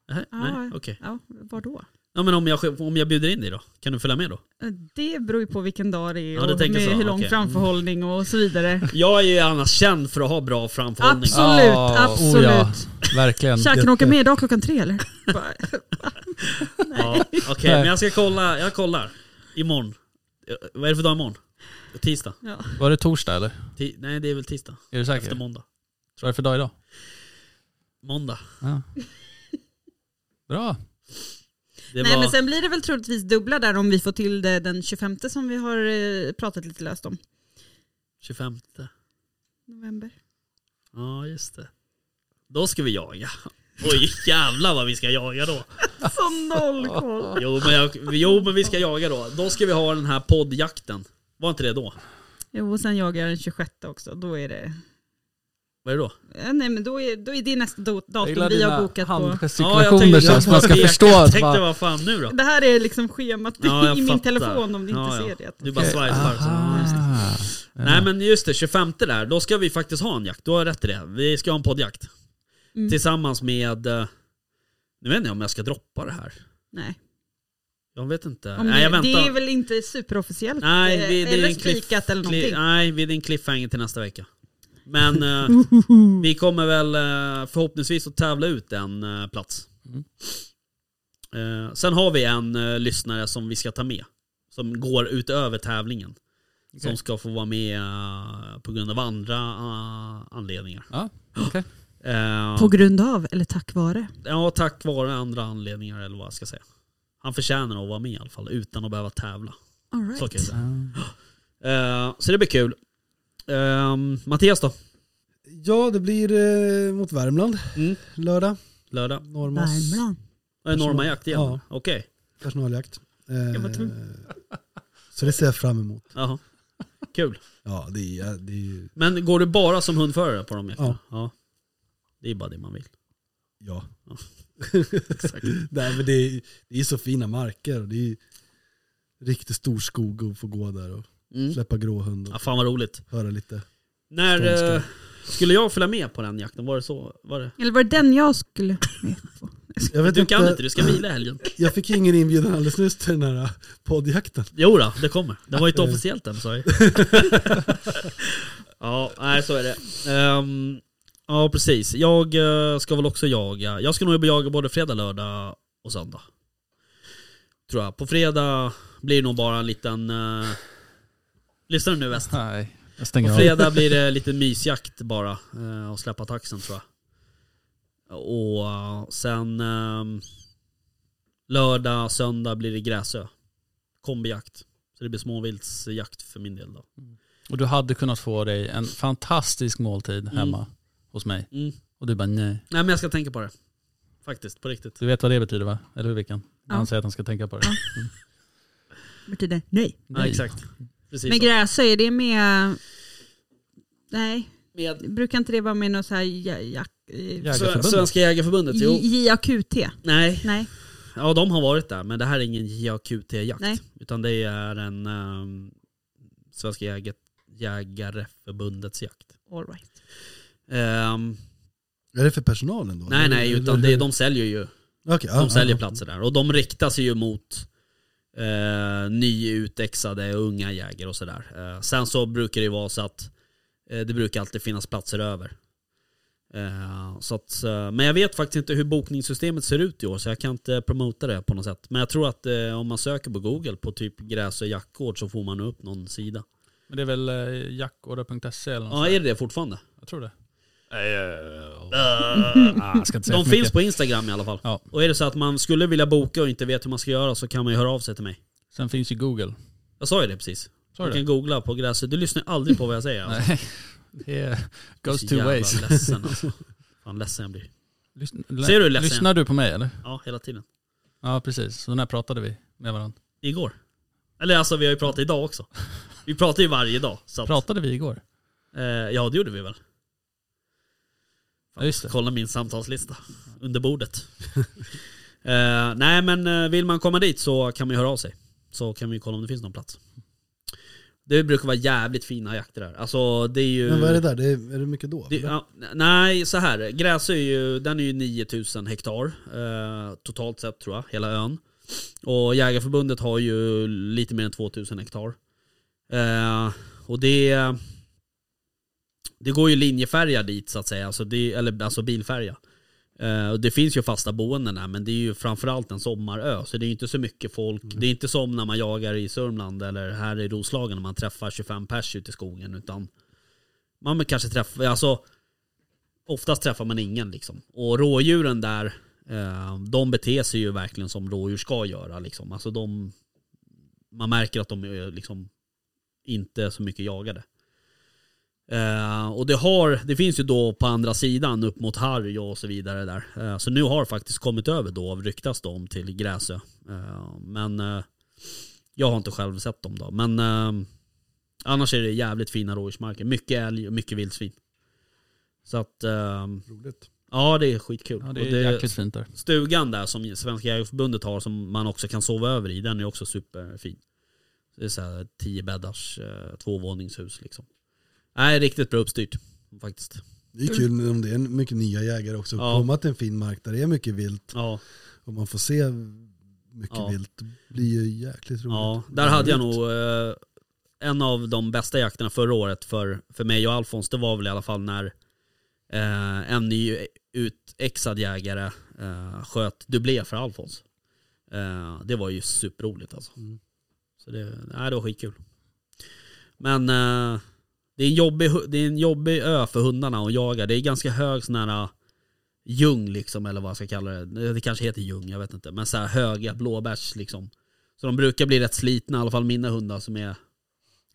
[SPEAKER 3] Nej, nej,
[SPEAKER 4] Ja.
[SPEAKER 3] okej.
[SPEAKER 4] Ja, vadå?
[SPEAKER 3] Ja men om jag, om jag bjuder in dig då? Kan du följa med då?
[SPEAKER 4] Eh, Det beror ju på vilken dag det är
[SPEAKER 3] Ja,
[SPEAKER 4] och
[SPEAKER 3] du tänker
[SPEAKER 4] med
[SPEAKER 3] så,
[SPEAKER 4] hur lång
[SPEAKER 3] okej. Mm.
[SPEAKER 4] framförhållning och så vidare.
[SPEAKER 3] Jag är ju annars känd för att ha bra framförhållning.
[SPEAKER 4] Absolut,
[SPEAKER 5] Ja,
[SPEAKER 4] absolut.
[SPEAKER 5] Ah, oh ja, verkligen.
[SPEAKER 4] Tja, kan du åka med idag klockan tre eller? Bara,
[SPEAKER 3] Ja, Okej, men jag ska kolla. Jag kollar. Imorgon. Eh, Vad är det för dag imorgon? Tisdag?
[SPEAKER 4] ja.
[SPEAKER 5] Var det torsdag eller?
[SPEAKER 3] Ti- nej det är väl tisdag?
[SPEAKER 5] Är du säker?
[SPEAKER 3] Efter
[SPEAKER 5] Vad
[SPEAKER 3] måndag.
[SPEAKER 5] är det för dag idag?
[SPEAKER 3] Måndag.
[SPEAKER 5] Ja. Bra.
[SPEAKER 3] Det
[SPEAKER 4] Nej,
[SPEAKER 3] var,
[SPEAKER 4] men sen blir det väl troligtvis dubbla där om vi får till det den 25 som vi har eh, pratat lite löst om.
[SPEAKER 3] 25.
[SPEAKER 4] November.
[SPEAKER 3] Ja just det. Då ska vi jaga. Oj jävlar vad vi ska jaga då.
[SPEAKER 4] Så noll koll.
[SPEAKER 3] Jo men, jag, jo men vi ska jaga då. Då ska vi ha den här poddjakten. Var inte det då?
[SPEAKER 4] Jo, och sen jagar jag den 26 också. Då är det...
[SPEAKER 3] Vad är det då?
[SPEAKER 4] Ja, nej, men då är, då är det nästa do-
[SPEAKER 5] Jag
[SPEAKER 4] datum
[SPEAKER 5] gillar
[SPEAKER 4] vi har
[SPEAKER 5] dina
[SPEAKER 4] bokat på.
[SPEAKER 3] jag
[SPEAKER 5] handgestikulationer
[SPEAKER 3] tänkte-
[SPEAKER 5] så att man ska
[SPEAKER 3] jag
[SPEAKER 5] förstå.
[SPEAKER 3] Jag
[SPEAKER 5] att
[SPEAKER 3] tänkte
[SPEAKER 5] bara-
[SPEAKER 3] vad fan nu då?
[SPEAKER 4] Det här är liksom schemat
[SPEAKER 3] Ja, jag
[SPEAKER 4] i min
[SPEAKER 3] fattar.
[SPEAKER 4] telefon om du inte
[SPEAKER 3] Ja, ja.
[SPEAKER 4] ser det.
[SPEAKER 3] Du bara
[SPEAKER 5] Okej,
[SPEAKER 3] swipar. så-
[SPEAKER 5] aha.
[SPEAKER 3] Nej men just det, 25 där, då ska vi faktiskt ha en jakt. Du har rätt i det. Vi ska ha en poddjakt.
[SPEAKER 4] Mm.
[SPEAKER 3] Tillsammans med... eh, Nu vet inte om jag ska droppa det här.
[SPEAKER 4] Nej.
[SPEAKER 3] Jag vet inte.
[SPEAKER 4] Om
[SPEAKER 3] Nej jag
[SPEAKER 4] det,
[SPEAKER 3] väntar.
[SPEAKER 4] det är väl inte superofficiellt?
[SPEAKER 3] Nej,
[SPEAKER 4] eh,
[SPEAKER 3] vi, det
[SPEAKER 4] eller
[SPEAKER 3] är en cliff-
[SPEAKER 4] spikat eller någonting.
[SPEAKER 3] Cli- nej, vi- det är en cliffhanger till nästa vecka. Men
[SPEAKER 4] (laughs)
[SPEAKER 3] eh, vi kommer väl eh, förhoppningsvis att tävla ut en eh, plats. Eh, sen har vi en eh, lyssnare som vi ska ta med. Som går utöver tävlingen. Som
[SPEAKER 5] Okej.
[SPEAKER 3] ska få vara med eh, på grund av andra eh, anledningar.
[SPEAKER 5] Ah, Ja, okej.
[SPEAKER 3] Eh,
[SPEAKER 4] På grund av eller tack vare?
[SPEAKER 3] ja, tack vare andra anledningar eller vad jag ska säga. Han förtjänar att vara med i alla fall utan att behöva tävla.
[SPEAKER 4] All right.
[SPEAKER 3] Så, kan jag säga.
[SPEAKER 6] Ah.
[SPEAKER 3] Eh, så det blir kul. Ehm, Mattias då?
[SPEAKER 6] Ja, det blir eh, mot Värmland
[SPEAKER 3] Mm.
[SPEAKER 6] lördag.
[SPEAKER 3] Lördag?
[SPEAKER 6] Normas
[SPEAKER 4] Värmland.
[SPEAKER 3] Enorma jakt igen?
[SPEAKER 6] Ja.
[SPEAKER 3] Okej.
[SPEAKER 6] personaljakt.
[SPEAKER 2] Jag var tvungen.
[SPEAKER 6] Eh, så det ser jag fram emot.
[SPEAKER 3] Jaha. Kul.
[SPEAKER 6] Ja, det är, det är ju-
[SPEAKER 3] Men går du bara som hundförare på de jakterna?
[SPEAKER 6] Ja.
[SPEAKER 3] ja. Det är bara det man vill.
[SPEAKER 6] ja. (laughs)
[SPEAKER 3] Ja.
[SPEAKER 6] Nej, men det, är, det är så fina marker och det är riktigt stor skog att få gå där och
[SPEAKER 3] Mm.
[SPEAKER 6] släppa gråhund och
[SPEAKER 3] Ja, fan vad roligt.
[SPEAKER 6] höra lite.
[SPEAKER 3] När
[SPEAKER 6] Stormskall.
[SPEAKER 3] eh, skulle jag följa med på den jakten? Var det så? Var det?
[SPEAKER 4] Eller var det den jag skulle (coughs) med på?
[SPEAKER 6] Jag, vet
[SPEAKER 3] Du kan inte, du ska vila i helgen.
[SPEAKER 6] jag fick ingen inbjudan alldeles nyss till den här äh, poddjakten.
[SPEAKER 3] (laughs) Jo då, det kommer. Det var ju inte officiellt än sa jag Ja, nej så är det. Ehm, ja precis. Jag eh, ska väl också jaga. Jag ska nog jaga både fredag, lördag och söndag. Tror jag. På fredag blir det nog bara en liten... Uh... Lyssnar du nu väst?
[SPEAKER 5] Nej, jag
[SPEAKER 3] På
[SPEAKER 5] stänger av.
[SPEAKER 3] fredag blir det lite mysjakt bara. eh, Och släppa taxen tror jag. Och eh, sen... ehm, lördag, söndag blir det Gräsö. Kombijakt. Så det blir småviltsjakt för min del då.
[SPEAKER 5] Och du hade kunnat få dig en fantastisk måltid hemma hos mig.
[SPEAKER 3] Mm.
[SPEAKER 5] Och du bara nej.
[SPEAKER 3] Nej men jag ska tänka på det. Faktiskt, på riktigt.
[SPEAKER 5] Du vet vad det betyder va? Eller hur Vickan?
[SPEAKER 4] Ja.
[SPEAKER 5] Han säger att han ska tänka på det.
[SPEAKER 4] Betyder nej.
[SPEAKER 3] Ja, exakt. Precis
[SPEAKER 4] Men
[SPEAKER 3] så.
[SPEAKER 4] Gräsö, är det med... Nej,
[SPEAKER 3] Med
[SPEAKER 4] brukar inte det vara med någon så här ja, ja, eh,
[SPEAKER 5] Jägarförbundet.
[SPEAKER 3] Sve- Svenska Jägarförbundet, jo.
[SPEAKER 4] JAQT?
[SPEAKER 3] Nej,
[SPEAKER 4] Nej.
[SPEAKER 3] ja de har varit där men det här är ingen JAQT-jakt.
[SPEAKER 4] Nej.
[SPEAKER 3] Utan det är en ehm, Svenska Jägar- Jägareförbundets jakt.
[SPEAKER 4] All right.
[SPEAKER 3] Ehm,
[SPEAKER 6] Är det för personalen då?
[SPEAKER 3] nej nej, utan det, de säljer ju.
[SPEAKER 6] Okej, ja,
[SPEAKER 3] De säljer
[SPEAKER 6] ja.
[SPEAKER 3] platser där. Och de riktar sig ju mot eh, nyutexade unga jägare och sådär. Eh, sen så brukar det ju vara så att eh, det brukar alltid finnas platser över. Eh, så att, eh, men jag vet faktiskt inte hur bokningssystemet ser ut i år så jag kan inte promota det på något sätt. Men jag tror att eh, om man söker på google på typ gräs och jaktgård så får man upp någon sida.
[SPEAKER 5] Men det är väl eh, jackåda.se eller något
[SPEAKER 3] Ja,
[SPEAKER 5] sånt.
[SPEAKER 3] är det det fortfarande?
[SPEAKER 5] Jag tror det.
[SPEAKER 3] Eh,
[SPEAKER 5] Jag ska inte säga
[SPEAKER 3] De
[SPEAKER 5] för
[SPEAKER 3] finns
[SPEAKER 5] mycket.
[SPEAKER 3] på Instagram i alla fall.
[SPEAKER 5] Ja.
[SPEAKER 3] Och är det så att man skulle vilja boka och inte vet hur man ska göra så kan man ju höra av sig till mig.
[SPEAKER 5] Sen finns ju Google.
[SPEAKER 3] Jag sa ju det precis.
[SPEAKER 5] Sa
[SPEAKER 3] du
[SPEAKER 5] du
[SPEAKER 3] kan
[SPEAKER 5] det?
[SPEAKER 3] googla på gräset. Du lyssnar aldrig på vad jag säger. Alltså.
[SPEAKER 5] Nej, det är, goes
[SPEAKER 3] Så
[SPEAKER 5] two
[SPEAKER 3] jävla
[SPEAKER 5] ways. (laughs)
[SPEAKER 3] Ledsen, alltså. Fan ledsen jag blir.
[SPEAKER 5] Lyssn, (laughs)
[SPEAKER 3] Ser du hur ledsen
[SPEAKER 5] lyssnar du på mig eller?
[SPEAKER 3] Ja, hela tiden.
[SPEAKER 5] Ja precis, så när pratade vi med varandra?
[SPEAKER 3] Igår. Eller alltså vi har ju pratat idag också. Vi pratar ju varje dag. Så att,
[SPEAKER 5] Pratade vi igår?
[SPEAKER 3] eh, ja det gjorde vi väl.
[SPEAKER 5] Ja, just det.
[SPEAKER 3] Kolla min samtalslista under bordet. (laughs) eh, nej men eh, vill man komma dit så kan man ju höra av sig. Så kan vi kolla om det finns någon plats. Det brukar vara jävligt fina jakter där. Alltså det är ju...
[SPEAKER 6] Men vad är det där? Det är, är det mycket då?
[SPEAKER 3] Det, ja, nej, så här. Gräsö är ju, den är ju 9000 hektar eh, totalt sett tror jag, hela ön. Och Jägarförbundet har ju lite mer än 2000 hektar. Eh, och det, det går ju linjefärja dit så att säga, alltså, det, eller, alltså bilfärja. Eh, och det finns ju fasta boenden där men det är ju framförallt en sommarö så det är ju inte så mycket folk. Det är inte som när man jagar i Sörmland eller här i Roslagen när man träffar 25 pers ute i skogen utan man kanske träffar, alltså oftast träffar man ingen liksom. Och rådjuren där, eh, de beter sig ju verkligen som rådjur ska göra liksom. Alltså de, man märker att de är liksom inte så mycket jagade. Eh, och det, har, det finns ju då på andra sidan upp mot Harry och så vidare där. Eh, så nu har faktiskt kommit över då, ryktas de om, till Gräsö. Eh, men eh, jag har inte själv sett dem då. Men eh, annars är det jävligt fina rådjursmarker. Mycket älg och mycket vildsvin. Så att, eh,
[SPEAKER 6] Roligt.
[SPEAKER 3] ja det är skitkul.
[SPEAKER 5] Ja, det
[SPEAKER 3] Och
[SPEAKER 5] är jäkligt fint där.
[SPEAKER 3] Stugan där som Svenska Jägareförbundet har som man också kan sova över i, den är också superfin. Det är så här 10 bäddars eh, tvåvåningshus liksom. Nej, riktigt bra uppstyrt faktiskt.
[SPEAKER 6] Det är kul om det är mycket nya jägare också.
[SPEAKER 3] Ja.
[SPEAKER 6] Komma till en fin mark där det är mycket vilt
[SPEAKER 3] Ja,
[SPEAKER 6] och man får se mycket
[SPEAKER 3] Ja.
[SPEAKER 6] vilt. Det blir ju jäkligt roligt.
[SPEAKER 3] ja där hade jag
[SPEAKER 6] Roligt.
[SPEAKER 3] nog eh, en av de bästa jakterna förra året för, för mig och Alfons. Det var väl i alla fall när eh, en ny utexad jägare eh, sköt dubblé för Alfons. Eh, det var ju superroligt alltså.
[SPEAKER 6] Mm.
[SPEAKER 3] Så det, nej, det var skitkul. Men eh, det, är en jobbig, hu- det är en jobbig ö för hundarna att jaga. Det är ganska hög sån här eh, ljung liksom, eller vad jag ska kalla det. Det kanske heter ljung, jag vet inte. Men så här höga blåbärs liksom. Så de brukar bli rätt slitna, i alla fall mina hundar som, är,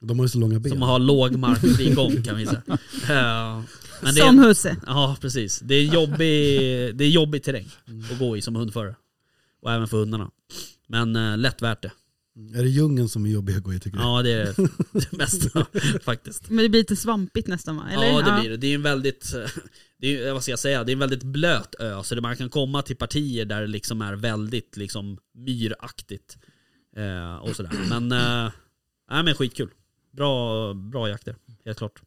[SPEAKER 6] De har ju så långa ben.
[SPEAKER 3] som har låg marknivågång kan vi säga. Eh, men det är-
[SPEAKER 4] Som husse.
[SPEAKER 3] Ja, precis. Det är jobbig, det är jobbig terräng att gå i som hundförare. Och även för hundarna. Men eh, lätt värt det.
[SPEAKER 6] Är det djungeln som är jobbig att gå i tycker du?
[SPEAKER 3] Ja, det är det mesta (laughs) faktiskt.
[SPEAKER 4] Men det blir lite svampigt nästan va? Eller?
[SPEAKER 3] Ja, det blir det. Det är en väldigt, eh, det är, ju- vad ska jag säga, det är en väldigt blöt ö. Så det, man kan komma till partier där det liksom är väldigt liksom myraktigt. Eh, och sådär. Men, eh, nej, men skitkul. Bra, bra jakter, helt klart.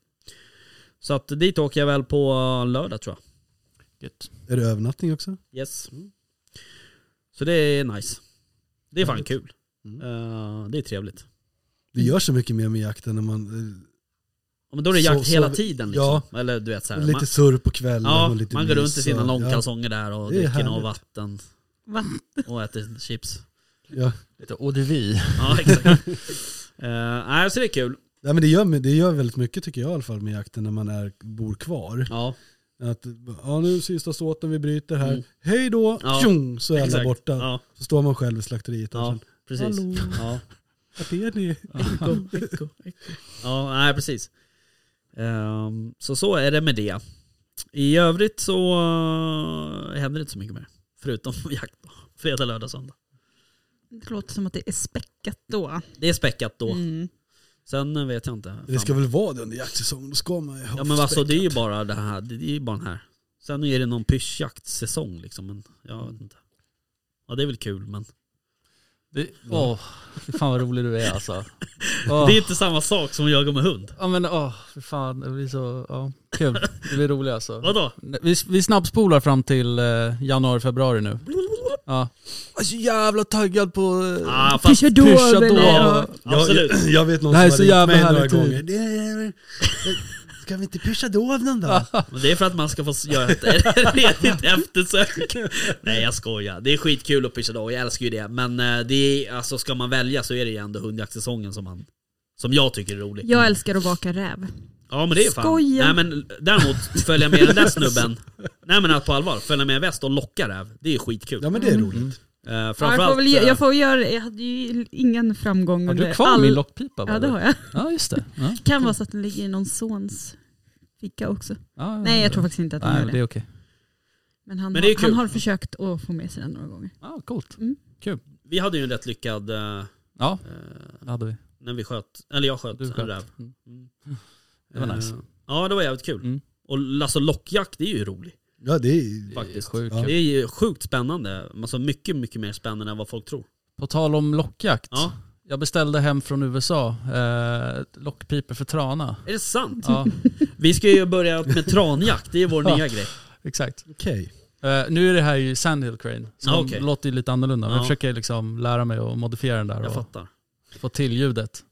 [SPEAKER 3] Så att dit åker jag väl på lördag tror jag.
[SPEAKER 5] Gött.
[SPEAKER 6] Är det övernattning också?
[SPEAKER 3] Yes. Så det är nice. Det är fan
[SPEAKER 6] Härligt.
[SPEAKER 3] kul.
[SPEAKER 6] Mm.
[SPEAKER 3] Eh, det är trevligt.
[SPEAKER 6] Det
[SPEAKER 3] Mm.
[SPEAKER 6] gör så mycket mer med jakten när man... eh,
[SPEAKER 3] Ja, Men då är det
[SPEAKER 6] Så-
[SPEAKER 3] jakt
[SPEAKER 6] så-
[SPEAKER 3] hela tiden liksom. Eller du vet så här,
[SPEAKER 6] lite
[SPEAKER 3] man,
[SPEAKER 6] surr på kvällen
[SPEAKER 3] ja,
[SPEAKER 6] och lite
[SPEAKER 3] man går runt
[SPEAKER 6] mys
[SPEAKER 3] i sina
[SPEAKER 6] och-
[SPEAKER 3] långkalsonger där och
[SPEAKER 6] Det är
[SPEAKER 3] dricker något
[SPEAKER 6] härligt.
[SPEAKER 3] vatten
[SPEAKER 4] Va?
[SPEAKER 3] och äter chips.
[SPEAKER 6] Ja, ja.
[SPEAKER 5] Lite eau de vie.
[SPEAKER 3] Ja (laughs) exakt. Eh, Nej så det är kul.
[SPEAKER 6] Nej, men det, gör, det gör väldigt mycket tycker jag i alla fall med jakten när man är, bor kvar.
[SPEAKER 3] Ja,
[SPEAKER 6] Att, ja, nu är sista såten, vi bryter här.
[SPEAKER 3] Mm.
[SPEAKER 6] Hej då!
[SPEAKER 3] Ja,
[SPEAKER 6] Tjong, så är alla
[SPEAKER 3] exakt.
[SPEAKER 6] borta.
[SPEAKER 3] Ja,
[SPEAKER 6] Så står man själv i slakteriet. och
[SPEAKER 3] ja
[SPEAKER 6] sen,
[SPEAKER 3] precis.
[SPEAKER 6] Hallå.
[SPEAKER 3] Ja.
[SPEAKER 6] Vart är ni?
[SPEAKER 3] Ja, nej precis. Ehm, så så är det med det. I övrigt så eh, händer det inte så mycket mer. Förutom (laughs) jakt då. Fredag, lördag, söndag.
[SPEAKER 4] Det låter som att det är späckat då.
[SPEAKER 3] Det är späckat då.
[SPEAKER 4] Mm.
[SPEAKER 3] Sen eh, vet jag inte.
[SPEAKER 6] Det
[SPEAKER 3] Fan.
[SPEAKER 6] ska väl vara det under jaktsäsongen? Då ska man ju ha
[SPEAKER 3] ja men alltså det är ju
[SPEAKER 6] späckat.
[SPEAKER 3] bara det här. Det är ju bara den här. Sen är det någon pyrschjaktsäsong liksom. Men jag vet inte. Ja det är väl kul men.
[SPEAKER 5] Det, åh, fy fan vad rolig du är (laughs) alltså.
[SPEAKER 3] Det är
[SPEAKER 5] Åh,
[SPEAKER 3] inte samma sak som att jaga med hund.
[SPEAKER 5] ja men åh, fy fan. Det blir så, ja, kul. Det blir roligt (laughs) alltså.
[SPEAKER 3] Vadå?
[SPEAKER 5] Vi, vi snabbspolar fram till eh, januari, februari (laughs) nu. Ja. Jag är så jävla taggad på eh,
[SPEAKER 3] Ah, fast,
[SPEAKER 4] Fischer då.
[SPEAKER 5] Fischer då.
[SPEAKER 4] Ja.
[SPEAKER 3] absolut.
[SPEAKER 6] Jag, (clears throat) jag vet någon
[SPEAKER 5] Det här är så
[SPEAKER 6] som har ringt
[SPEAKER 5] jävla
[SPEAKER 6] mig några
[SPEAKER 5] härlig tid.
[SPEAKER 6] gånger. Det är, ska vi inte pyscha dov någon dag?
[SPEAKER 3] (laughs) Men det är för att man ska få göra ett redigt eftersök. Nej jag skojar. Det är skitkul att pyscha då, jag älskar ju det. Men eh, det är, alltså, ska man välja så är det ju ändå hundjaktsäsongen som, man, som jag tycker är rolig.
[SPEAKER 4] Jag älskar att baka räv.
[SPEAKER 3] Ja men det är fan.
[SPEAKER 4] Skoja.
[SPEAKER 3] Nej men däremot följa med den där snubben. Nej men på allvar, följa med en väst och locka räv. Det är skitkul.
[SPEAKER 6] Ja men det är roligt.
[SPEAKER 3] Eh,
[SPEAKER 4] Ja, jag,
[SPEAKER 3] framförallt,
[SPEAKER 4] får väl, ge-
[SPEAKER 3] eh,
[SPEAKER 4] jag får väl göra det. Jag hade ju ingen framgång
[SPEAKER 5] Har
[SPEAKER 4] under
[SPEAKER 5] du kvar min lockpipa?
[SPEAKER 4] Ja
[SPEAKER 5] Barbro?
[SPEAKER 4] det har jag.
[SPEAKER 5] Ja just det. Ja.
[SPEAKER 4] Kan vara så att den ligger i någon sons ficka också.
[SPEAKER 5] Ja,
[SPEAKER 4] Nej jag tror faktiskt inte att han
[SPEAKER 5] Nej,
[SPEAKER 4] gör
[SPEAKER 5] det
[SPEAKER 4] det.
[SPEAKER 5] är okej.
[SPEAKER 4] Men han,
[SPEAKER 3] Men det är
[SPEAKER 4] har- han
[SPEAKER 3] kul.
[SPEAKER 4] har försökt att få med sig den några gånger.
[SPEAKER 5] Ja, coolt.
[SPEAKER 4] Mm.
[SPEAKER 5] Kul.
[SPEAKER 3] vi hade ju en rätt lyckad, eh, eh,
[SPEAKER 5] Ja, det hade vi.
[SPEAKER 3] när vi sköt, eller jag sköt
[SPEAKER 5] Du
[SPEAKER 3] en räv.
[SPEAKER 5] sköt. Mm. Det var nice.
[SPEAKER 3] Eh, Ja det var jävligt kul.
[SPEAKER 5] Mm.
[SPEAKER 3] Och alltså lockjakt det är ju roligt.
[SPEAKER 6] Ja det är
[SPEAKER 3] Faktiskt.
[SPEAKER 5] Sjukt
[SPEAKER 6] Ja.
[SPEAKER 5] kul.
[SPEAKER 3] Det är ju sjukt spännande. Alltså mycket, mycket mer spännande än vad folk tror.
[SPEAKER 5] På tal om lockjakt.
[SPEAKER 3] Ja.
[SPEAKER 5] Jag beställde hem från USA eh, lockpipor för trana.
[SPEAKER 3] Är det sant? (laughs)
[SPEAKER 5] Ja,
[SPEAKER 3] Vi ska ju börja med tranjakt, det är
[SPEAKER 5] (laughs)
[SPEAKER 3] vår
[SPEAKER 5] Ja.
[SPEAKER 3] nya grej.
[SPEAKER 5] exakt.
[SPEAKER 6] okej.
[SPEAKER 5] Eh, nu är det här ju Sandhill Crane, som
[SPEAKER 3] Ja, okej.
[SPEAKER 5] låter ju lite annorlunda. Men
[SPEAKER 3] Ja.
[SPEAKER 5] jag försöker liksom lära mig att modifiera den där
[SPEAKER 3] Jag
[SPEAKER 5] och
[SPEAKER 3] fattar.
[SPEAKER 5] få till ljudet.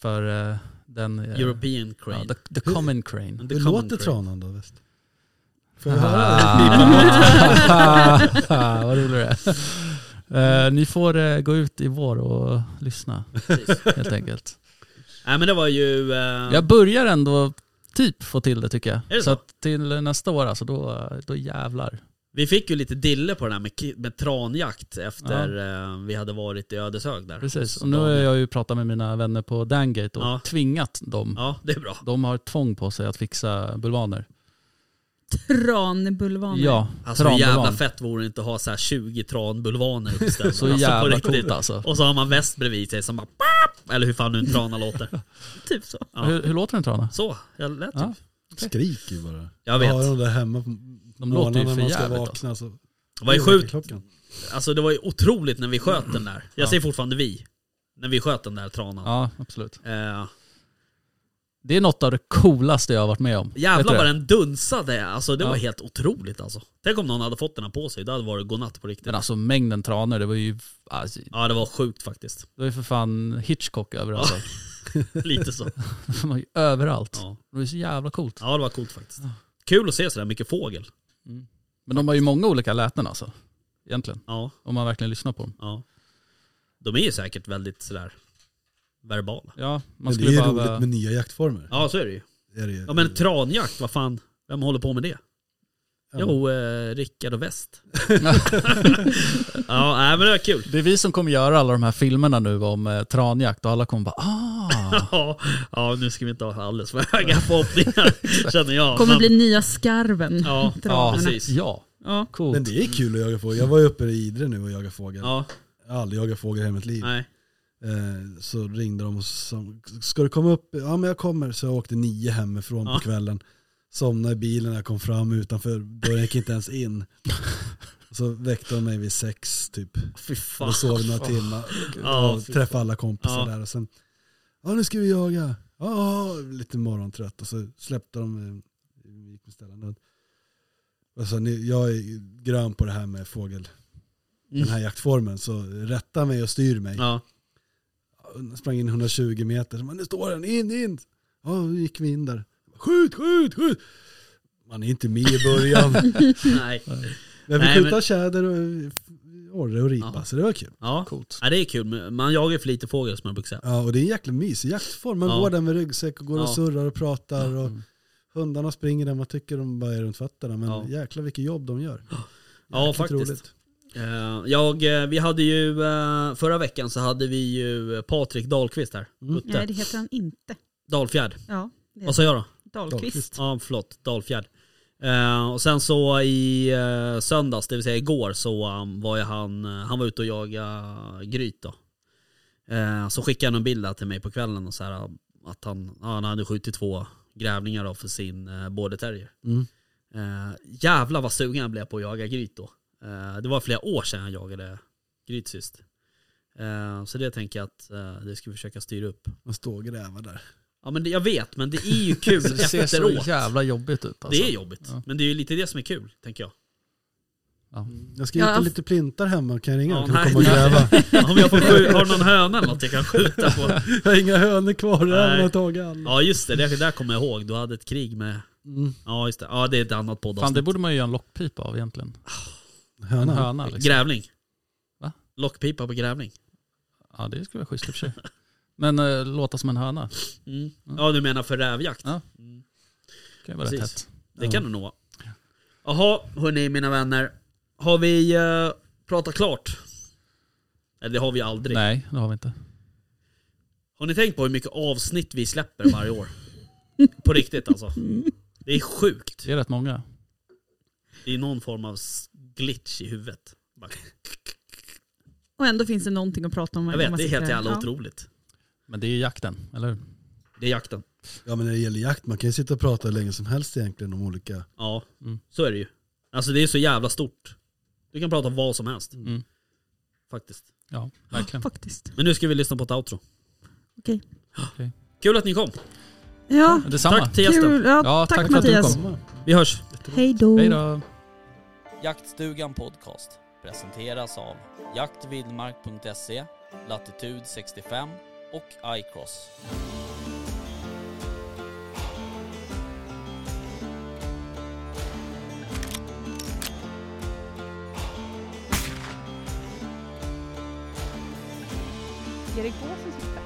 [SPEAKER 5] För eh, den... eh,
[SPEAKER 3] European crane.
[SPEAKER 5] Ja, the, the common
[SPEAKER 3] (laughs)
[SPEAKER 5] crane.
[SPEAKER 3] The
[SPEAKER 6] Hur
[SPEAKER 3] common
[SPEAKER 6] låter
[SPEAKER 3] crane.
[SPEAKER 6] tranan då? Väst? Får jag höra?
[SPEAKER 5] (laughs) Ah, Vad rolig du är. Eh, ni får eh, gå ut i vår och lyssna
[SPEAKER 3] Precis.
[SPEAKER 5] helt enkelt.
[SPEAKER 3] Nej men det var ju... eh,
[SPEAKER 5] Jag börjar ändå typ få till det tycker jag.
[SPEAKER 3] det
[SPEAKER 5] så
[SPEAKER 3] så?
[SPEAKER 5] att till nästa år alltså, då, då jävlar.
[SPEAKER 3] Vi fick ju lite dille på den här med, ki- med tranjakt efter eh, vi hade varit i Ödeshög där.
[SPEAKER 5] Precis,
[SPEAKER 3] Så
[SPEAKER 5] och nu har
[SPEAKER 3] de-
[SPEAKER 5] jag ju pratat med mina vänner på Dangate och
[SPEAKER 3] Ja.
[SPEAKER 5] tvingat dem.
[SPEAKER 3] Ja, det är bra.
[SPEAKER 5] De har ett tvång på sig att fixa bulvaner.
[SPEAKER 4] Tranbulvaner.
[SPEAKER 5] Ja,
[SPEAKER 3] Alltså hur jävla
[SPEAKER 5] tranbulvan.
[SPEAKER 3] fett vore det inte att ha så här 20 tranbulvaner uppställda.
[SPEAKER 5] (laughs) Så
[SPEAKER 3] alltså, på
[SPEAKER 5] jävla
[SPEAKER 3] riktigt.
[SPEAKER 5] coolt alltså.
[SPEAKER 3] Och så har man väst bredvid sig som bara pap! Eller hur fan nu en trana låter.
[SPEAKER 4] (laughs) Typ så.
[SPEAKER 3] Ja.
[SPEAKER 5] Hur, hur låter en trana?
[SPEAKER 3] Så, jag lät
[SPEAKER 5] Ja.
[SPEAKER 3] typ.
[SPEAKER 6] Skriker ju bara.
[SPEAKER 3] Jag
[SPEAKER 6] Har
[SPEAKER 3] vet.
[SPEAKER 6] de där hemma på
[SPEAKER 5] De låter ju
[SPEAKER 6] morgnarna
[SPEAKER 5] för
[SPEAKER 6] när man ska
[SPEAKER 5] jävligt. Alltså.
[SPEAKER 6] vakna. Så
[SPEAKER 3] Det var ju sjukt,
[SPEAKER 6] Klockan.
[SPEAKER 3] alltså det var ju otroligt när vi sköt den där. Jag
[SPEAKER 5] Ja.
[SPEAKER 3] säger fortfarande vi. När vi sköt den där tranan.
[SPEAKER 5] Ja, absolut.
[SPEAKER 3] Eh,
[SPEAKER 5] Det är något av det coolaste jag har varit med om. Vet du
[SPEAKER 3] jävlar
[SPEAKER 5] det?
[SPEAKER 3] vad den dunsade. Alltså det
[SPEAKER 5] Ja.
[SPEAKER 3] var helt otroligt alltså. Tänk om någon hade fått den här på sig. Det hade varit godnatt på riktigt.
[SPEAKER 5] Men alltså mängden tranor, det var ju, alltså, det
[SPEAKER 3] Ja det var sjukt faktiskt.
[SPEAKER 5] var ju för fan Hitchcock överallt.
[SPEAKER 3] Lite (laughs) så.
[SPEAKER 5] (laughs) De var ju överallt.
[SPEAKER 3] Ja,
[SPEAKER 5] Det var ju så jävla coolt.
[SPEAKER 3] ja det var coolt faktiskt. Kul att se sådär mycket fågel.
[SPEAKER 5] Men de har ju många olika läten alltså. Egentligen.
[SPEAKER 3] Ja,
[SPEAKER 5] Om man verkligen lyssnar på dem.
[SPEAKER 3] ja. De är ju säkert väldigt sådär verbala.
[SPEAKER 5] Ja, man
[SPEAKER 6] Men det
[SPEAKER 5] skulle
[SPEAKER 6] är ju
[SPEAKER 5] behöva...
[SPEAKER 6] roligt med nya jaktformer.
[SPEAKER 3] Ja så är det ju.
[SPEAKER 6] Är det ju.
[SPEAKER 3] Ja men tranjakt, vad fan. Vem håller på med det?
[SPEAKER 6] Ja.
[SPEAKER 3] Jo, eh, Rickard och (laughs) West. ja, nej, men det var kul.
[SPEAKER 5] Det är vi som kommer göra alla de här filmerna nu om eh, tranjakt och alla kommer bara ah.
[SPEAKER 3] Ja, ja, nu ska vi inte ha alldeles för höga (laughs) förhoppningar känner jag.
[SPEAKER 4] Kommer
[SPEAKER 3] Men-
[SPEAKER 4] bli nya skarven. (laughs)
[SPEAKER 3] Ja,
[SPEAKER 5] ja,
[SPEAKER 4] Tranorna.
[SPEAKER 3] precis.
[SPEAKER 5] Ja,
[SPEAKER 4] Ja.
[SPEAKER 5] coolt.
[SPEAKER 6] Men det är kul att jaga fågel. Jag var ju uppe i Idre nu och jagade fågel.
[SPEAKER 3] Ja,
[SPEAKER 6] Jag har aldrig jagat fågel i hela mitt liv.
[SPEAKER 3] nej.
[SPEAKER 6] Eh, så ringde de och sa, ska du komma upp? Ja men jag kommer. Så jag åkte nio hemifrån
[SPEAKER 3] Ja.
[SPEAKER 6] på kvällen. Somnade i bilen när jag kom fram utanför dörren, gick inte
[SPEAKER 3] (laughs)
[SPEAKER 6] ens in. Så väckte de mig vid sex typ.
[SPEAKER 3] Fy
[SPEAKER 6] Och
[SPEAKER 3] fan.
[SPEAKER 6] sov några timmar.
[SPEAKER 3] Ja,
[SPEAKER 6] och
[SPEAKER 3] fy
[SPEAKER 6] träffade alla kompisar
[SPEAKER 3] Ja.
[SPEAKER 6] där. Och sen, ja nu ska vi jaga. Ja, lite morgontrött. Och så släppte de, eh, gick med ställen. Och så, ni, jag är grön på det här med fågel. Den här jaktformen. Så rätta mig och styr mig.
[SPEAKER 3] Mm. Ja,
[SPEAKER 6] Jag sprang in 120 meter. Men nu står den, in, in. Ja, då gick vi in där. Skjut, skjut, skjut. Man är inte med
[SPEAKER 3] (laughs)
[SPEAKER 6] i början.
[SPEAKER 3] nej.
[SPEAKER 6] Men vi
[SPEAKER 3] Nej,
[SPEAKER 6] skjuta
[SPEAKER 3] men-
[SPEAKER 6] tjäder och orre och ripa.
[SPEAKER 3] Ja.
[SPEAKER 6] Så det var kul.
[SPEAKER 3] Ja.
[SPEAKER 5] Coolt.
[SPEAKER 3] ja, det är kul. men Man jagar ju för lite fågel som jag brukar säga.
[SPEAKER 6] Ja, och det är en jäkla mysig jaktform. Man
[SPEAKER 3] Ja.
[SPEAKER 6] går där med ryggsäck och går
[SPEAKER 3] Ja. Mm.
[SPEAKER 6] och surrar och pratar. Och hundarna springer där, man tycker de bara är runt fötterna. Men
[SPEAKER 3] Ja.
[SPEAKER 6] jäklar vilket jobb de gör.
[SPEAKER 3] Ja,
[SPEAKER 6] Jäkligt
[SPEAKER 3] faktiskt. Eh, Jag, eh, vi hade ju, eh, förra veckan så hade vi ju eh, Patrik Dahlqvist här.
[SPEAKER 6] Mm.
[SPEAKER 3] Utte.
[SPEAKER 4] Nej, det heter han inte.
[SPEAKER 3] Dahlfjärd.
[SPEAKER 4] Ja, det
[SPEAKER 3] Vad
[SPEAKER 4] heter
[SPEAKER 3] sa jag då?
[SPEAKER 4] Dahlqvist.
[SPEAKER 3] Ja, förlåt. Dalfjärd. Eh, och sen så i eh, söndags, det vill säga igår, så um, var ju han, eh, han var ute och jagade gryt då. Eh, så skickade han en bild där till mig på kvällen och så här, eh, att han, ja, han hade skjutit två grävlingar då för sin uh, border terrier.
[SPEAKER 6] Mm.
[SPEAKER 3] Eh, jävlar vad sugen jag blev på att jaga gryt då. Eh, det var flera år sedan jag jagade gryt sist. Eh, så det tänker jag att eh, det ska vi försöka styra upp.
[SPEAKER 6] Man står och grävar där.
[SPEAKER 3] Ja men det, jag vet, men det är ju kul
[SPEAKER 5] Så (laughs) det ser så
[SPEAKER 3] efteråt.
[SPEAKER 5] jävla jobbigt ut alltså.
[SPEAKER 3] Det är jobbigt,
[SPEAKER 5] Ja.
[SPEAKER 3] men det är ju lite det som är kul, tänker jag.
[SPEAKER 6] Jag ska hitta
[SPEAKER 4] Ja.
[SPEAKER 6] lite plintar hemma. Kan jag ringa?
[SPEAKER 3] Ja,
[SPEAKER 6] kan du
[SPEAKER 3] nej.
[SPEAKER 6] komma och gräva?
[SPEAKER 3] (laughs) Om jag får skju- har någon höna eller något jag kan skjuta på.
[SPEAKER 6] Jag har inga hönor kvar. Jag
[SPEAKER 3] Nej.
[SPEAKER 6] har tagit alla.
[SPEAKER 3] Ja just det, det där kommer jag ihåg. Du hade ett krig med...
[SPEAKER 6] Mm.
[SPEAKER 3] Ja just det, ja det är ett annat
[SPEAKER 5] Fan det
[SPEAKER 3] poddavsnitt.
[SPEAKER 5] borde man ju göra en lockpipa av egentligen. En
[SPEAKER 6] Höna.
[SPEAKER 5] höna liksom.
[SPEAKER 3] Grävling.
[SPEAKER 5] Va?
[SPEAKER 3] Lockpipa på grävling.
[SPEAKER 5] Ja det skulle vara schysst i och för sig. Men eh, låta som en höna. Det
[SPEAKER 3] Mm. Ja du menar för rävjakt?
[SPEAKER 5] Ja.
[SPEAKER 3] Mm.
[SPEAKER 5] kan ju vara rätt
[SPEAKER 3] Precis.
[SPEAKER 5] hett.
[SPEAKER 3] Det kan det nog vara. Jaha, hörni mina vänner. Har vi eh, pratat klart? Eller det har vi aldrig.
[SPEAKER 5] Nej, det har vi inte.
[SPEAKER 3] Har ni tänkt på hur mycket avsnitt vi släpper varje år? på riktigt
[SPEAKER 5] (laughs)
[SPEAKER 3] alltså. Det är sjukt.
[SPEAKER 5] Det är rätt många.
[SPEAKER 3] Det är någon form av s- glitch i huvudet. Bara-
[SPEAKER 4] Och ändå finns det någonting att prata om.
[SPEAKER 3] Jag
[SPEAKER 4] varje
[SPEAKER 3] vet,
[SPEAKER 4] gång man
[SPEAKER 3] det är
[SPEAKER 4] sitter
[SPEAKER 3] helt
[SPEAKER 4] här.
[SPEAKER 3] jävla
[SPEAKER 4] Ja.
[SPEAKER 3] otroligt.
[SPEAKER 5] Men det är ju jakten, eller hur?
[SPEAKER 3] Det är jakten.
[SPEAKER 6] Ja men när det gäller jakt, man kan ju sitta och prata hur länge som helst egentligen om olika.
[SPEAKER 3] Ja,
[SPEAKER 5] Mm.
[SPEAKER 3] så är det ju. Alltså det är så jävla stort. Du kan prata om vad som helst.
[SPEAKER 5] Mm.
[SPEAKER 3] Faktiskt.
[SPEAKER 5] Ja, verkligen.
[SPEAKER 4] Faktiskt.
[SPEAKER 3] Men nu ska vi lyssna på ett outro.
[SPEAKER 4] Okej.
[SPEAKER 5] Okej.
[SPEAKER 3] Kul att ni kom.
[SPEAKER 4] Ja,
[SPEAKER 5] Detsamma.
[SPEAKER 3] Tack till gästen.
[SPEAKER 4] kul. Ja,
[SPEAKER 5] Ja,
[SPEAKER 4] tack,
[SPEAKER 5] tack för att du
[SPEAKER 4] Mattias.
[SPEAKER 5] kom.
[SPEAKER 3] Vi hörs.
[SPEAKER 4] Hej då.
[SPEAKER 5] Hej då.
[SPEAKER 7] Jaktstugan Podcast presenteras av jaktvildmark.se, Latitude 65 och iCross.
[SPEAKER 4] Erik Gåsen sitter